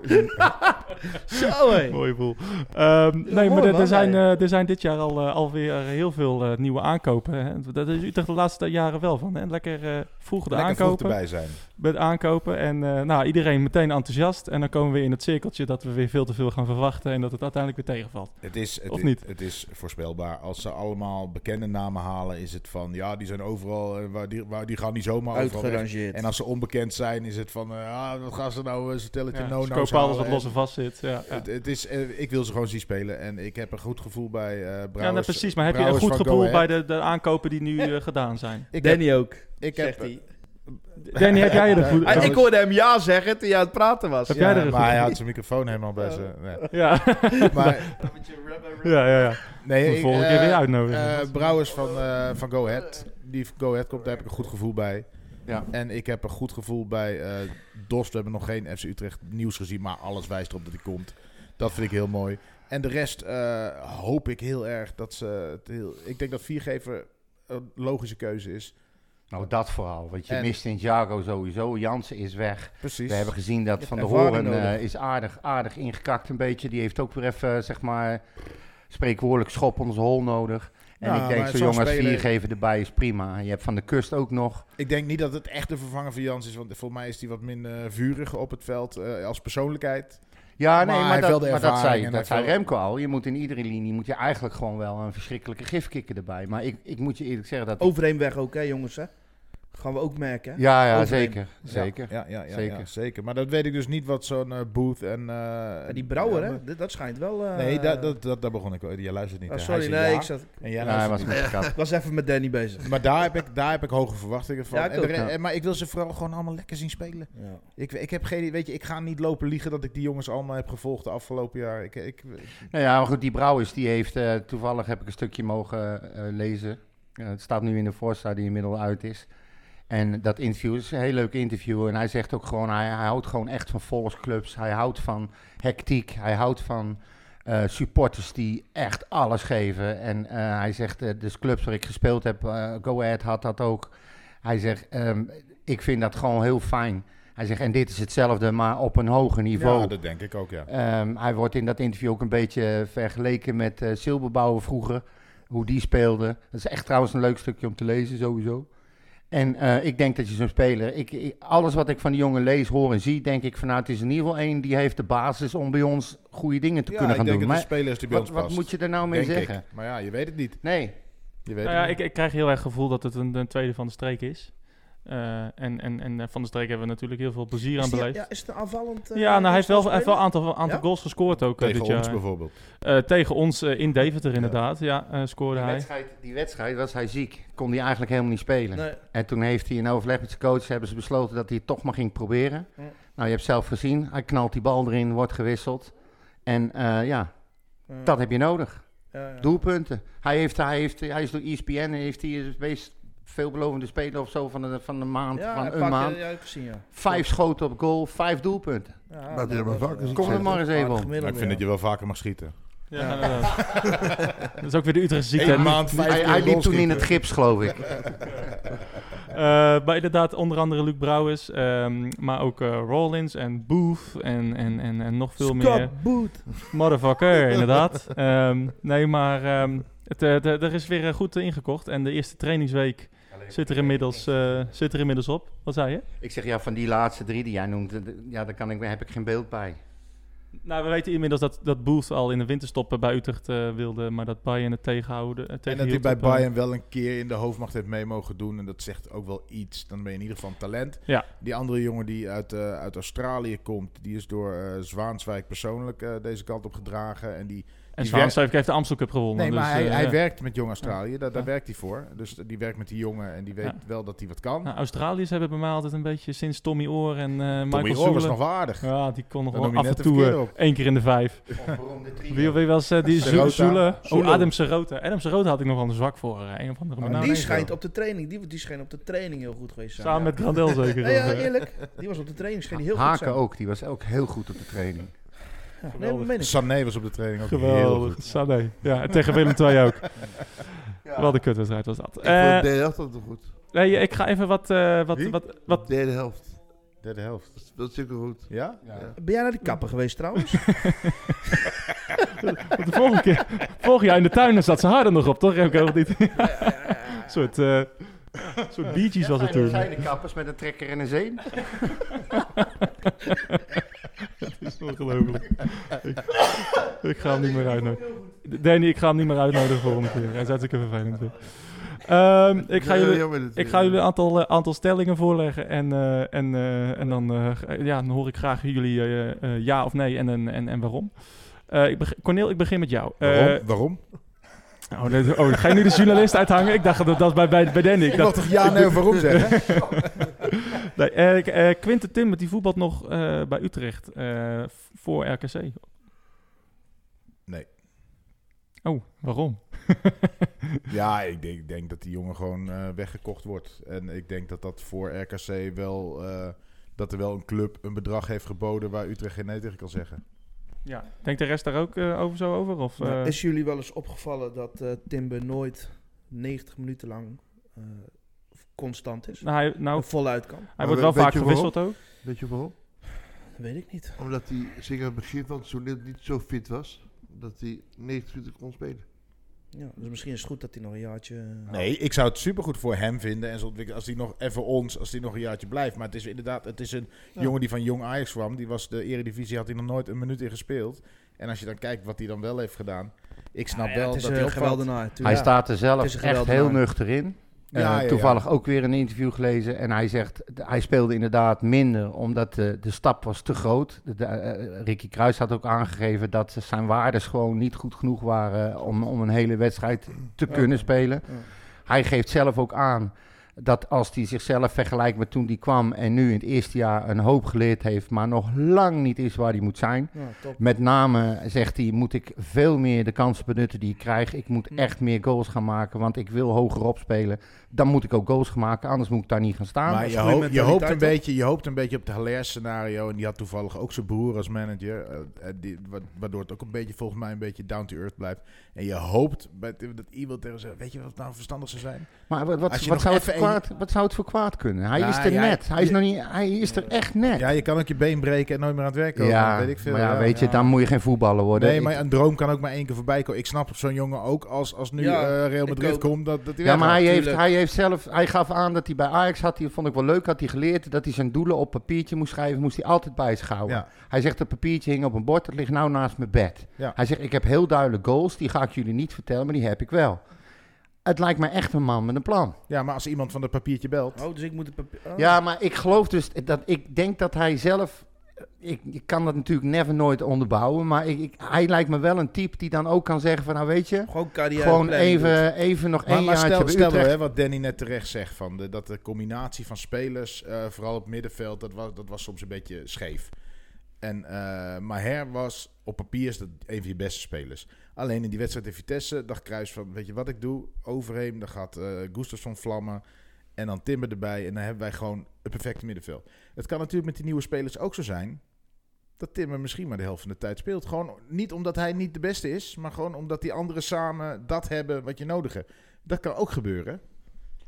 Speaker 2: Zo, hé.
Speaker 1: Mooi boel. Ehm, nee, maar
Speaker 2: mooi,
Speaker 1: er,
Speaker 2: man.
Speaker 1: er zijn, eh, er zijn dit jaar al, eh, alweer heel veel eh, nieuwe aankopen. Hè. Dat is Utrecht de laatste jaren wel van. Hè. Lekker eh, vroeg de
Speaker 3: Lekker vroeg
Speaker 1: aankopen.
Speaker 3: erbij zijn.
Speaker 1: met aankopen. En eh, nou, iedereen meteen enthousiast. En dan komen we in het cirkeltje dat we weer veel te veel gaan verwachten. En dat het uiteindelijk weer tegenvalt.
Speaker 3: Het is, het,
Speaker 1: Of
Speaker 3: i-
Speaker 1: niet?
Speaker 3: het is voorspelbaar. Als ze allemaal bekende namen halen, is het van ja, die zijn overal, eh, waar die, waar, die gaan niet zomaar overal. weg.
Speaker 2: Uitgerangeerd.
Speaker 3: En als ze onbekend zijn, is het van eh, ah, wat gaan ze nou, eh, ze tellen
Speaker 1: Ja,
Speaker 3: no
Speaker 1: ze kopen alles wat los en vast zit. Ja, ja.
Speaker 3: Het, het is, eh, ik wil ze gewoon zien spelen en ik heb een goed gevoel bij eh Brouwers.
Speaker 1: Ja, nou, precies. Maar heb je een
Speaker 3: Brouwers
Speaker 1: goed
Speaker 3: van
Speaker 1: gevoel
Speaker 3: Go
Speaker 1: bij
Speaker 3: Ahead.
Speaker 1: de, de aankopen die nu eh, gedaan zijn?
Speaker 3: Ik heb,
Speaker 2: Danny ook,
Speaker 3: ik heb,
Speaker 2: zegt hij.
Speaker 1: Danny, heb jij er
Speaker 3: Ja,
Speaker 1: goed...
Speaker 3: ja,
Speaker 2: Ah, ik hoorde hem ja zeggen toen jij aan het praten was.
Speaker 1: Heb
Speaker 3: ja,
Speaker 1: jij er een
Speaker 3: maar hij
Speaker 1: goed-
Speaker 3: houdt zijn microfoon helemaal bij zijn. nee.
Speaker 1: Ja,
Speaker 3: Maar
Speaker 1: ja, ja. ja.
Speaker 3: nee,
Speaker 1: Moet
Speaker 3: ik,
Speaker 1: volgende keer
Speaker 3: eh,
Speaker 1: weer uitnodigen.
Speaker 3: eh, Brouwers van, eh, van Go Ahead, die van Go Ahead komt, daar heb ik een goed gevoel bij.
Speaker 4: Ja.
Speaker 3: En ik heb een goed gevoel bij eh DOS. We hebben nog geen FC Utrecht nieuws gezien, maar alles wijst erop dat hij komt. Dat vind ik heel mooi. En de rest eh, hoop ik heel erg dat ze... Het heel, ik denk dat viergever een logische keuze is.
Speaker 4: Nou, dat vooral. Want je
Speaker 3: En-
Speaker 4: mist Santiago sowieso. Jansen is weg.
Speaker 3: Precies.
Speaker 4: We hebben gezien
Speaker 2: Je
Speaker 4: dat Van der
Speaker 2: hebt ervaring
Speaker 4: Hoorn eh,
Speaker 2: nodig.
Speaker 4: is aardig, aardig ingekakt een beetje. Die heeft ook weer even, eh, zeg maar, spreekwoordelijk schop onder zijn hol nodig. En
Speaker 3: Ja,
Speaker 4: ik denk,
Speaker 3: Nou, maar
Speaker 4: zo
Speaker 3: zo'n
Speaker 4: jong als
Speaker 3: speler-
Speaker 4: viergever erbij is prima. Je hebt Van de Kust ook nog.
Speaker 3: Ik denk niet dat het echt de vervanger van Jans is. Want voor mij is hij wat minder vurig op het veld eh, als persoonlijkheid.
Speaker 4: Ja,
Speaker 3: Maar
Speaker 4: nee,
Speaker 3: hij
Speaker 4: maar,
Speaker 3: heeft wel
Speaker 4: dat,
Speaker 3: de
Speaker 4: maar dat
Speaker 3: ervaring
Speaker 4: zei,
Speaker 3: en
Speaker 4: dat
Speaker 3: hij
Speaker 4: zei
Speaker 3: heeft wel-
Speaker 4: Remco al. Je moet in iedere linie moet je eigenlijk gewoon wel een verschrikkelijke gifkikker erbij. Maar ik, ik moet je eerlijk zeggen dat...
Speaker 2: Overheen weg ook, hè, jongens, hè? Gaan we ook merken. hè?
Speaker 4: ja, ja,
Speaker 2: overheen.
Speaker 4: zeker. Zeker.
Speaker 3: Ja, ja, ja, ja,
Speaker 4: Zeker.
Speaker 3: zeker. zeker. Maar dat weet ik dus niet wat zo'n eh, Booth en... eh,
Speaker 2: Ja, Ah, die Brouwer,
Speaker 3: ja,
Speaker 2: hè? Dat, dat schijnt wel... eh,
Speaker 3: Nee, dat, dat, dat, daar begon ik. al. Jij luistert niet.
Speaker 2: Ah,
Speaker 3: hè?
Speaker 2: sorry,
Speaker 3: Hij zei
Speaker 2: nee,
Speaker 3: ja.
Speaker 2: ik, zat,
Speaker 3: En
Speaker 4: Ja,
Speaker 3: jij luistert
Speaker 4: hij
Speaker 3: niet.
Speaker 4: was met de kat.
Speaker 2: ik was even met Danny bezig.
Speaker 3: Maar daar heb, ik, daar heb ik hoge verwachtingen van.
Speaker 2: Ja, ik
Speaker 3: En de
Speaker 2: ook,
Speaker 3: re-
Speaker 4: ja.
Speaker 3: en- maar ik wil ze vooral gewoon allemaal lekker zien spelen.
Speaker 2: Ja.
Speaker 3: Ik, ik heb geen, weet je, ik ga niet lopen liegen dat ik die jongens allemaal heb gevolgd de afgelopen jaar. Ik, ik,
Speaker 4: Nou ja, maar goed, die Brouwers, die heeft, eh, toevallig heb ik een stukje mogen eh, lezen. Eh, het staat nu in de Forza die inmiddels uit is. En dat interview is een heel leuk interview. En hij zegt ook gewoon, hij, hij houdt gewoon echt van volksclubs. Hij houdt van hectiek. Hij houdt van eh, supporters die echt alles geven. En eh, hij zegt, eh, dus clubs waar ik gespeeld heb, eh, Go Ahead had dat ook. Hij zegt, ehm, ik vind dat gewoon heel fijn. Hij zegt, en dit is hetzelfde, maar op een hoger niveau.
Speaker 3: Ja, dat denk ik ook, ja.
Speaker 4: Ehm, hij wordt in dat interview ook een beetje vergeleken met eh Silberbouwer vroeger. Hoe die speelde. Dat is echt trouwens een leuk stukje om te lezen, sowieso. En eh, ik denk dat je zo'n speler... Ik, ik- alles wat ik van die jongen lees, hoor en zie, denk ik vanuit... is in ieder geval één die heeft de basis om bij ons goede dingen te
Speaker 3: ja,
Speaker 4: kunnen
Speaker 3: ik
Speaker 4: gaan
Speaker 3: denk
Speaker 4: doen.
Speaker 3: dat
Speaker 4: Maar
Speaker 3: de spelers die bij
Speaker 4: wat,
Speaker 3: ons
Speaker 4: wat
Speaker 3: past.
Speaker 4: moet je er nou mee
Speaker 3: Denk ik.
Speaker 4: zeggen?
Speaker 3: Maar ja, je weet het niet.
Speaker 4: Nee,
Speaker 3: Je weet
Speaker 1: Nou ja,
Speaker 3: het
Speaker 1: ik,
Speaker 3: niet.
Speaker 1: ik krijg heel erg het gevoel dat het een, een tweede van de streek is. Eh, en, en, en eh, van de streek hebben we natuurlijk heel veel plezier
Speaker 2: Is,
Speaker 1: aan
Speaker 2: die-
Speaker 1: beleefd. Ja,
Speaker 2: ja, is het een aanvallend... eh,
Speaker 1: nou, hij heeft wel een
Speaker 2: speler?
Speaker 1: aantal, aantal
Speaker 2: Ja?
Speaker 1: goals gescoord ook eh,
Speaker 3: Tegen
Speaker 1: dit
Speaker 3: ons
Speaker 1: jaar.
Speaker 3: bijvoorbeeld.
Speaker 1: Eh, tegen ons eh, in Deventer inderdaad, ja, eh, scoorde
Speaker 4: die
Speaker 1: hij.
Speaker 4: wedstrijd, die wedstrijd was hij ziek. Kon hij eigenlijk helemaal niet spelen.
Speaker 2: Nee.
Speaker 4: En toen heeft hij in overleg met zijn coach hebben ze besloten dat hij het toch maar ging proberen.
Speaker 2: Ja.
Speaker 4: Nou, je hebt zelf gezien, hij knalt die bal erin, wordt gewisseld. En eh, ja,
Speaker 2: Ja,
Speaker 4: dat heb je nodig.
Speaker 2: ja, ja.
Speaker 4: Doelpunten. Hij, heeft, hij, heeft, hij is door E ESPN heeft hij de meest veelbelovende speler of zo van de, van de maand,
Speaker 2: Ja,
Speaker 4: van
Speaker 2: een
Speaker 4: een
Speaker 2: paar keer-
Speaker 4: maand.
Speaker 2: Ja, ik heb gezien, ja. nou,
Speaker 4: Vijf schoten op goal, vijf doelpunten.
Speaker 2: Ja,
Speaker 5: Maar dit hebben we vaker gezien.
Speaker 4: Kom er maar eens even op.
Speaker 3: Maar ik vind dat je wel vaker mag schieten.
Speaker 1: Ja, inderdaad. dat is ook weer de Utrechtse ziekte.
Speaker 3: Eén
Speaker 1: hè.
Speaker 3: maand, vijf
Speaker 4: Hij,
Speaker 3: keer
Speaker 4: hij liep
Speaker 3: goal
Speaker 4: toen in het
Speaker 3: schieten.
Speaker 4: gips, geloof ik.
Speaker 1: Eh, maar inderdaad, onder andere Luc Brouwers, ehm, maar ook eh Rollins en Booth en, en, en, en nog veel meer.
Speaker 2: Scott Boot.
Speaker 1: Motherfucker, inderdaad. Ehm, nee, maar ehm, het, eh, de- er is weer eh, goed ingekocht en de eerste trainingsweek zit er inmiddels, eh, zit er inmiddels op. Wat zei je?
Speaker 4: Ik zeg, ja, van die laatste drie die jij noemt, eh, d- ja, daar kan ik, heb ik geen beeld bij.
Speaker 1: Nou, we weten inmiddels dat, dat Booth al in de winterstop eh, bij Utrecht eh, wilde, maar dat Bayern het tegenhouden. eh,
Speaker 3: En dat hij
Speaker 1: tegenhield
Speaker 3: bij
Speaker 1: op, eh,
Speaker 3: Bayern wel een keer in de hoofdmacht heeft mee mogen doen. En dat zegt ook wel iets. Dan ben je in ieder geval een talent.
Speaker 1: Ja.
Speaker 3: Die andere jongen die uit, eh, uit Australië komt, die is door eh, Zwaanswijk persoonlijk eh, deze kant op gedragen. En die,
Speaker 1: En
Speaker 3: die
Speaker 1: Zwaanswijk heeft de Amstel Cup gewonnen.
Speaker 3: nee, maar
Speaker 1: dus,
Speaker 3: hij,
Speaker 1: eh,
Speaker 3: hij
Speaker 1: ja.
Speaker 3: werkt met Jong Australië. Daar, daar
Speaker 1: Ja.
Speaker 3: werkt hij voor. Dus die werkt met die jongen en die weet
Speaker 1: Ja.
Speaker 3: wel dat hij wat kan.
Speaker 1: Nou, Australiërs hebben bij mij altijd een beetje sinds Tommy Oor en eh
Speaker 3: Tommy
Speaker 1: Michael
Speaker 3: Rohr was
Speaker 1: Zoelen-
Speaker 3: nog waardig.
Speaker 1: Ja, die kon nog
Speaker 3: Dan
Speaker 1: wel
Speaker 3: noem je
Speaker 1: af
Speaker 3: net
Speaker 1: en toe
Speaker 3: de
Speaker 1: eh,
Speaker 3: verkeerde op.
Speaker 1: één keer in de vijf. Wie, wie was eh, die
Speaker 3: Serota.
Speaker 1: Zo- Zoele? Oh,
Speaker 3: Zoele.
Speaker 1: Adam Serota. Adam Serota had ik nog wel een zwak voor. eh, een of andere
Speaker 3: Oh,
Speaker 1: manier.
Speaker 2: Nou, die
Speaker 3: nee,
Speaker 2: schijnt
Speaker 3: zo.
Speaker 2: op de training, die, die schijnt op de training heel goed geweest te zijn.
Speaker 1: Samen
Speaker 2: ja.
Speaker 1: met Grandel zeker.
Speaker 2: Nee, ja,
Speaker 1: of, eh,
Speaker 2: eerlijk. Die was op de training, scheen die heel goed
Speaker 4: Haken
Speaker 2: zijn.
Speaker 4: ook, die was ook heel goed op de training.
Speaker 2: Ja, nee, maar meen ik.
Speaker 3: Sané was op de training ook heel
Speaker 1: eh, Geweldig.
Speaker 3: goed.
Speaker 1: Sané. Ja, en tegen Willem II ook. Wat een kutwedstrijd was dat.
Speaker 5: Ik
Speaker 1: Eh,
Speaker 5: vond de derde helft altijd goed.
Speaker 1: nee, ik ga even wat, eh, wat,
Speaker 3: Wie?
Speaker 1: wat, wat...
Speaker 5: Derde helft.
Speaker 3: Derde helft.
Speaker 5: Dat speelt zeker goed.
Speaker 3: Ja?
Speaker 2: Ben jij naar de kapper geweest trouwens?
Speaker 1: want de vorige keer, vorig jaar in de tuin, daar zat ze harder nog op, toch? Remco, of niet? Een soort, eh soort Bee Gees was het
Speaker 4: zijn,
Speaker 1: toen.
Speaker 4: zijn de kappers met een trekker en een zeen?
Speaker 1: Dat is ongelooflijk. ik, ik ga hem niet meer uitnodigen. Danny, ik ga hem niet meer uitnodigen de volgende keer. Hij is hartstikke vervelend. weer. Ehm, ik, ga
Speaker 5: Ja,
Speaker 1: jullie,
Speaker 5: jammer dit
Speaker 1: ik
Speaker 5: weer.
Speaker 1: ga jullie een aantal, eh, aantal stellingen voorleggen. En, eh, en, eh, en dan, eh, g- ja, dan hoor ik graag jullie eh, eh, ja of nee en, en, en, en waarom. Eh, ik beg- Cornel, ik begin met jou. Eh,
Speaker 3: Waarom? Waarom?
Speaker 1: oh, dit- oh, ga je nu de journalist uithangen? Ik dacht dat dat bij, bij, bij Danny. Ik
Speaker 3: Ik
Speaker 1: dacht,
Speaker 3: mag toch ja, nee, waarom zeggen?
Speaker 1: nee, eh, eh, Quinten Timmer, die voetbalt nog eh, bij Utrecht eh, v- voor RKC.
Speaker 3: Nee.
Speaker 1: Oh, waarom?
Speaker 3: Ja, ik denk, ik denk dat die jongen gewoon eh, weggekocht wordt. En ik denk dat dat voor RKC wel... eh, dat er wel een club een bedrag heeft geboden waar Utrecht geen nee tegen kan zeggen.
Speaker 1: Ja. Denkt de rest daar ook eh, over zo over? Of, eh,
Speaker 2: Maar Is jullie wel eens opgevallen dat eh, Timber nooit 90 minuten lang eh, constant is?
Speaker 1: nou, hij, nou,
Speaker 2: En voluit kan?
Speaker 1: hij
Speaker 5: Maar
Speaker 1: wordt
Speaker 5: we-
Speaker 1: wel
Speaker 5: weet
Speaker 1: vaak
Speaker 5: je waarom?
Speaker 1: gewisseld ook.
Speaker 5: Weet je waarom?
Speaker 2: Dat weet ik niet.
Speaker 5: Omdat hij zeker aan het begin van het seizoen niet zo fit was. Dat hij 90 minuten kon spelen.
Speaker 2: Ja, dus misschien is het goed dat hij nog een jaartje... eh,
Speaker 3: Nee, Nou, ik zou het supergoed voor hem vinden. En zijn ontwikkeling- als hij nog even ons, als hij nog een jaartje blijft. Maar het is inderdaad, het is een
Speaker 5: Ja.
Speaker 3: jongen die van jong Ajax kwam. Die was de eredivisie, had hij nog nooit een minuut in gespeeld. En als je dan kijkt wat hij dan wel heeft gedaan. Ik snap
Speaker 2: Ja,
Speaker 3: wel
Speaker 2: het is eh,
Speaker 3: dat
Speaker 2: een
Speaker 3: hij opvalt.
Speaker 2: geweldenaar.
Speaker 4: Hij
Speaker 2: tuurlijk.
Speaker 4: staat er
Speaker 2: Het
Speaker 4: zelf
Speaker 2: is een
Speaker 4: echt
Speaker 2: geweldenaar.
Speaker 4: heel nuchter in. Eh,
Speaker 3: Ja, ja, ja.
Speaker 4: toevallig ook weer een interview gelezen. En hij zegt, d- hij speelde inderdaad minder omdat de, de stap was te groot. De, de, eh, Ricky Kruis had ook aangegeven dat ze- zijn waardes gewoon niet goed genoeg waren om, om een hele wedstrijd te kunnen spelen.
Speaker 2: Ja.
Speaker 4: Hij geeft zelf ook aan Dat als die zichzelf vergelijkt met toen die kwam en nu in het eerste jaar een hoop geleerd heeft, maar nog lang niet is waar hij moet zijn.
Speaker 2: Ja, top.
Speaker 4: Met name zegt hij, moet ik veel meer de kansen benutten die ik krijg. Ik moet
Speaker 2: Mm.
Speaker 4: echt meer goals gaan maken, want ik wil hoger opspelen. Dan moet ik ook goals gaan maken, anders moet ik daar niet gaan staan.
Speaker 3: maar je,
Speaker 2: goede
Speaker 3: hoop- je, hoopt een
Speaker 2: mentaliteit, toch?
Speaker 3: beetje, je hoopt een beetje op het Haller scenario. En die had toevallig ook zijn broer als manager. eh, eh, die, wa- waardoor het ook een beetje, volgens mij, een beetje down to earth blijft. En je hoopt bij, dat iemand tegen zegt, weet je wat nou verstandig zou zijn?
Speaker 4: Maar wat,
Speaker 3: Als
Speaker 4: wat,
Speaker 3: je
Speaker 4: wat
Speaker 3: nog
Speaker 4: zou het
Speaker 3: even
Speaker 4: voor kwaad, wat zou het voor kwaad kunnen? Hij
Speaker 3: Nou,
Speaker 4: is er
Speaker 3: ja,
Speaker 4: net. Hij is,
Speaker 3: je-
Speaker 4: nog niet, hij is er echt net.
Speaker 3: Ja, je kan ook je been breken en nooit meer aan het werk komen.
Speaker 4: Ja,
Speaker 3: weet ik veel.
Speaker 4: maar ja,
Speaker 3: Ja,
Speaker 4: weet je,
Speaker 3: ja.
Speaker 4: dan moet je geen voetballer worden.
Speaker 3: Nee,
Speaker 4: Ik-
Speaker 3: maar een droom kan ook maar één keer voorbij komen. Ik snap zo'n jongen ook als, als nu
Speaker 2: Ja,
Speaker 3: eh, Real
Speaker 2: ik
Speaker 3: Madrid
Speaker 2: ook.
Speaker 3: komt. Dat, dat hij
Speaker 4: ja, maar
Speaker 3: weggaat.
Speaker 4: hij heeft,
Speaker 2: tuurlijk.
Speaker 4: hij heeft zelf, hij gaf aan dat hij bij Ajax had, die vond ik wel leuk, had hij geleerd dat hij zijn doelen op papiertje moest schrijven, moest hij altijd bij zich houden.
Speaker 3: Ja.
Speaker 4: Hij zegt, dat papiertje hing op een bord, dat ligt nou naast mijn bed.
Speaker 3: Ja.
Speaker 4: Hij zegt, ik heb heel duidelijk goals, die ga ik jullie niet vertellen, maar die heb ik wel. Het lijkt mij echt een man met een plan.
Speaker 3: ja, maar als iemand van dat papiertje belt.
Speaker 2: Oh, dus ik moet het papier... oh.
Speaker 4: Ja, maar ik geloof dus dat ik denk dat hij zelf. Ik, ik kan dat natuurlijk never nooit onderbouwen. Maar ik, ik- hij lijkt me wel een type die dan ook kan zeggen: van nou weet je,
Speaker 2: Gewoon carrière
Speaker 4: gewoon
Speaker 2: planning doen.
Speaker 4: even, even nog
Speaker 3: eh, Maar,
Speaker 4: één
Speaker 3: maar
Speaker 4: jaar.
Speaker 3: stel,
Speaker 4: bij
Speaker 3: stel
Speaker 4: Utrecht.
Speaker 3: hè, wat Danny net terecht zegt, van de, dat de combinatie van spelers, eh, vooral op middenveld, dat was, dat was soms een beetje scheef. En eh Maher was op papier is dat een van je beste spelers. Alleen in die wedstrijd in Vitesse dacht Kruis van, weet je wat ik doe? Overheem, dan gaat eh Gustafsson vlammen en dan Timber erbij. En dan hebben wij gewoon het perfecte middenveld. Het kan natuurlijk met die nieuwe spelers ook zo zijn dat Timmer misschien maar de helft van de tijd speelt. Gewoon niet omdat hij niet de beste is, maar gewoon omdat die anderen samen dat hebben wat je nodig hebt. Dat kan ook gebeuren.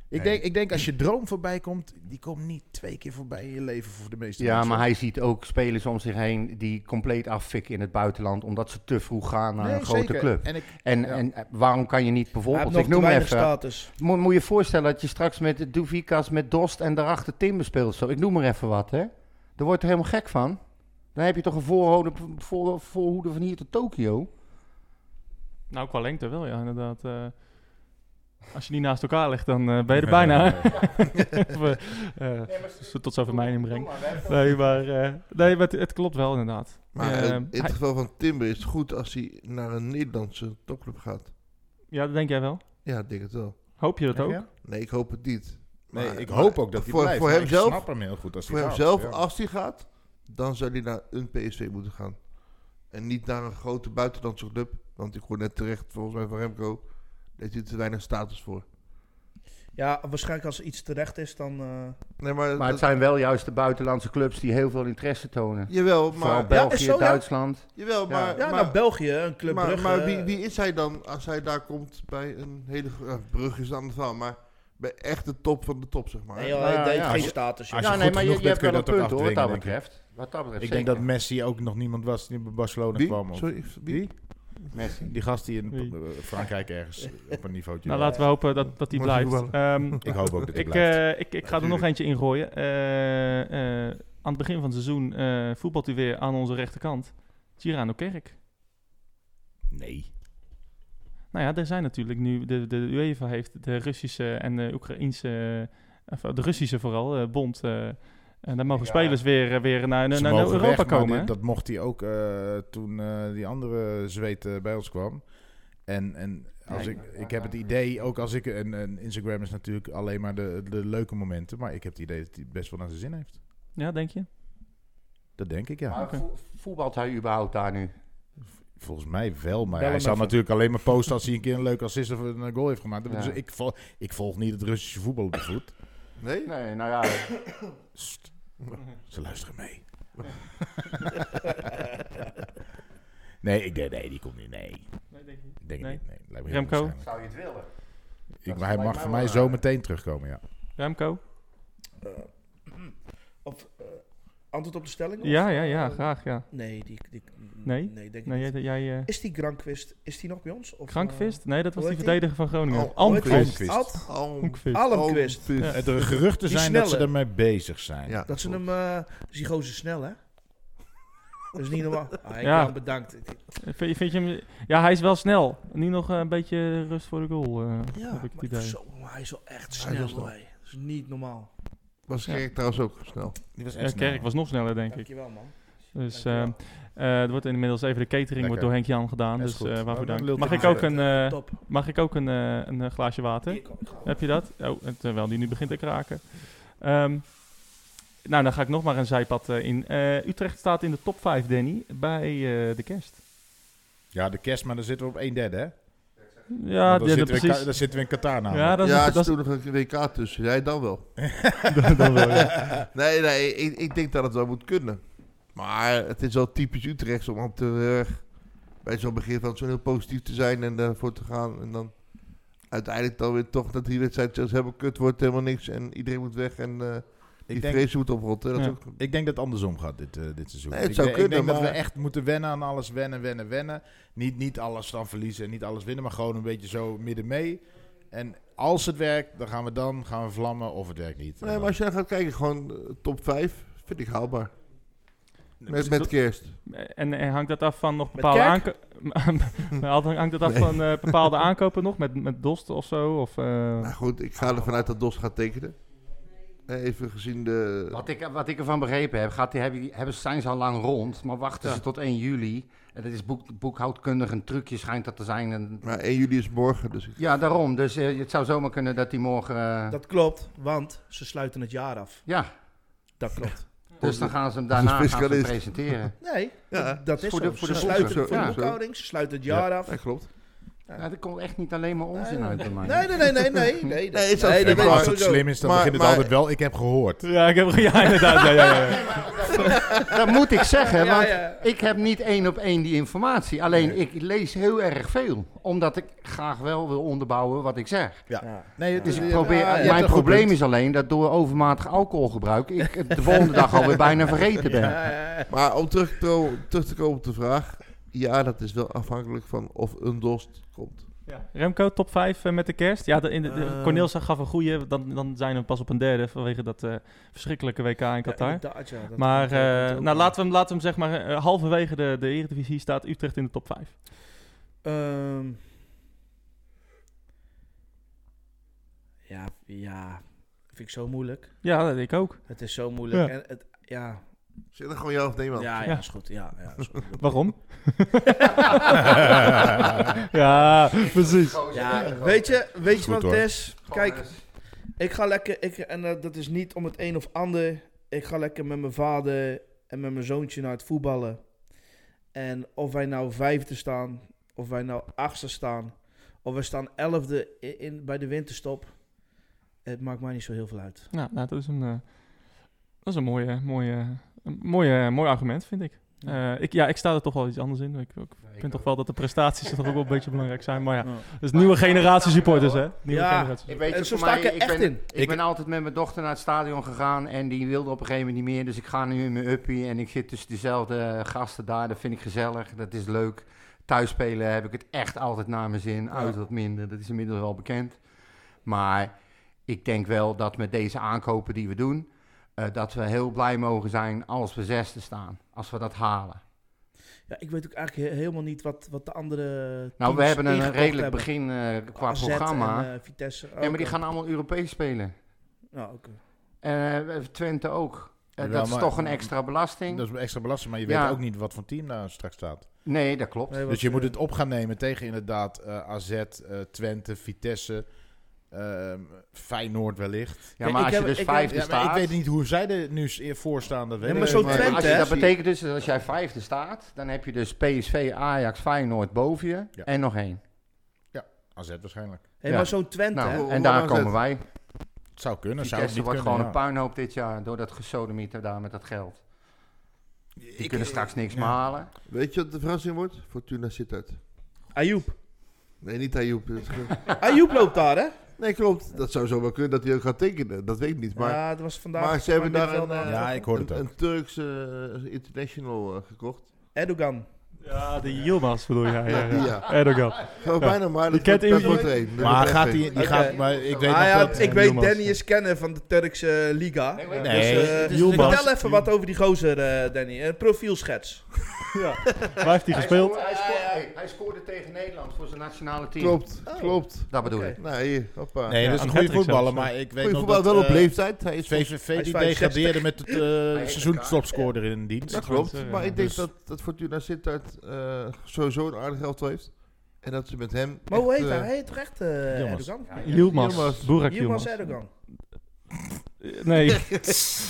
Speaker 3: Ik,
Speaker 5: Nee.
Speaker 3: denk, ik denk als je droom voorbij komt, die komt niet twee keer voorbij in je leven voor de meeste
Speaker 4: Ja,
Speaker 3: mensen.
Speaker 4: maar hij ziet ook spelers om zich heen die compleet affikken in het buitenland. Omdat ze te vroeg gaan naar
Speaker 3: Nee,
Speaker 4: een grote
Speaker 3: zeker.
Speaker 4: club.
Speaker 3: En ik,
Speaker 4: En,
Speaker 3: Ja.
Speaker 4: en eh, waarom kan je niet
Speaker 2: Hij heeft
Speaker 4: bijvoorbeeld,
Speaker 2: nog
Speaker 4: ik
Speaker 2: te
Speaker 4: noem
Speaker 2: weinig
Speaker 4: even,
Speaker 2: status.
Speaker 4: Moet, moet je voorstellen dat je straks met Doevikas, met Dost en daarachter Timber speelt. Zo. Ik noem maar even wat, hè. Daar wordt er helemaal gek van. Dan heb je toch een voorhoede, voor, voorhoede van hier tot Tokio.
Speaker 1: Nou, qua lengte wel, ja, inderdaad. eh, als je die naast elkaar legt, dan eh, ben je er bijna. Of, eh, eh, zo- tot zover mijn inbreng. Nee, maar, eh, nee, maar het, het klopt wel, inderdaad.
Speaker 5: Maar
Speaker 1: Eh,
Speaker 5: eh, in het
Speaker 1: hij-
Speaker 5: geval van Timber is het goed als hij naar een Nederlandse topclub gaat.
Speaker 1: ja, dat denk jij wel.
Speaker 5: Ja, ik denk het wel.
Speaker 1: Hoop je dat ook?
Speaker 3: Ja?
Speaker 5: Nee, ik hoop het niet.
Speaker 3: Nee,
Speaker 5: Maar-
Speaker 3: ik
Speaker 5: maar
Speaker 3: hoop ook dat hij
Speaker 5: voor,
Speaker 3: blijft.
Speaker 5: Voor
Speaker 3: maar
Speaker 5: hemzelf,
Speaker 3: Ik snap hem heel goed als
Speaker 5: voor
Speaker 3: hij gaat,
Speaker 5: hemzelf
Speaker 3: ja.
Speaker 5: als hij gaat, dan zou hij naar een PSV moeten gaan. En niet naar een grote buitenlandse club. Want ik hoor net terecht, volgens mij van Remco, dat hij te weinig status voor.
Speaker 2: Ja, waarschijnlijk als er iets terecht is, dan... eh,
Speaker 5: Nee, maar,
Speaker 4: Maar
Speaker 5: dat-
Speaker 4: het zijn wel juist de buitenlandse clubs die heel veel interesse tonen.
Speaker 5: jawel,
Speaker 4: Vooral
Speaker 5: maar,
Speaker 4: België,
Speaker 2: is zo, ja.
Speaker 4: Duitsland.
Speaker 5: jawel,
Speaker 4: Ja.
Speaker 5: maar,
Speaker 2: Ja,
Speaker 5: maar,
Speaker 2: naar België, een club
Speaker 5: maar,
Speaker 2: Brugge.
Speaker 5: maar wie, wie is hij dan als hij daar komt bij een hele gro- eh, brug is aan de verhaal, maar bij echt de top van de top, zeg maar.
Speaker 2: Nee, joh,
Speaker 4: Nou ja,
Speaker 2: hij heeft
Speaker 4: ja,
Speaker 2: geen
Speaker 4: als-
Speaker 2: status. joh.
Speaker 3: als je goed genoeg bent, kun je dat ook
Speaker 4: wat dat
Speaker 3: afdwingen, denk
Speaker 4: betreft. Wat dat betreft
Speaker 3: Ik denk dat
Speaker 4: zeker.
Speaker 3: Messi ook nog niemand was die bij Barcelona
Speaker 5: Wie?
Speaker 3: kwam. of-
Speaker 5: Sorry, wie?
Speaker 4: Messi.
Speaker 3: Die gast die in
Speaker 1: Wie?
Speaker 3: eh, Frankrijk ergens op een niveautje
Speaker 1: Nou, laten we hopen dat, dat die
Speaker 5: Moet hij
Speaker 1: blijft. Ehm,
Speaker 3: Ik hoop ook dat hij
Speaker 1: ik,
Speaker 3: blijft.
Speaker 1: eh, ik, ik ga er nog eentje in gooien. Eh, eh, aan het begin van het seizoen eh, voetbalt hij weer aan onze rechterkant. Girano Kerk. eh,
Speaker 3: nee.
Speaker 1: Nou ja, er zijn natuurlijk nu... De, de UEFA heeft de Russische en de Oekraïnse... Of de Russische vooral, eh, bond... eh, en daar mogen
Speaker 4: Ja.
Speaker 1: spelers weer, eh, weer naar, naar,
Speaker 3: Ze
Speaker 1: naar
Speaker 3: mogen
Speaker 1: Europa
Speaker 3: weg, maar
Speaker 1: komen.
Speaker 3: dit-
Speaker 1: hè?
Speaker 3: dat mocht hij ook eh, toen eh, die andere zweet eh, bij ons kwam. En, en als
Speaker 1: Ja,
Speaker 3: ik,
Speaker 4: ik-
Speaker 3: ik heb het idee, ook als ik... En, en Instagram is natuurlijk alleen maar de, de leuke momenten. Maar ik heb het idee dat hij best wel naar zijn zin heeft.
Speaker 1: Ja, denk je?
Speaker 3: Dat denk ik, ja.
Speaker 4: Maar vo- voetbalt hij überhaupt daar nu?
Speaker 3: Volgens mij wel, maar
Speaker 2: Bel
Speaker 3: hij
Speaker 2: hem
Speaker 3: zal
Speaker 2: even.
Speaker 3: natuurlijk alleen maar posten als hij een keer een leuke assist of een goal heeft gemaakt. Dus
Speaker 4: Ja.
Speaker 3: ik, vol- ik volg niet het Russische voetbal op de voet.
Speaker 5: Nee?
Speaker 4: Nee, nou ja,
Speaker 3: Sst. Ze luisteren mee. nee, ik denk, nee, die komt niet. Nee, ik denk het
Speaker 1: Nee.
Speaker 3: niet. Nee. Lijkt me heel
Speaker 1: Remco?
Speaker 3: onwaarschijnlijk.
Speaker 4: zou je het willen?
Speaker 3: Ik,
Speaker 4: Dat
Speaker 3: maar hij
Speaker 4: lijkt mij
Speaker 3: mag voor
Speaker 4: wel
Speaker 3: mij
Speaker 4: raar.
Speaker 3: zo meteen terugkomen, ja.
Speaker 1: Remco?
Speaker 2: Of, eh, antwoord op de stelling? of,
Speaker 1: Ja, ja, ja,
Speaker 2: eh,
Speaker 1: graag, ja.
Speaker 2: Nee, die, die,
Speaker 1: Nee?
Speaker 2: nee, denk ik
Speaker 1: Nee,
Speaker 2: niet.
Speaker 1: jij... jij eh,
Speaker 2: Is die Grankwist, is die nog bij ons? Of,
Speaker 1: Krankvist? Nee, dat was
Speaker 2: hoe
Speaker 1: die
Speaker 2: heet
Speaker 1: verdediger van
Speaker 5: Oh,
Speaker 1: Groningen.
Speaker 5: hoe heet
Speaker 2: eh,
Speaker 5: Almqvist.
Speaker 2: Almqvist. Ad-
Speaker 5: Alm,
Speaker 1: Almqvist.
Speaker 4: Oh.
Speaker 2: Almqvist.
Speaker 5: Almqvist.
Speaker 1: Ja.
Speaker 3: De geruchten
Speaker 2: Die
Speaker 3: zijn dat ze
Speaker 2: snelle.
Speaker 3: ermee bezig zijn.
Speaker 5: oh, Ja,
Speaker 2: Dat ze hem... eh, is die gozer snel, hè? Dat is niet normaal. Ah, ik
Speaker 1: Ja.
Speaker 2: ja. bedankt.
Speaker 1: Vind, vind je hem... Ja, hij is wel snel. Nu nog eh, een beetje rust voor de goal, eh,
Speaker 2: Ja,
Speaker 1: heb ik het
Speaker 2: maar
Speaker 1: idee.
Speaker 2: zo, maar hij is wel echt
Speaker 5: Hij is
Speaker 2: snel,
Speaker 5: wel
Speaker 2: hoor. Dat is niet normaal.
Speaker 5: was
Speaker 1: Ja.
Speaker 5: Kerk trouwens ook snel.
Speaker 3: Die was
Speaker 1: Ja, Kerk was nog sneller, denk ik.
Speaker 2: Dankjewel, man.
Speaker 1: Dus
Speaker 2: Dankjewel.
Speaker 1: eh, eh, er wordt inmiddels even de catering wordt
Speaker 3: Lekker.
Speaker 1: door Henk Jan gedaan.
Speaker 3: Dat is
Speaker 1: Dus
Speaker 3: goed.
Speaker 1: eh, waarvoor
Speaker 3: Nou,
Speaker 1: dank.
Speaker 3: lult
Speaker 1: Mag
Speaker 3: hij
Speaker 1: ik,
Speaker 3: maar
Speaker 1: ook een, eh,
Speaker 2: Top.
Speaker 1: mag ik ook een, eh, een eh, glaasje water?
Speaker 2: Hier kom ik gewoon.
Speaker 1: Heb je dat? Oh, en terwijl die nu begint te kraken. Ehm, nou, dan ga ik nog maar een zijpad eh, in. Eh, Utrecht staat in de top 5, Danny, bij eh, de kerst.
Speaker 3: Ja, de kerst, maar dan zitten we op 1 derde, hè?
Speaker 1: Ja,
Speaker 3: Want dan,
Speaker 1: dit,
Speaker 3: zitten we in Ka-
Speaker 1: precies.
Speaker 3: dan zitten we in Qatar namelijk.
Speaker 1: Ja, dat is,
Speaker 5: ja, er
Speaker 1: dat
Speaker 5: zit
Speaker 1: is,
Speaker 5: toen nog een WK tussen. Jij dan wel.
Speaker 1: dat wel, ja.
Speaker 5: Nee, nee, ik, ik denk dat het wel moet kunnen. Maar het is wel typisch Utrecht om op te, eh, bij zo'n begin van zo heel positief te zijn en daarvoor te gaan. En dan uiteindelijk dan weer toch dat die wedstrijd zelfs helemaal kut wordt, helemaal niks. En iedereen moet weg en eh die
Speaker 3: ik, denk,
Speaker 5: vrees moet oprotten. Dat
Speaker 1: Ja.
Speaker 5: is ook,
Speaker 3: ik denk dat het andersom gaat dit, eh, dit seizoen.
Speaker 5: Nee, het
Speaker 3: ik,
Speaker 5: zou
Speaker 3: denk- ik
Speaker 5: kunnen,
Speaker 3: denk dat we
Speaker 5: maar-
Speaker 3: echt moeten wennen aan alles. Wennen, wennen, wennen. Niet, niet alles dan verliezen en niet alles winnen, maar gewoon een beetje zo midden mee. En als het werkt, dan gaan we dan gaan we vlammen of het werkt niet. En
Speaker 5: nee, maar
Speaker 3: dan-
Speaker 5: als je dan gaat kijken, gewoon eh, top 5 vind ik haalbaar. Met,
Speaker 1: precies.
Speaker 5: met kerst.
Speaker 1: Eh, En, en hangt dat af van nog bepaalde
Speaker 2: kerk?
Speaker 1: aankopen? hangt dat af
Speaker 5: Nee.
Speaker 1: van eh, bepaalde aankopen nog? Met, met Dost of zo? Of, eh,
Speaker 5: Nou goed, ik ga ervan uit dat Dos gaat tekenen. Eh, Even gezien de...
Speaker 4: Wat ik, wat ik ervan begrepen heb, gaat die, hebben, hebben, zijn ze al lang rond, maar wachten ze tot 1 juli. En dat is boek, boekhoudkundig een trucje, schijnt dat te zijn. En,
Speaker 5: Maar 1 juli is morgen, dus ik-
Speaker 4: ja, daarom. Dus eh, het zou zomaar kunnen dat die morgen... eh,
Speaker 2: Dat klopt, want ze sluiten het jaar af.
Speaker 4: ja,
Speaker 2: Dat klopt.
Speaker 4: dus dan gaan ze hem daarna gaan
Speaker 5: Dus
Speaker 4: ze hem
Speaker 5: fiscalist.
Speaker 4: presenteren.
Speaker 2: Nee,
Speaker 5: Ja.
Speaker 2: dat- dat
Speaker 4: Voor
Speaker 2: is voor
Speaker 4: de-
Speaker 2: de,
Speaker 4: voor
Speaker 2: Voor
Speaker 4: de
Speaker 2: de,
Speaker 5: boeken.
Speaker 2: sluiten, voor de
Speaker 4: Ja.
Speaker 2: boekhouding, ze sluiten het jaar af.
Speaker 5: dat klopt.
Speaker 4: Ja, Nou, er komt echt niet alleen maar onzin uit bij mij.
Speaker 2: Nee, nee, nee, nee, nee. nee,
Speaker 5: Nee,
Speaker 2: dat-
Speaker 5: is ook
Speaker 3: Ja,
Speaker 2: nee, dat
Speaker 5: geen
Speaker 3: maar
Speaker 2: weet ik
Speaker 5: waar.
Speaker 3: als het
Speaker 2: sowieso.
Speaker 3: slim is, dan
Speaker 5: Maar-
Speaker 3: begint het
Speaker 5: maar-
Speaker 3: altijd wel. Ik heb gehoord.
Speaker 1: Ja, ik heb, ja, inderdaad. Ja, ja, ja, ja.
Speaker 4: Dat moet ik zeggen,
Speaker 2: Ja,
Speaker 4: want
Speaker 2: ja.
Speaker 4: ik heb niet één op één die informatie. Alleen ik lees heel erg veel, omdat ik graag wel wil onderbouwen wat ik zeg.
Speaker 2: Ja.
Speaker 3: Nee, het
Speaker 4: Dus
Speaker 3: is,
Speaker 4: ik probeer, mijn probleem is alleen dat door overmatig alcoholgebruik ik het de volgende dag alweer bijna vergeten ben.
Speaker 5: Maar om terug te, ko- terug te komen op de vraag. Ja, dat is wel afhankelijk van of een dorst komt.
Speaker 1: Remco, top 5 met de kerst. Ja, de, in de, de-
Speaker 2: Eh.
Speaker 1: Cornel zag- gaf een goede. Dan, dan zijn we pas op een derde vanwege dat eh, verschrikkelijke WK in Qatar.
Speaker 2: inderdaad, ja, dat
Speaker 1: maar
Speaker 2: komt, eh,
Speaker 1: eh,
Speaker 2: komt ook
Speaker 1: nou,
Speaker 2: wel.
Speaker 1: laten we hem, laten we hem zeg maar eh, halverwege de, de Eredivisie staat Utrecht in de top 5.
Speaker 2: Ehm. ja, ja, vind ik zo moeilijk.
Speaker 1: Ja, dat ik ook.
Speaker 2: Het is zo moeilijk.
Speaker 1: Ja.
Speaker 2: En het, ja.
Speaker 5: Zeg dan gewoon ja of nee, man.
Speaker 2: Ja,
Speaker 1: Ja.
Speaker 2: ja, is goed. Ja, ja, is goed.
Speaker 1: Waarom? ja, precies.
Speaker 2: Ja, weet je, weet je
Speaker 3: Goed,
Speaker 2: wat het
Speaker 3: hoor.
Speaker 2: is? Kijk, ik ga lekker, ik, en eh, dat is niet om het een of ander. Ik ga lekker met mijn vader en met mijn zoontje naar het voetballen. En of wij nou vijfde staan, of wij nou achtste staan, of we staan elfde in, in- bij de winterstop. Het maakt mij niet zo heel veel uit.
Speaker 1: Nou, nou, dat is een, eh, dat is een, mooie, mooie, een mooie, mooi argument, vind ik. Eh, ik. Ja, ik sta er toch wel iets anders in. Ik, ik vind toch wel dat de prestaties toch ook wel een beetje belangrijk zijn. Maar ja,
Speaker 2: Ja.
Speaker 1: dat is nieuwe generatie supporters, hè? Nieuwe
Speaker 2: Ja.
Speaker 1: generatie.
Speaker 4: Ik weet
Speaker 2: En
Speaker 4: het,
Speaker 2: zo
Speaker 4: voor
Speaker 2: sta
Speaker 4: mij,
Speaker 2: ik er echt
Speaker 4: ben,
Speaker 2: in.
Speaker 4: Ik,
Speaker 3: Ik-
Speaker 4: ben altijd met mijn dochter naar het stadion gegaan en die wilde op een gegeven moment niet meer. Dus ik ga nu in mijn uppie en ik zit tussen dezelfde gasten daar. Dat vind ik gezellig, dat is leuk. Thuis spelen heb ik het echt altijd naar mijn zin. Uit wat minder, dat is inmiddels wel bekend. Maar ik denk wel dat met deze aankopen die we doen, eh, dat we heel blij mogen zijn als we zesde staan. Als we dat halen.
Speaker 2: Ja, ik weet ook eigenlijk he- helemaal niet wat, wat de andere.
Speaker 4: Nou, we
Speaker 2: teams
Speaker 4: hebben een
Speaker 2: ingekocht
Speaker 4: redelijk
Speaker 2: hebben.
Speaker 4: begin eh, qua
Speaker 2: AZ
Speaker 4: programma.
Speaker 2: En, eh, Vitesse.
Speaker 4: Ja, maar die gaan allemaal Europees spelen.
Speaker 2: Nou, oké.
Speaker 4: Eh, Twente ook. Eh,
Speaker 3: Ja,
Speaker 4: dat is
Speaker 3: maar-
Speaker 4: toch een extra belasting?
Speaker 3: Dat is extra belasting, maar je
Speaker 4: Ja.
Speaker 3: weet ook niet wat voor team daar straks staat.
Speaker 4: Nee, dat klopt.
Speaker 2: Nee,
Speaker 3: Dus
Speaker 2: want,
Speaker 3: je moet
Speaker 2: eh,
Speaker 3: het op gaan nemen tegen inderdaad eh, AZ, eh, Twente, Vitesse, ehm, Feyenoord wellicht.
Speaker 4: Ja,
Speaker 2: Kijk,
Speaker 4: maar
Speaker 2: ik
Speaker 4: als je
Speaker 2: heb-
Speaker 4: dus
Speaker 2: ik heb-
Speaker 4: vijfde
Speaker 3: Ja, maar
Speaker 4: staat...
Speaker 3: ik weet niet hoe zij er nu s- eh, voor staan, dat weet
Speaker 2: maar
Speaker 3: ik
Speaker 2: zo'n
Speaker 3: niet.
Speaker 4: Maar als
Speaker 2: Twente,
Speaker 4: je,
Speaker 2: hè?
Speaker 4: dat betekent dus dat als jij vijfde staat, dan heb je dus PSV, Ajax, Feyenoord boven je
Speaker 3: Ja.
Speaker 4: en nog één.
Speaker 3: AZ waarschijnlijk.
Speaker 2: Hey,
Speaker 4: Ja.
Speaker 2: Maar zo'n Twente. hè?
Speaker 4: Nou,
Speaker 5: hoe-
Speaker 4: en
Speaker 5: hoe
Speaker 4: daar
Speaker 5: lang is
Speaker 4: komen
Speaker 5: het?
Speaker 4: wij.
Speaker 3: Het zou kunnen, zou het
Speaker 4: Vitesse
Speaker 3: niet
Speaker 4: wordt
Speaker 3: kunnen.
Speaker 4: gewoon
Speaker 3: ja.
Speaker 4: een puinhoop dit jaar door dat gesodemieter daar met dat geld. Die
Speaker 3: Ik-
Speaker 4: kunnen straks niks
Speaker 3: ja.
Speaker 4: meer halen.
Speaker 5: Weet je wat de verrassing wordt? Fortuna zit uit.
Speaker 2: Ayoub.
Speaker 5: Nee, niet Ayoub. Dat is ge-
Speaker 2: Ayoub loopt daar, hè?
Speaker 5: nee, klopt. Dat zou zo wel kunnen dat hij ook gaat tekenen. Dat weet ik niet. Maar
Speaker 2: ja, dat was vandaag.
Speaker 5: maar ze hebben daar
Speaker 2: middenveld,
Speaker 5: een,
Speaker 2: eh,
Speaker 3: Ja, ik hoor het
Speaker 5: een,
Speaker 3: ook.
Speaker 5: een Turkse eh, international eh, gekocht.
Speaker 2: Erdogan.
Speaker 1: Ja, de Yilmaz bedoel je. Ja, ja, ja.
Speaker 5: Ja.
Speaker 1: Erdogan.
Speaker 5: Gewoon bijna maar.
Speaker 1: Die
Speaker 5: Dat,
Speaker 1: kent
Speaker 5: wordt- dat
Speaker 1: iemand-
Speaker 5: wordt er één. Dat
Speaker 3: Maar
Speaker 5: wordt echt
Speaker 3: gaat
Speaker 5: één.
Speaker 3: die, die
Speaker 2: Oké.
Speaker 3: gaat, maar ik weet
Speaker 2: Ah,
Speaker 3: nog
Speaker 2: ja,
Speaker 3: dat...
Speaker 2: ik weet
Speaker 1: Yilmaz,
Speaker 2: Danny
Speaker 1: ja.
Speaker 2: is kennen van de Turkse liga.
Speaker 4: Nee.
Speaker 2: Dus,
Speaker 3: Nee.
Speaker 2: eh,
Speaker 4: Dus
Speaker 1: Yilmaz.
Speaker 2: vertel even wat over die gozer, eh, Danny. Een profielschets.
Speaker 1: Waar heeft hij gespeeld?
Speaker 4: Hij scoort- hij scoort- Nee, hij scoorde tegen Nederland voor zijn nationale team.
Speaker 5: Klopt, klopt.
Speaker 4: Dat bedoel
Speaker 2: Oké.
Speaker 4: ik.
Speaker 5: Nee, hoppa.
Speaker 3: Nee, dat is
Speaker 1: aan Hattrick
Speaker 3: een goede voetballer,
Speaker 1: zelfs,
Speaker 3: maar ik weet
Speaker 5: Goeie
Speaker 3: nog
Speaker 5: voetbal
Speaker 3: dat...
Speaker 5: wel op
Speaker 3: eh,
Speaker 5: leeftijd. Hij is volgens-
Speaker 3: VVV die
Speaker 2: Hij is
Speaker 3: degradeerde met het eh
Speaker 4: is
Speaker 3: seizoenstopscorer in dienst.
Speaker 5: Dat
Speaker 1: Ja,
Speaker 5: klopt.
Speaker 1: goed, eh,
Speaker 5: maar ik denk
Speaker 3: dus-
Speaker 5: dat, dat Fortuna Sittard eh, sowieso een aardig elftal heeft. En dat ze met hem.
Speaker 2: Maar hoe
Speaker 5: echt,
Speaker 2: heet
Speaker 5: eh,
Speaker 2: hij? Hij heet toch echt eh,
Speaker 3: Yilmaz.
Speaker 2: Erdogan?
Speaker 1: Yilmaz,
Speaker 5: Yilmaz.
Speaker 1: Burak
Speaker 2: Yilmaz
Speaker 1: Yilmaz.
Speaker 2: Erdogan.
Speaker 1: Eh, Nee,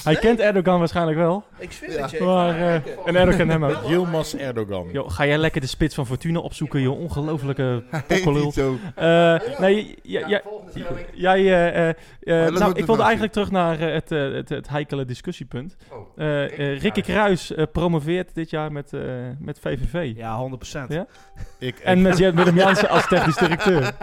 Speaker 1: hij kent Erdogan waarschijnlijk wel.
Speaker 2: Ik zweer
Speaker 5: Ja.
Speaker 2: het je.
Speaker 1: Maar, eh, en Erdogan hem ook.
Speaker 3: Yilmaz Erdogan.
Speaker 1: Yo, ga jij lekker de spits van Fortuna opzoeken, joh. Ongelofelijke
Speaker 5: heet niet
Speaker 1: pokkelul.
Speaker 5: zo.
Speaker 1: Eh, nee, ja,
Speaker 4: Ja,
Speaker 1: ja,
Speaker 4: volgende stelling.
Speaker 1: Jij, eh, eh, eh,
Speaker 5: laten
Speaker 1: nou,
Speaker 5: we het
Speaker 1: ik wilde
Speaker 5: doen.
Speaker 1: eigenlijk terug naar eh, het, eh, het, het heikele discussiepunt.
Speaker 4: Oh.
Speaker 1: Eh, eh, Rikke Kruis eh, promoveert dit jaar met, eh, met VVV.
Speaker 2: Ja, 100%.
Speaker 1: Ja?
Speaker 3: Ik,
Speaker 1: En met Jet Willem Jansen als technisch directeur.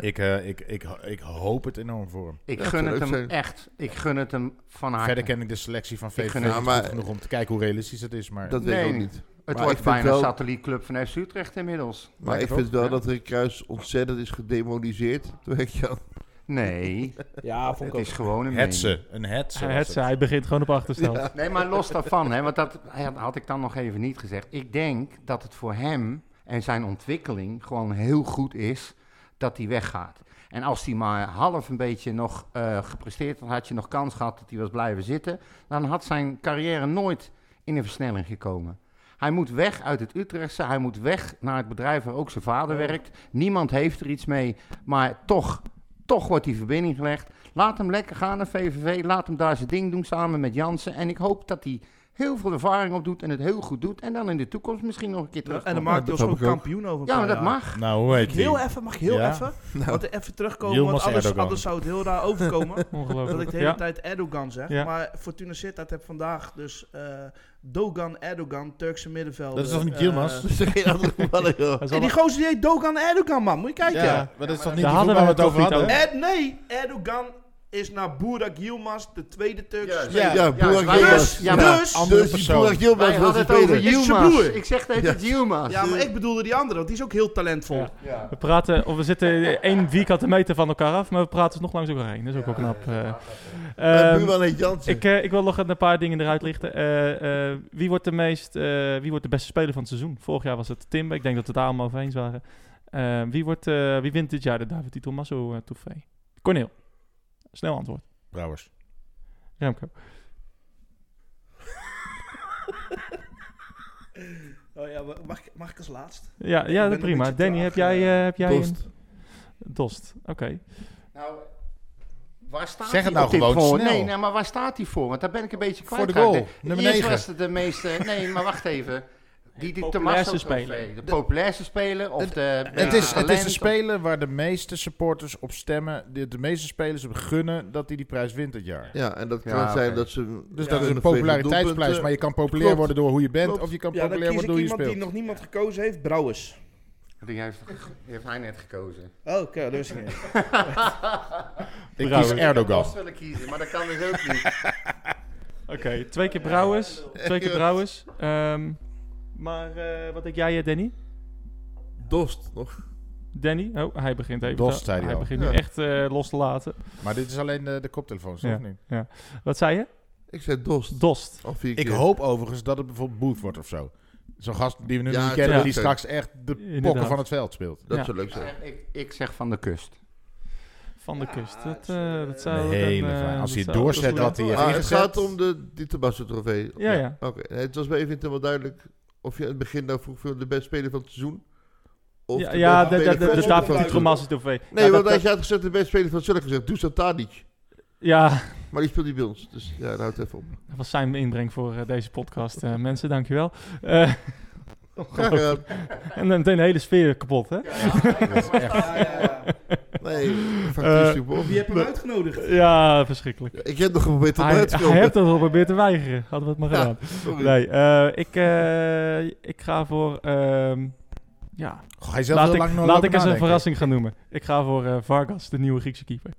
Speaker 3: ik, eh, ik, ik, ik hoop het enorm voor hem.
Speaker 4: Ik
Speaker 5: Dat
Speaker 4: gun
Speaker 5: zou
Speaker 4: het
Speaker 5: leuk
Speaker 4: hem
Speaker 5: zijn.
Speaker 4: echt. Ik gun het hem van harte.
Speaker 3: Verder ken ik de selectie van VVV
Speaker 4: gun
Speaker 3: niet
Speaker 5: het- Ja,
Speaker 3: goed
Speaker 5: maar-
Speaker 3: genoeg om te kijken hoe realistisch het is. Maar
Speaker 5: Dat weet
Speaker 4: Nee,
Speaker 5: ik ook
Speaker 4: nee.
Speaker 5: niet.
Speaker 4: Het
Speaker 5: Maar
Speaker 4: wordt
Speaker 5: ik vind
Speaker 4: bijna
Speaker 5: wel-
Speaker 4: een satellietclub van FC Utrecht inmiddels.
Speaker 5: Maar ik
Speaker 4: Lekker,
Speaker 5: vind
Speaker 4: hoor.
Speaker 5: wel dat Rick Kruis ontzettend is gedemoniseerd. Toen ik Jan.
Speaker 4: Nee,
Speaker 2: Ja, vond
Speaker 4: het
Speaker 2: ik ook.
Speaker 4: is gewoon een mening.
Speaker 3: hetsen, een hetsen.
Speaker 1: Hij,
Speaker 3: was
Speaker 1: het,
Speaker 3: het.
Speaker 1: zei, hij begint gewoon op achterstand.
Speaker 4: Nee, maar los daarvan, hè, want dat had, had ik dan nog even niet gezegd. Ik denk dat het voor hem en zijn ontwikkeling gewoon heel goed is dat hij weggaat. En als hij maar half een beetje nog eh, gepresteerd had, had je nog kans gehad dat hij was blijven zitten. Dan had zijn carrière nooit in een versnelling gekomen. Hij moet weg uit het Utrechtse, hij moet weg naar het bedrijf waar ook zijn vader werkt. Niemand heeft er iets mee, maar toch, toch wordt die verbinding gelegd. Laat hem lekker gaan naar VVV, laat hem daar zijn ding doen samen met Jansen. En ik hoop dat hij heel veel ervaring opdoet en het heel goed doet. En dan in de toekomst misschien nog een keer terug.
Speaker 2: En dan
Speaker 5: Ja,
Speaker 2: maakt hij
Speaker 5: dat
Speaker 2: ons
Speaker 5: snap
Speaker 2: gewoon
Speaker 5: ik ook.
Speaker 2: kampioen over een
Speaker 4: Ja, maar
Speaker 2: paar
Speaker 4: dat
Speaker 2: jaar.
Speaker 4: mag.
Speaker 3: Nou, hoe heet
Speaker 2: Heel
Speaker 3: die?
Speaker 2: even, mag ik Nou. heel
Speaker 3: Ja.
Speaker 2: even? Want even terugkomen,
Speaker 3: Yilmaz
Speaker 2: want anders,
Speaker 3: Erdogan.
Speaker 2: anders zou het heel raar overkomen. dat ik
Speaker 1: Ongelooflijk.
Speaker 2: de hele
Speaker 1: Ja.
Speaker 2: tijd Erdogan zeg.
Speaker 1: Ja.
Speaker 2: Maar Fortuna Sittard heb vandaag dus eh, Dogan Erdogan, Turkse middenvelder.
Speaker 3: Dat is toch niet
Speaker 2: eh,
Speaker 3: Yilmaz?
Speaker 5: Dat is er geen andere voetballer, joh.
Speaker 1: Hij zal-
Speaker 2: en die gozer die heet Dogan Erdogan, man. Moet je kijken.
Speaker 3: Ja, maar dat is toch niet
Speaker 1: Daar
Speaker 3: die
Speaker 1: hadden
Speaker 3: voetballer
Speaker 1: we
Speaker 3: waar
Speaker 1: het
Speaker 3: het over
Speaker 1: toch niet
Speaker 3: hadden?
Speaker 1: over.
Speaker 2: Er- nee, Erdogan is naar Burak Yilmaz, de tweede Turkse
Speaker 4: Juist.
Speaker 2: speler.
Speaker 3: Ja,
Speaker 5: Ja,
Speaker 4: ja,
Speaker 5: Boerak
Speaker 4: wij-
Speaker 5: Yilmaz.
Speaker 2: Dus,
Speaker 4: Ja, maar
Speaker 2: dus,
Speaker 3: andere
Speaker 5: Dus die
Speaker 3: persoon.
Speaker 5: Boerak
Speaker 4: Wij
Speaker 5: Yilmaz was
Speaker 4: hadden
Speaker 5: die
Speaker 4: het over
Speaker 5: tweede.
Speaker 2: Is zijn
Speaker 4: Yilmaz.
Speaker 2: broer.
Speaker 4: Ik zeg dat het Yilmaz.
Speaker 2: ja, maar ik bedoelde die andere, want die is ook heel talentvol.
Speaker 1: Ja. We praten, of we zitten één vierkante meter van elkaar af, maar we praten nog langs elkaar heen. Dat is ook wel knap. eh.
Speaker 5: Mijn
Speaker 1: Ehm,
Speaker 5: buurman heet Jansen.
Speaker 1: ik, eh, ik wil nog een paar dingen eruit lichten. Eh, eh, wie, wordt de meest, eh, wie wordt de beste speler van het seizoen? Vorig jaar was het Tim. Ik denk dat we het daar allemaal over eens waren. Eh, wie, wordt, eh, wie wint dit jaar de David Di Tommaso eh, trofee? Corneel. Snel antwoord.
Speaker 3: Brouwers.
Speaker 1: Remco.
Speaker 2: Oh ja, maar mag, ik- mag ik als laatst?
Speaker 1: Ja,
Speaker 2: ben
Speaker 1: ja dat
Speaker 2: een
Speaker 1: prima.
Speaker 2: beetje
Speaker 1: Danny,
Speaker 2: traag,
Speaker 1: heb jij,
Speaker 2: eh,
Speaker 1: eh, heb jij
Speaker 5: Dost.
Speaker 1: een... Dost. Oké.
Speaker 4: Nou, waar staat
Speaker 3: Zeg het
Speaker 4: hij
Speaker 3: nou
Speaker 4: op dit
Speaker 3: gewoon
Speaker 4: voor?
Speaker 3: snel.
Speaker 4: Nee, nee, maar waar staat hij voor? Want daar ben ik een beetje kwijt.
Speaker 3: Voor de goal,
Speaker 4: geraakt.
Speaker 3: nummer
Speaker 4: Eerst
Speaker 3: negen.
Speaker 4: was het de meeste... Nee, maar wacht even. Die, die
Speaker 1: populairste
Speaker 4: Tommaso trofee.
Speaker 1: speler.
Speaker 4: De populairste speler of de...
Speaker 3: Het is, het is
Speaker 4: talent
Speaker 3: een speler waar de meeste supporters op stemmen. De, de meeste spelers op gunnen dat hij die prijs wint dit jaar.
Speaker 5: Ja, en dat kan
Speaker 4: Ja,
Speaker 5: zijn
Speaker 4: oké.
Speaker 5: dat ze...
Speaker 3: Dus
Speaker 5: ja,
Speaker 3: dat is een
Speaker 5: vele
Speaker 3: populariteitsprijs.
Speaker 5: doelpunten-
Speaker 3: Maar je kan populair
Speaker 5: Klopt.
Speaker 3: worden door hoe je bent.
Speaker 5: Klopt.
Speaker 3: Of je kan
Speaker 2: Ja, dan
Speaker 3: populair
Speaker 2: kies ik
Speaker 3: worden door hoe
Speaker 2: iemand
Speaker 3: je speelt.
Speaker 2: die nog niemand gekozen heeft, Brouwers.
Speaker 4: of- Die heeft, die heeft hij net gekozen.
Speaker 2: Oh, oké, dat wist ik niet.
Speaker 3: Ik
Speaker 1: Brouwers.
Speaker 3: kies
Speaker 4: Ik
Speaker 3: Erdogan.
Speaker 4: had Bos willen kiezen, maar dat kan dus ook niet.
Speaker 1: Oké, twee keer Brouwers. Twee keer Brouwers. Ehm, maar eh, wat denk jij, eh, Danny?
Speaker 5: Dost nog.
Speaker 1: Danny? Oh, hij begint even.
Speaker 3: Dost,
Speaker 1: te-
Speaker 3: zei hij al.
Speaker 1: begint
Speaker 5: Ja.
Speaker 1: nu echt eh, los te laten.
Speaker 3: Maar dit is alleen de, de koptelefoons, toch?
Speaker 1: Ja.
Speaker 3: of niet?
Speaker 1: Wat zei je?
Speaker 5: eh. Ik zei Dost.
Speaker 1: Dost.
Speaker 5: Al vier
Speaker 3: Ik
Speaker 5: keer.
Speaker 3: hoop overigens dat het bijvoorbeeld Booth wordt of zo. Zo'n gast die we nu
Speaker 5: Ja,
Speaker 3: nog niet kennen,
Speaker 5: ja.
Speaker 3: die straks echt de
Speaker 1: Inderdaad.
Speaker 3: pokken van het veld speelt.
Speaker 5: Dat
Speaker 1: Ja.
Speaker 5: zou leuk
Speaker 4: Ik
Speaker 5: zijn.
Speaker 4: zeg, ik, ik zeg van de kust.
Speaker 1: Van de
Speaker 2: Ja,
Speaker 1: kust.
Speaker 2: het
Speaker 1: Dat,
Speaker 2: is, eh,
Speaker 1: eh, dat zou
Speaker 3: een
Speaker 1: dan,
Speaker 3: hele
Speaker 1: eh,
Speaker 3: fijn. Als
Speaker 1: dat
Speaker 3: hij
Speaker 1: zou- dat
Speaker 3: doorzet
Speaker 1: zou-
Speaker 3: dat hij heeft
Speaker 5: Maar het
Speaker 3: ingezet.
Speaker 5: gaat om de Di Tommaso trofee.
Speaker 1: Ja, ja.
Speaker 5: Oké, nee, het was bij even niet helemaal duidelijk of je in het begin nou vroeg voor de beste speler van het seizoen. Of
Speaker 1: Ja,
Speaker 5: de
Speaker 1: ja,
Speaker 5: beste
Speaker 1: de, de,
Speaker 5: speler
Speaker 1: de,
Speaker 5: van
Speaker 1: de
Speaker 2: daarvoor
Speaker 5: het
Speaker 1: tafel
Speaker 5: seizoen.
Speaker 1: van
Speaker 2: die
Speaker 1: Tromassi trofee.
Speaker 5: Nee,
Speaker 1: Ja,
Speaker 5: want
Speaker 1: dat-
Speaker 5: als je had gezegd de beste speler van het seizoen, had ik gezegd Dusan Tadic.
Speaker 1: Ja,
Speaker 5: Maar die speelt niet bij ons, dus ja, daar houdt even op.
Speaker 1: dat was zijn inbreng voor eh, deze podcast. eh, mensen, dankjewel. Eh
Speaker 5: Graag gedaan.
Speaker 1: en dan meteen de hele sfeer kapot, hè?
Speaker 2: Ja, Ah, ja, ja.
Speaker 5: Nee, fantastisch. Bob.
Speaker 2: Wie heb hem uitgenodigd?
Speaker 1: Eh, Ja, verschrikkelijk.
Speaker 5: Ja, ik heb nog geprobeerd om
Speaker 1: Hij,
Speaker 5: uit te
Speaker 1: hij heeft
Speaker 5: komen.
Speaker 1: dat al geprobeerd te weigeren. Hadden we het maar
Speaker 5: Ja,
Speaker 1: gedaan.
Speaker 5: Sorry.
Speaker 1: Nee, eh, ik, eh, ik ga voor... ehm, ja,
Speaker 3: Goh, Hij is zelf
Speaker 1: laat
Speaker 3: heel
Speaker 1: ik,
Speaker 3: lang nog
Speaker 1: laat ik
Speaker 3: lopen
Speaker 1: eens een
Speaker 3: nadenken.
Speaker 1: verrassing gaan noemen. Ik ga voor eh, Vargas, de nieuwe Griekse keeper.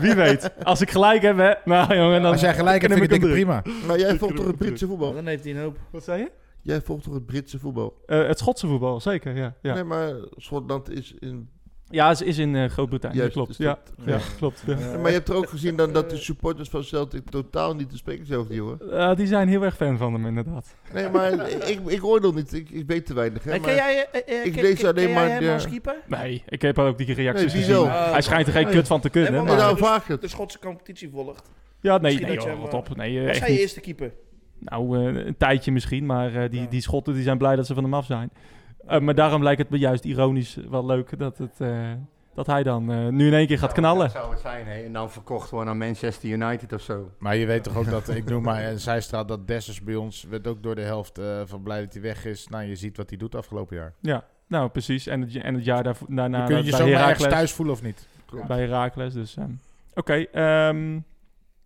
Speaker 1: Wie weet. Als ik gelijk heb, hè. Nou, jongen, dan...
Speaker 3: Als jij gelijk hebt,
Speaker 1: dan
Speaker 3: vind ik
Speaker 1: heb
Speaker 3: het
Speaker 1: ik hem
Speaker 3: prima.
Speaker 5: Maar jij volgt toch het Britse voetbal?
Speaker 2: Dan heeft hij een hoop.
Speaker 1: Wat zei je?
Speaker 5: Jij volgt toch het Britse voetbal?
Speaker 1: Eh, het Schotse voetbal, zeker, ja. ja.
Speaker 5: Nee, maar Schotland is in
Speaker 1: Ja, ze is in eh, Groot-Brittannië,
Speaker 5: Juist,
Speaker 1: klopt.
Speaker 5: dus
Speaker 1: Ja,
Speaker 5: dat-
Speaker 1: ja, klopt. ja.
Speaker 5: Maar je hebt
Speaker 1: eh,
Speaker 5: er ook gezien dan dat de supporters van Celtic totaal niet te spreken zijn over die jongen.
Speaker 1: Eh, die zijn heel erg fan van hem, inderdaad.
Speaker 5: Nee, maar ik, ik oordeel niet. Ik, ik weet te weinig. Hè,
Speaker 2: Eh,
Speaker 5: maar,
Speaker 2: ken jij, eh, eh,
Speaker 5: ik
Speaker 2: ken-
Speaker 5: lees
Speaker 2: ken-
Speaker 5: alleen
Speaker 2: ken
Speaker 5: maar
Speaker 2: jij hem
Speaker 5: de-
Speaker 2: als keeper?
Speaker 1: Nee, ik heb ook die reacties
Speaker 5: Nee,
Speaker 1: gezien.
Speaker 5: wieso?
Speaker 1: Hij schijnt er geen
Speaker 2: Nee.
Speaker 1: kut van te kunnen,
Speaker 2: Nee,
Speaker 1: hè,
Speaker 5: Nee, nou-
Speaker 1: maar...
Speaker 5: daarom vraag ik het.
Speaker 2: De
Speaker 1: Dus-
Speaker 2: Schotse competitie volgt.
Speaker 1: Ja, nee,
Speaker 2: Misschien
Speaker 1: nee,
Speaker 2: dat je
Speaker 1: joh,
Speaker 2: hem,
Speaker 1: wat op. Nee, eh,
Speaker 2: Was
Speaker 1: echt
Speaker 2: hij je
Speaker 1: niet.
Speaker 2: eerste keeper?
Speaker 1: Nou, eh, een tijdje misschien, maar eh, die,
Speaker 2: Ja.
Speaker 1: die schotten die zijn blij dat ze van hem af zijn. Eh, maar daarom lijkt het me juist ironisch wel leuk dat, het, eh, dat hij dan eh, nu in één keer gaat knallen.
Speaker 4: Dat zou het zijn, hè? En dan verkocht worden aan Manchester United of zo.
Speaker 3: Maar je weet toch ook dat, ik noem maar een zijstraat, dat Dessers bij ons werd ook door de helft eh, van blij dat hij weg is. Nou, je ziet wat hij doet afgelopen jaar.
Speaker 1: Ja, nou precies. En het, en het jaar daarvoor,
Speaker 3: Je
Speaker 1: daarna
Speaker 3: kunt je
Speaker 1: bij
Speaker 3: zomaar ergens
Speaker 1: Heracles.
Speaker 3: thuis voelen of niet.
Speaker 1: Bij Heracles, dus... ehm, Oké, ehm,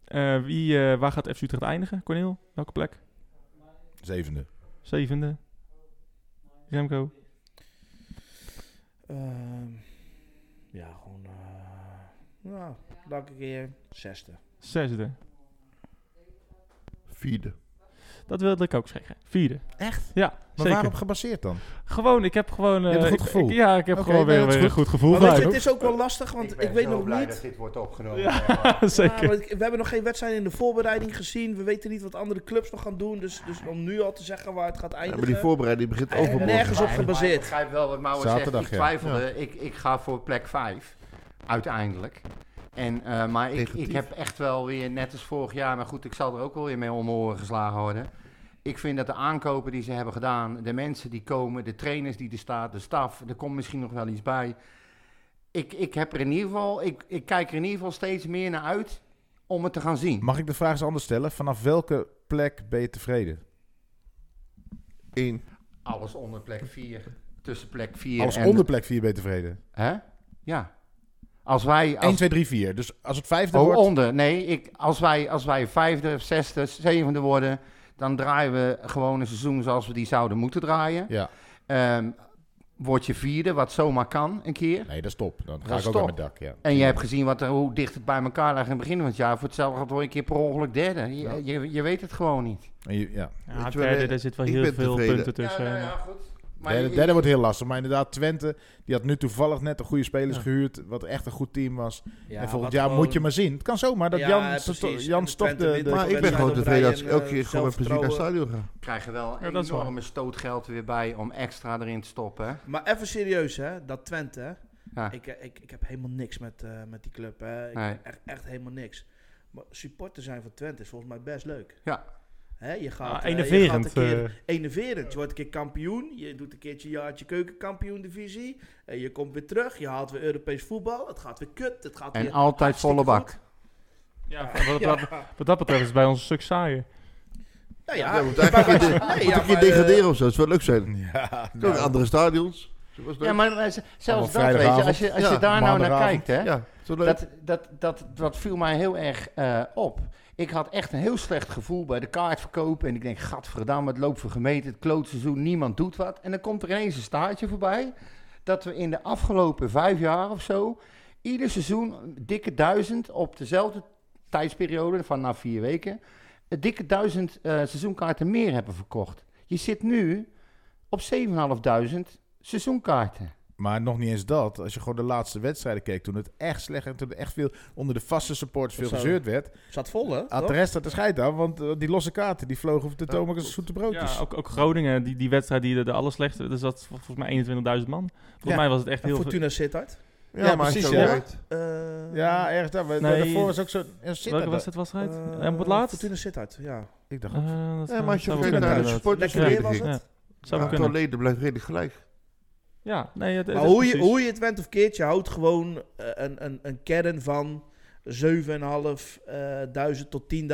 Speaker 1: eh, wie, eh, waar gaat FC Utrecht eindigen, Cornel? Welke plek?
Speaker 3: Zevende.
Speaker 1: Zevende? Remco?
Speaker 2: Ehm, ja, gewoon... eh, nou, dank een keer. Zesde.
Speaker 1: Zesde?
Speaker 5: Vierde.
Speaker 1: Dat wilde ik ook zeggen. Vierde.
Speaker 3: Echt?
Speaker 1: Ja,
Speaker 3: Maar
Speaker 1: zeker.
Speaker 3: waarop gebaseerd dan?
Speaker 1: Gewoon, ik heb gewoon...
Speaker 3: hebt een
Speaker 1: eh,
Speaker 3: goed
Speaker 1: ik-
Speaker 3: gevoel.
Speaker 1: ik- ja, ik heb
Speaker 3: Oké,
Speaker 1: gewoon
Speaker 3: nee,
Speaker 1: weer,
Speaker 3: dat is
Speaker 1: weer een
Speaker 3: goed.
Speaker 1: goed gevoel.
Speaker 2: Maar weet je,
Speaker 1: bij
Speaker 2: het is ook wel lastig, want ik,
Speaker 4: ben
Speaker 2: weet
Speaker 4: zo
Speaker 2: nog
Speaker 4: blij
Speaker 2: niet...
Speaker 4: dat dit wordt opgenomen.
Speaker 1: Ja.
Speaker 4: hè, maar-
Speaker 1: hem.
Speaker 2: Ja,
Speaker 1: Zeker.
Speaker 2: maar ik- we hebben nog geen wedstrijd in de voorbereiding gezien. We weten niet wat andere clubs nog gaan doen. Dus, dus om nu al te zeggen waar het gaat
Speaker 5: Ja,
Speaker 2: eindigen...
Speaker 5: maar die voorbereiding begint
Speaker 4: Hij-
Speaker 5: overmorgen.
Speaker 2: nergens op
Speaker 4: Maar
Speaker 2: gebaseerd.
Speaker 4: Ik begrijp wel wat Mouwen zegt.
Speaker 3: Zaterdag,
Speaker 4: Ik
Speaker 3: ja.
Speaker 4: twijfelde. Ik, ik ga voor plek 5. Uiteindelijk. En, eh, maar ik,
Speaker 5: Negatief.
Speaker 4: ik heb echt wel weer, net als vorig jaar... Maar goed, ik zal er ook wel weer mee om oren geslagen worden. Ik vind dat de aankopen die ze hebben gedaan... De mensen die komen, de trainers die er staan... De staf, er komt misschien nog wel iets bij. Ik, ik, heb er in ieder geval, ik, ik kijk er in ieder geval steeds meer naar uit... Om het te gaan zien.
Speaker 3: Mag ik de vraag eens anders stellen? Vanaf welke plek ben je tevreden?
Speaker 5: Eén.
Speaker 4: Alles onder plek 4. Tussen plek 4
Speaker 3: Als
Speaker 4: en...
Speaker 3: onder plek 4 ben je tevreden.
Speaker 4: Hè? Ja. Als wij... Als
Speaker 3: 1, 2, 3, 4. Dus als het vijfde
Speaker 4: Oh,
Speaker 3: wordt...
Speaker 4: onder. Nee, ik, als, wij, als wij vijfde, of zesde, zevende worden, dan draaien we gewoon een seizoen zoals we die zouden moeten draaien.
Speaker 3: Ja,
Speaker 4: Ehm, word je vierde, wat zomaar kan een keer.
Speaker 3: nee, dat is top. Dan ga
Speaker 4: Dat
Speaker 3: ik
Speaker 4: is
Speaker 3: ook naar
Speaker 4: top.
Speaker 3: mijn dak. Ja.
Speaker 4: En je hebt gezien wat, er- hoe dicht het bij elkaar lag in het begin van het jaar. Voor hetzelfde gaat word je een keer per ongeluk derde. Je,
Speaker 3: Ja.
Speaker 4: je, je weet het gewoon niet.
Speaker 3: En je- ja.
Speaker 1: Ja,
Speaker 5: Weet je wel,
Speaker 1: derde,
Speaker 5: eh,
Speaker 1: daar zit wel
Speaker 5: ik
Speaker 1: heel
Speaker 5: ben
Speaker 1: veel
Speaker 5: tevreden.
Speaker 1: punten tussen. maar-
Speaker 4: nou goed.
Speaker 3: derde, derde wordt heel lastig. Maar inderdaad, Twente, die had nu toevallig net een goede spelers
Speaker 1: Ja.
Speaker 3: gehuurd. Wat echt een goed team was.
Speaker 2: Ja,
Speaker 3: en volgend
Speaker 2: wat
Speaker 3: jaar
Speaker 2: gewoon-
Speaker 3: moet je maar zien. Het kan zomaar dat
Speaker 2: Ja,
Speaker 3: Jan,
Speaker 2: precies.
Speaker 3: Sto-
Speaker 2: En
Speaker 3: Jan
Speaker 2: de
Speaker 3: stopt
Speaker 2: Twente
Speaker 3: de... de-
Speaker 2: wint.
Speaker 5: Maar ik ben
Speaker 2: wedstrijd
Speaker 5: gewoon
Speaker 2: op
Speaker 5: tevreden
Speaker 2: rij
Speaker 5: als ik
Speaker 2: en,
Speaker 5: elke
Speaker 2: eh,
Speaker 5: keer gewoon met plezier naar het stadion ga.
Speaker 4: krijgen wel
Speaker 1: Ja,
Speaker 4: een
Speaker 1: dat is waar.
Speaker 4: enorme stootgeld er weer bij om extra erin te stoppen. hè.
Speaker 2: Maar even serieus, hè? Dat Twente, hè?
Speaker 4: Ja.
Speaker 2: Ik, eh, ik, ik heb helemaal niks met, eh, met die club, hè? Ik
Speaker 4: Nee.
Speaker 2: heb echt, echt helemaal niks. Maar supporter zijn van Twente is volgens mij best leuk.
Speaker 4: Ja.
Speaker 2: Hè, je gaat,
Speaker 1: Ah,
Speaker 2: eh, je
Speaker 1: enerverend.
Speaker 2: gaat een keer-
Speaker 1: eh.
Speaker 2: enerverend. Je wordt een keer kampioen. Je doet een keertje een jaartje keukenkampioen-divisie. En Eh, je komt weer terug. Je haalt weer Europees voetbal. Het gaat weer kut. Het gaat
Speaker 4: En
Speaker 2: weer
Speaker 4: altijd volle bak.
Speaker 2: hartstikke
Speaker 1: Ja, wat, wat,
Speaker 2: goed. Ja.
Speaker 1: wat dat betreft is het bij ons een stuk saaier.
Speaker 2: Nou
Speaker 5: Ja,
Speaker 2: ja,
Speaker 5: we moeten eigenlijk een keer,
Speaker 2: Nee,
Speaker 5: moet
Speaker 2: ja,
Speaker 5: een keer
Speaker 2: maar, eh,
Speaker 5: degraderen of zo. Dat zou leuk zijn.
Speaker 3: Ja,
Speaker 5: Ook andere stadions. Zo was het
Speaker 4: Ja,
Speaker 5: ook.
Speaker 4: maar eh, z- zelfs dat, weet je,
Speaker 3: vrijdagavond.
Speaker 4: als je, als
Speaker 5: Ja,
Speaker 4: je daar nou naar
Speaker 3: maandagavond.
Speaker 4: kijkt, hè,
Speaker 5: Ja, zo leuk.
Speaker 4: dat, dat, dat, dat viel mij heel erg eh, op. Ik had echt een heel slecht gevoel bij de kaartverkoop. En ik denk, gadverdamme, het loopt voor gemeten. Het klootseizoen, niemand doet wat. En dan komt er ineens een staartje voorbij. Dat we in de afgelopen vijf jaar of zo... ieder seizoen een dikke duizend op dezelfde tijdsperiode van na vier weken... een dikke duizend eh, seizoenkaarten meer hebben verkocht. Je zit nu op 7.500 seizoenkaarten.
Speaker 3: Maar nog niet eens dat. Als je gewoon de laatste wedstrijden keek, toen het echt slecht en toen er echt veel onder de vaste supporters veel
Speaker 2: Zo.
Speaker 3: gezeurd werd,
Speaker 2: Zat vol, hè?
Speaker 3: had de
Speaker 2: toch?
Speaker 3: rest dat de scheid aan, want eh, die losse kaarten die vlogen op de
Speaker 5: Ja,
Speaker 3: tomaten als
Speaker 5: klopt.
Speaker 3: zoete broodjes.
Speaker 1: Ja, ook, ook Groningen, die, die wedstrijd die de, de allerslechtste, er zat vol- volgens mij 21.000 man. Volgens
Speaker 3: Ja.
Speaker 1: mij was het echt
Speaker 2: En
Speaker 1: heel veel.
Speaker 2: Fortuna Sittard.
Speaker 3: Ja, precies,
Speaker 5: zo
Speaker 3: ja.
Speaker 5: rijdt.
Speaker 2: Eh,
Speaker 3: Ja, ergens daar. We-
Speaker 1: Nee.
Speaker 3: Daarvoor was ook zo. Ja, zit
Speaker 1: Welke
Speaker 3: daar-
Speaker 1: was het wedstrijd?
Speaker 2: eh,
Speaker 1: en op het laatst?
Speaker 2: Fortuna Sittard, ja.
Speaker 3: Ik dacht,
Speaker 1: Eh, dat
Speaker 5: Ja, maar als je
Speaker 1: zou wel
Speaker 5: kijkt
Speaker 1: kunnen.
Speaker 5: naar de
Speaker 1: inderdaad.
Speaker 5: supporters,
Speaker 2: Lekker weer
Speaker 5: verleden
Speaker 2: was
Speaker 5: ging.
Speaker 1: Ja.
Speaker 2: het.
Speaker 1: Zou
Speaker 5: Ja,
Speaker 1: wel
Speaker 5: het
Speaker 1: kunnen.
Speaker 5: alleen, dat blijft redelijk gelijk.
Speaker 1: Ja, nee, het,
Speaker 2: Maar
Speaker 1: het-
Speaker 2: hoe je,
Speaker 1: precies.
Speaker 2: hoe je het went of keert, je houdt gewoon eh, een, een, een kern van 7.500 eh, duizend tot 10.000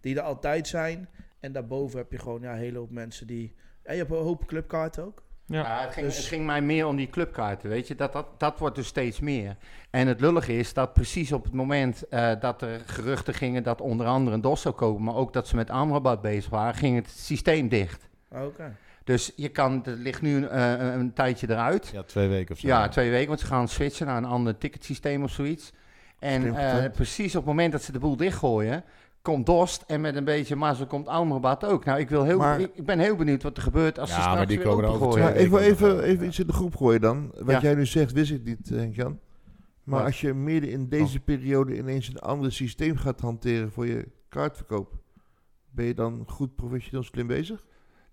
Speaker 2: die er altijd zijn. En daarboven heb je gewoon ja, een hele hoop mensen die... En je hebt een hoop clubkaarten ook.
Speaker 1: Ja.
Speaker 4: Ja, het, ging,
Speaker 2: Dus-
Speaker 4: het ging mij meer om die clubkaarten, weet je. Dat, dat, dat wordt dus steeds meer. En het lullige is dat precies op het moment eh, dat er geruchten gingen... dat onder andere een DOS zou komen... maar ook dat ze met Amrabat bezig waren... ging het systeem dicht.
Speaker 2: Ah, Oké.
Speaker 4: Dus je kan, het ligt nu eh, een, een tijdje eruit.
Speaker 3: ja, twee weken of zo.
Speaker 4: Ja, twee weken, want ze gaan switchen naar een ander ticketsysteem of zoiets. En
Speaker 5: Slim
Speaker 4: eh,
Speaker 5: gepland.
Speaker 4: precies op het moment dat ze de boel dichtgooien... komt Dost en met een beetje mazzel komt Almerbat ook. Nou, ik, wil heel,
Speaker 5: Maar-
Speaker 4: ik, ik ben heel benieuwd wat er gebeurt als
Speaker 3: Ja,
Speaker 4: ze straks
Speaker 3: maar die
Speaker 4: weer
Speaker 3: komen er
Speaker 4: opengooien.
Speaker 3: over
Speaker 5: Ja,
Speaker 3: Ja,
Speaker 5: ik wil
Speaker 3: ik ook.
Speaker 5: even, even iets in de groep gooien dan. Wat
Speaker 4: Ja.
Speaker 5: jij nu zegt, wist ik niet, Henk-Jan. Maar
Speaker 4: Wat?
Speaker 5: als je midden in deze periode ineens een ander systeem gaat hanteren voor je kaartverkoop, ben je dan goed professioneel slim bezig?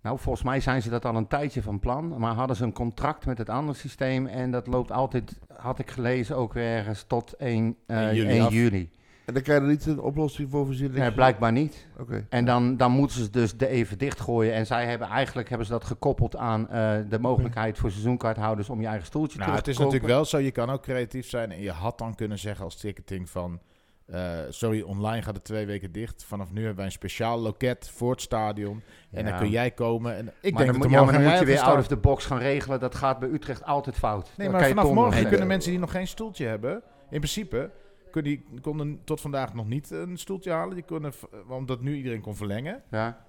Speaker 4: Nou, volgens mij zijn ze dat al een tijdje van plan. Maar hadden ze een contract met het andere systeem. En dat loopt altijd, had ik gelezen, ook weer ergens tot 1, eh, 1
Speaker 3: 1 juli
Speaker 4: juli.
Speaker 3: af.
Speaker 5: En dan kan je er niet een oplossing voor voorzien.
Speaker 4: Nee, blijkbaar niet.
Speaker 5: Oké.
Speaker 4: En dan, dan moeten ze dus de even dichtgooien. En zij hebben eigenlijk hebben ze dat gekoppeld aan eh, de mogelijkheid voor seizoenkaarthouders om je eigen stoeltje
Speaker 3: Nou,
Speaker 4: terug
Speaker 3: het
Speaker 4: te
Speaker 3: is
Speaker 4: kopen.
Speaker 3: natuurlijk wel zo, je kan ook creatief zijn. En je had dan kunnen zeggen als ticketing van... eh, sorry, online gaat het twee weken dicht. Vanaf nu hebben wij een speciaal loket voor het stadion. En
Speaker 4: Ja.
Speaker 3: dan kun jij komen. En ik
Speaker 4: maar
Speaker 3: denk
Speaker 4: dan,
Speaker 3: dat
Speaker 4: moet- ja, maar dan
Speaker 3: er morgen een
Speaker 4: moet je
Speaker 3: rij op
Speaker 4: weer
Speaker 3: gaat staan.
Speaker 4: out of the box gaan regelen. Dat gaat bij Utrecht altijd fout.
Speaker 3: Nee,
Speaker 4: Dan
Speaker 3: maar
Speaker 4: kan je
Speaker 3: vanaf
Speaker 4: toch
Speaker 3: morgen
Speaker 4: nog-
Speaker 3: kunnen mensen die nog geen stoeltje hebben... In principe kun die, konden tot vandaag nog niet een stoeltje halen. Die konden, v- omdat nu iedereen kon verlengen.
Speaker 4: Ja.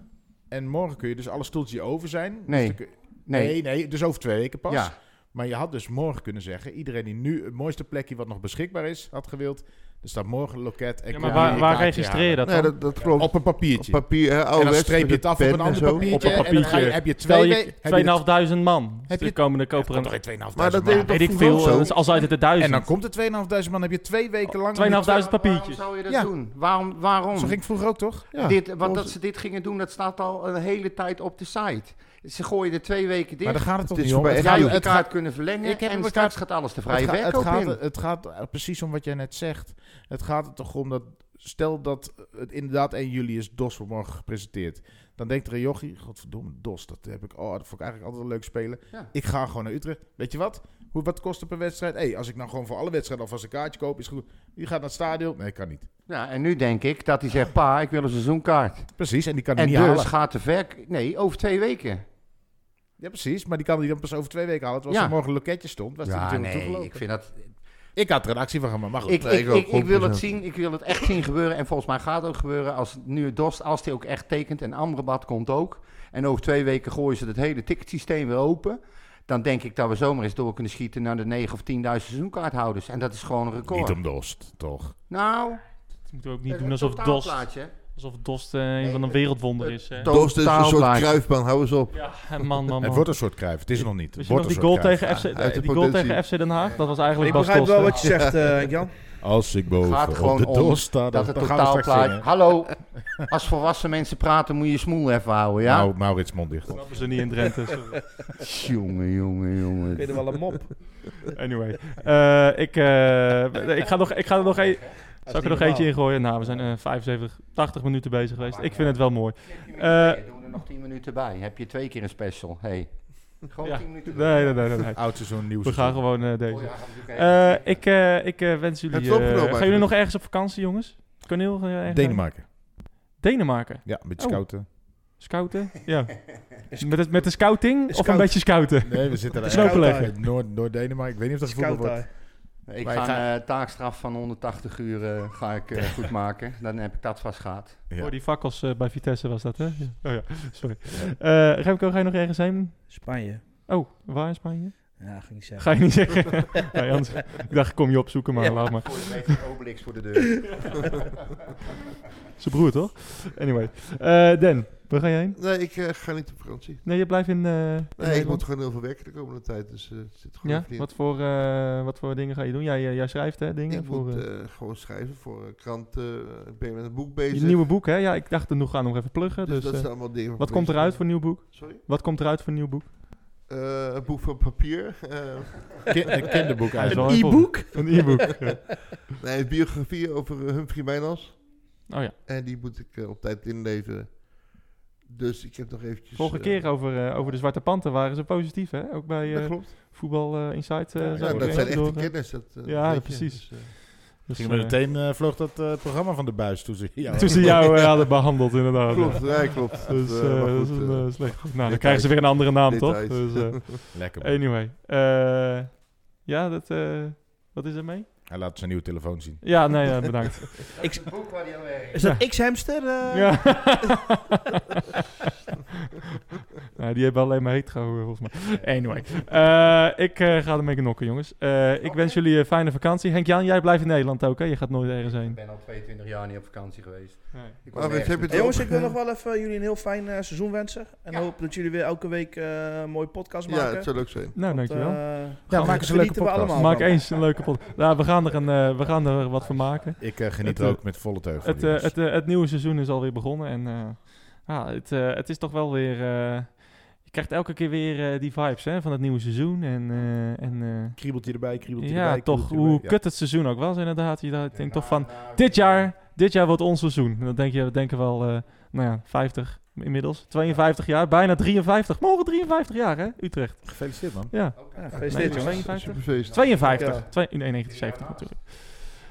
Speaker 3: En morgen kun je dus alle stoeltjes die over zijn... dus
Speaker 4: Nee.
Speaker 3: dan kun-
Speaker 4: Nee,
Speaker 3: nee, nee, dus over twee weken pas.
Speaker 4: ja.
Speaker 3: Maar je had dus morgen kunnen zeggen: iedereen die nu het mooiste plekje wat nog beschikbaar is, had gewild. Er staat morgen een loket. En
Speaker 1: Ja,
Speaker 3: kun
Speaker 1: maar
Speaker 3: je
Speaker 1: waar,
Speaker 3: je
Speaker 1: waar
Speaker 3: kaartje
Speaker 1: registreer je
Speaker 3: halen.
Speaker 1: dat
Speaker 5: Nee,
Speaker 1: dan?
Speaker 5: dat, dat klopt.
Speaker 3: Op een papiertje.
Speaker 5: Op papier, hè,
Speaker 3: en dan
Speaker 5: ouderwets,
Speaker 3: streep je
Speaker 5: met
Speaker 3: het af op
Speaker 5: pen
Speaker 3: een
Speaker 5: en
Speaker 3: ander
Speaker 5: zo.
Speaker 3: papiertje.
Speaker 1: Op een
Speaker 3: En dan ga je-
Speaker 1: papiertje.
Speaker 3: heb je
Speaker 1: Stel
Speaker 3: twee
Speaker 1: je
Speaker 3: weken.
Speaker 1: 2.500 man.
Speaker 3: Heb
Speaker 1: Heb
Speaker 3: je-
Speaker 1: je komen de
Speaker 3: Koper
Speaker 1: koperen.
Speaker 5: Maar dat deed
Speaker 1: Weet ik
Speaker 5: Dat
Speaker 1: veel.
Speaker 5: vroeger ook zo.
Speaker 1: Dat is als uit de
Speaker 3: En
Speaker 1: duizend.
Speaker 3: dan komt er 2.500 man. heb je twee weken
Speaker 1: Oh,
Speaker 3: lang.
Speaker 1: 2.500
Speaker 4: Maar Waarom
Speaker 1: papiertjes.
Speaker 4: zou je dat
Speaker 3: Ja.
Speaker 4: doen? Waarom? waarom?
Speaker 3: Zo ging het vroeger ook toch?
Speaker 5: Ja,
Speaker 4: dit, want
Speaker 5: klopt.
Speaker 4: dat ze dit gingen doen, dat staat al een hele tijd op de site. Ze gooien er twee weken
Speaker 3: Maar
Speaker 4: dicht.
Speaker 3: daar gaat het toch
Speaker 5: Het is
Speaker 3: niet om.
Speaker 5: voorbij.
Speaker 3: Het
Speaker 4: ga
Speaker 3: gaat-
Speaker 4: je je
Speaker 3: het
Speaker 4: kaart
Speaker 3: gaat-
Speaker 4: kunnen verlengen.
Speaker 3: Ik heb
Speaker 4: en
Speaker 3: een
Speaker 4: straks gaat alles de vrije
Speaker 3: het gaat-
Speaker 4: verkoop
Speaker 3: het gaat-
Speaker 4: in.
Speaker 3: Het gaat eh, precies om wat jij net zegt. Het gaat er toch om dat... Stel dat het inderdaad 1 juli is DOS wordt morgen gepresenteerd. Dan denkt er een jochie... Godverdomme, DOS, dat heb ik... Oh, dat vond ik eigenlijk altijd een leuk spelen.
Speaker 4: Ja.
Speaker 3: Ik ga gewoon naar Utrecht. Weet je wat? Hoe, wat kost het per wedstrijd? hey, als ik nou gewoon voor alle wedstrijden alvast een kaartje koop, is het goed. Je gaat naar het stadion. Nee, kan niet.
Speaker 4: Ja, en nu denk ik dat hij zegt, pa, ik wil een seizoenkaart.
Speaker 3: Precies, en die kan hij
Speaker 4: En
Speaker 3: niet
Speaker 4: dus
Speaker 3: halen.
Speaker 4: gaat de verk... Nee, over twee weken.
Speaker 3: Ja, precies. Maar die kan hij dan pas over twee weken halen. Terwijl
Speaker 4: Ja.
Speaker 3: als er morgen een loketje stond, was hij
Speaker 4: ja,
Speaker 3: natuurlijk
Speaker 4: nee,
Speaker 3: toegelopen.
Speaker 4: ik vind dat...
Speaker 3: Ik had er een actie van gemaakt. Maar goed.
Speaker 4: Ik,
Speaker 5: Nee,
Speaker 4: ik,
Speaker 5: ik ook,
Speaker 4: ik, ik wil het
Speaker 5: 100%.
Speaker 4: zien, ik wil het echt zien gebeuren. En volgens mij gaat het ook gebeuren als nu Dost, als die ook echt tekent en Amrabat komt ook. En over twee weken gooien ze het hele ticketsysteem weer open. Dan denk ik dat we zomaar eens door kunnen schieten naar de 9.000 of 10.000 seizoenkaarthouders. En dat is gewoon een record.
Speaker 3: Niet om DOS, toch?
Speaker 4: Nou,
Speaker 1: Dat moeten we ook niet
Speaker 4: een
Speaker 1: doen alsof Dost,
Speaker 4: totaalplaatje.
Speaker 1: alsof Dost eh, een van een wereldwonder is. hè.
Speaker 5: Dost is een soort
Speaker 4: totaalplaatje.
Speaker 5: kruifbaan, hou eens op.
Speaker 1: Ja, man, man, man.
Speaker 3: Het wordt een soort kruif. Het is er nog
Speaker 1: Weet
Speaker 3: niet. Het
Speaker 1: je nog
Speaker 3: wordt
Speaker 1: die
Speaker 3: een soort
Speaker 1: goal,
Speaker 3: Cruijff.
Speaker 1: tegen FC,
Speaker 5: Uit de
Speaker 1: die goal
Speaker 5: potentie.
Speaker 1: tegen FC Den Haag? Dat was eigenlijk
Speaker 2: Ik
Speaker 1: Bas
Speaker 2: begrijp
Speaker 1: Dost.
Speaker 2: wel
Speaker 1: hè?
Speaker 2: wat je zegt, eh, Jan.
Speaker 3: Als ik boven
Speaker 4: Gaat gewoon
Speaker 3: op de
Speaker 4: om
Speaker 3: doos sta,
Speaker 4: Dat het
Speaker 3: dan gaan we straks
Speaker 4: totaalplaatje...
Speaker 3: zingen.
Speaker 4: Hallo, als volwassen mensen praten moet je je smoel even houden, ja?
Speaker 3: Nou, Maurits mond dicht.
Speaker 1: Dat snappen ze niet in Drenthe. sorry.
Speaker 4: Jongen, jongen,
Speaker 2: Ik weet
Speaker 4: jongen.
Speaker 2: er wel een mop.
Speaker 1: Anyway. Eh, ik, eh, ik, ga nog, ik ga er nog één... Zal ik er nog eentje in gooien? Nou, we zijn eh 75, 80 minuten bezig geweest. Ik vind het wel mooi. Eh,
Speaker 4: doen er nog 10 minuten bij. Heb je twee keer een special? Hey. Gewoon
Speaker 1: Ja.
Speaker 4: 10 minuten.
Speaker 1: Nee, nee, nee, nee. nee.
Speaker 3: Oud seizoen, nieuw
Speaker 1: We gaan gewoon eh,
Speaker 4: Oh,
Speaker 1: deze.
Speaker 4: ja, gaan we natuurlijk
Speaker 1: Eh,
Speaker 4: even-
Speaker 1: ik eh, ik eh, wens
Speaker 5: Heb
Speaker 1: jullie...
Speaker 5: je het opgenomen
Speaker 1: eh, gaan jullie
Speaker 5: eigenlijk?
Speaker 1: nog ergens op vakantie, jongens? Kaneel? ga je ergens heen?
Speaker 3: Denemarken.
Speaker 1: Denemarken.
Speaker 3: Ja, een beetje
Speaker 1: Oh.
Speaker 3: scouten.
Speaker 1: Scouten? Ja. Met, het, met de scouting? Of een
Speaker 2: Scout.
Speaker 1: beetje scouten?
Speaker 3: Nee, we zitten
Speaker 1: daar
Speaker 3: daar
Speaker 1: is ergens- overleggen.
Speaker 3: in Noord- Noord-Denemarken. ik weet niet of dat gevoel
Speaker 2: Scout
Speaker 3: wordt.
Speaker 2: daar.
Speaker 4: ik
Speaker 3: wij
Speaker 4: ga een
Speaker 3: gaan-
Speaker 4: eh, taakstraf van 180 uur eh, ga ik, eh, goed maken. Dan heb ik dat vast gehad.
Speaker 3: Ja.
Speaker 1: Voor die fakkels eh, bij Vitesse was dat, hè? Ja. Oh ja, sorry. Eh Remco, ga je nog ergens heen?
Speaker 2: Spanje.
Speaker 1: Oh, waar in Spanje?
Speaker 2: Ja, ging ik zeggen.
Speaker 1: Ga je niet zeggen. nee, anders, ik dacht, ik kom je opzoeken, maar laat maar.
Speaker 4: Voor je weet is Obelix voor de deur.
Speaker 1: Zijn broer, toch? Anyway. Eh Dan, waar ga je heen?
Speaker 5: Nee, ik eh, ga niet op vakantie.
Speaker 1: Nee, je blijft in, eh, in
Speaker 5: Nee, ik
Speaker 1: Nederland?
Speaker 5: moet gewoon heel veel werken de komende tijd. Dus eh, het zit gewoon
Speaker 1: Ja?
Speaker 5: even niet in.
Speaker 1: Wat voor, eh, wat voor dingen ga je doen? Jij, eh, jij schrijft, hè, dingen?
Speaker 5: Ik
Speaker 1: voor,
Speaker 5: moet
Speaker 1: eh,
Speaker 5: eh, gewoon schrijven voor eh, kranten. eh, Ik ben met een boek
Speaker 1: je
Speaker 5: bezig.
Speaker 1: nieuwe boek, hè? Ja, ik dacht, nu gaan we nog even pluggen.
Speaker 5: dus,
Speaker 1: Dus,
Speaker 5: dat
Speaker 1: eh,
Speaker 5: zijn allemaal dingen.
Speaker 1: wat
Speaker 5: voor
Speaker 1: komt
Speaker 5: mensen.
Speaker 1: eruit voor een nieuw boek?
Speaker 5: Sorry?
Speaker 1: Wat komt eruit voor een nieuw boek?
Speaker 5: Eh, een boek van papier. eh,
Speaker 3: Kin- een kinderboek
Speaker 1: Hij is
Speaker 3: eigenlijk.
Speaker 1: wel heel vol. Een e-book. ja.
Speaker 5: nee, een biografie over eh, Humphrey Mijnals.
Speaker 1: Oh ja,
Speaker 5: En die moet ik eh, op tijd inleveren. Dus ik heb nog eventjes...
Speaker 1: vorige
Speaker 5: eh,
Speaker 1: keer over, eh, over de Zwarte Panten waren ze positief, hè? Ook bij... eh,
Speaker 5: dat klopt.
Speaker 1: Voetbal eh, Insight. eh,
Speaker 3: Ja,
Speaker 1: zijn
Speaker 5: Ja,
Speaker 1: we
Speaker 5: dat
Speaker 1: ook
Speaker 5: zijn
Speaker 1: even
Speaker 5: echte
Speaker 1: door.
Speaker 5: kennis. Dat, eh,
Speaker 1: Ja,
Speaker 5: weet je.
Speaker 1: precies.
Speaker 5: Dus, eh,
Speaker 1: Dus,
Speaker 3: Gingen we
Speaker 1: eh,
Speaker 3: meteen eh, vloog dat eh, programma van de buis toen ze jou-
Speaker 1: Toen ze jou eh, hadden behandeld, inderdaad.
Speaker 5: klopt, ja, klopt.
Speaker 1: Dus
Speaker 5: Dat,
Speaker 1: eh,
Speaker 5: eh, maar
Speaker 1: dat is
Speaker 5: goed,
Speaker 1: een,
Speaker 5: eh,
Speaker 1: eh, slecht. Nou, dan
Speaker 5: details.
Speaker 1: krijgen ze weer een andere naam, toch?
Speaker 5: Details.
Speaker 1: Dus, eh,
Speaker 3: Lekker. man.
Speaker 1: anyway. Eh, ja, dat, eh, wat is er mee?
Speaker 3: Hij laat zijn nieuwe telefoon zien.
Speaker 1: Ja, nee, ja, bedankt.
Speaker 4: Het boek waar die aan werkt.
Speaker 2: Is dat X-hamster? eh?
Speaker 1: ja. Nou, die hebben alleen maar heet gehouden, volgens mij. Anyway, Eh, ik eh, ga ermee knokken, jongens. Eh, ik wens jullie een fijne vakantie. Henk-Jan, jij blijft in Nederland ook, hè? Je gaat nooit ergens
Speaker 4: Ik
Speaker 1: heen.
Speaker 4: ben al 22 jaar niet op vakantie geweest. Ik
Speaker 1: Oh,
Speaker 4: kom
Speaker 5: Maar Rits,
Speaker 4: ergens
Speaker 5: heb je
Speaker 4: naartoe.
Speaker 2: Hey, jongens, ik wil nog wel even jullie een heel fijn eh, seizoen wensen. En
Speaker 4: Ja.
Speaker 2: hoop dat jullie weer elke week eh, een mooie podcast
Speaker 5: Ja,
Speaker 2: maken.
Speaker 5: het zou leuk zijn.
Speaker 1: Nou,
Speaker 2: eh,
Speaker 1: dankjewel.
Speaker 3: Ja, maak eens een leuke podcast.
Speaker 1: Maak eens een leuke pot. Nou, we gaan er, een, eh, we gaan er wat van maken.
Speaker 3: Ik eh, geniet
Speaker 1: Het,
Speaker 3: er
Speaker 1: eh,
Speaker 3: ook met volle teug van.
Speaker 1: Het, eh,
Speaker 3: jongens.
Speaker 1: het, eh, het nieuwe seizoen is alweer begonnen. En eh, ja, het, eh, het is toch wel weer... eh, je krijgt elke keer weer eh, die vibes hè, van het nieuwe seizoen. En, eh, en, eh,
Speaker 3: kriebeltje erbij, kriebeltje
Speaker 1: ja,
Speaker 3: erbij.
Speaker 1: toch.
Speaker 3: kriebeltje
Speaker 1: Hoe
Speaker 3: erbij.
Speaker 1: kut het seizoen ook was inderdaad. Je dacht-
Speaker 4: Ja,
Speaker 1: denkt
Speaker 4: na-
Speaker 1: toch van...
Speaker 4: na-
Speaker 1: Dit jaar, dit jaar wordt ons seizoen. En Dan denk je, we denken wel, eh, nou ja, 50 inmiddels. 52 jaar, bijna 53. Morgen 53 jaar, hè? Utrecht.
Speaker 3: Ja. Gefeliciteerd, man.
Speaker 1: Ja,
Speaker 2: Ja,
Speaker 1: Nee,
Speaker 2: gefeliciteerd, Oh, jongens.
Speaker 1: 52.
Speaker 5: Superfeest.
Speaker 1: 52.
Speaker 2: Ja.
Speaker 1: Twee- nee, 1970 natuurlijk.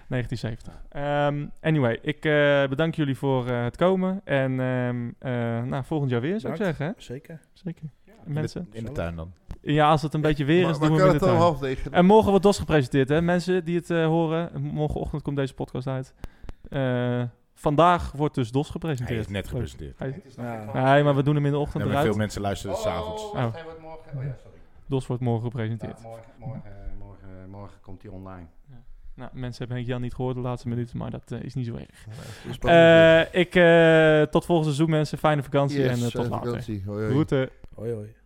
Speaker 1: 1970. Ehm, anyway, ik eh, bedank jullie voor eh, het komen. En ehm, eh, nou, volgend jaar weer, zou ik
Speaker 2: Bedankt.
Speaker 1: zeggen. Hè?
Speaker 2: Zeker.
Speaker 1: Zeker.
Speaker 3: In de-
Speaker 1: Mensen.
Speaker 3: In de tuin dan.
Speaker 1: Ja, als het een beetje weer
Speaker 5: Maar-
Speaker 1: is,
Speaker 5: maar
Speaker 1: doen we
Speaker 5: kan
Speaker 1: hem in
Speaker 5: het
Speaker 1: de
Speaker 5: dan
Speaker 1: tuin. Ehm,
Speaker 5: half negen?
Speaker 1: En morgen wordt DOS gepresenteerd, hè? Mensen die het eh, horen. Morgenochtend komt deze podcast uit. Eh, vandaag wordt dus DOS gepresenteerd.
Speaker 3: Hij is net gepresenteerd.
Speaker 4: Het is nog
Speaker 2: Ja.
Speaker 4: geen van-
Speaker 1: Nee, maar we doen hem in de ochtend
Speaker 3: Ja, maar
Speaker 1: eruit.
Speaker 3: veel mensen luisteren
Speaker 4: Oh,
Speaker 3: het s'avonds.
Speaker 1: Oh.
Speaker 4: wacht, hij wordt morgen. Oh ja, sorry.
Speaker 1: DOS wordt morgen gepresenteerd.
Speaker 4: Ja, morgen, morgen, eh, morgen, morgen komt hij online.
Speaker 1: Nou, mensen hebben Henk Jan niet gehoord de laatste minuten, maar dat eh, is niet zo erg.
Speaker 5: Dus
Speaker 1: Eh, ik, eh, tot volgend seizoen mensen. Fijne vakantie
Speaker 5: Yes,
Speaker 1: en eh, tot
Speaker 5: fijne
Speaker 1: later.
Speaker 5: vakantie. Oh, Hoi, hoi.
Speaker 1: Groeten.
Speaker 2: Hoi, hoi.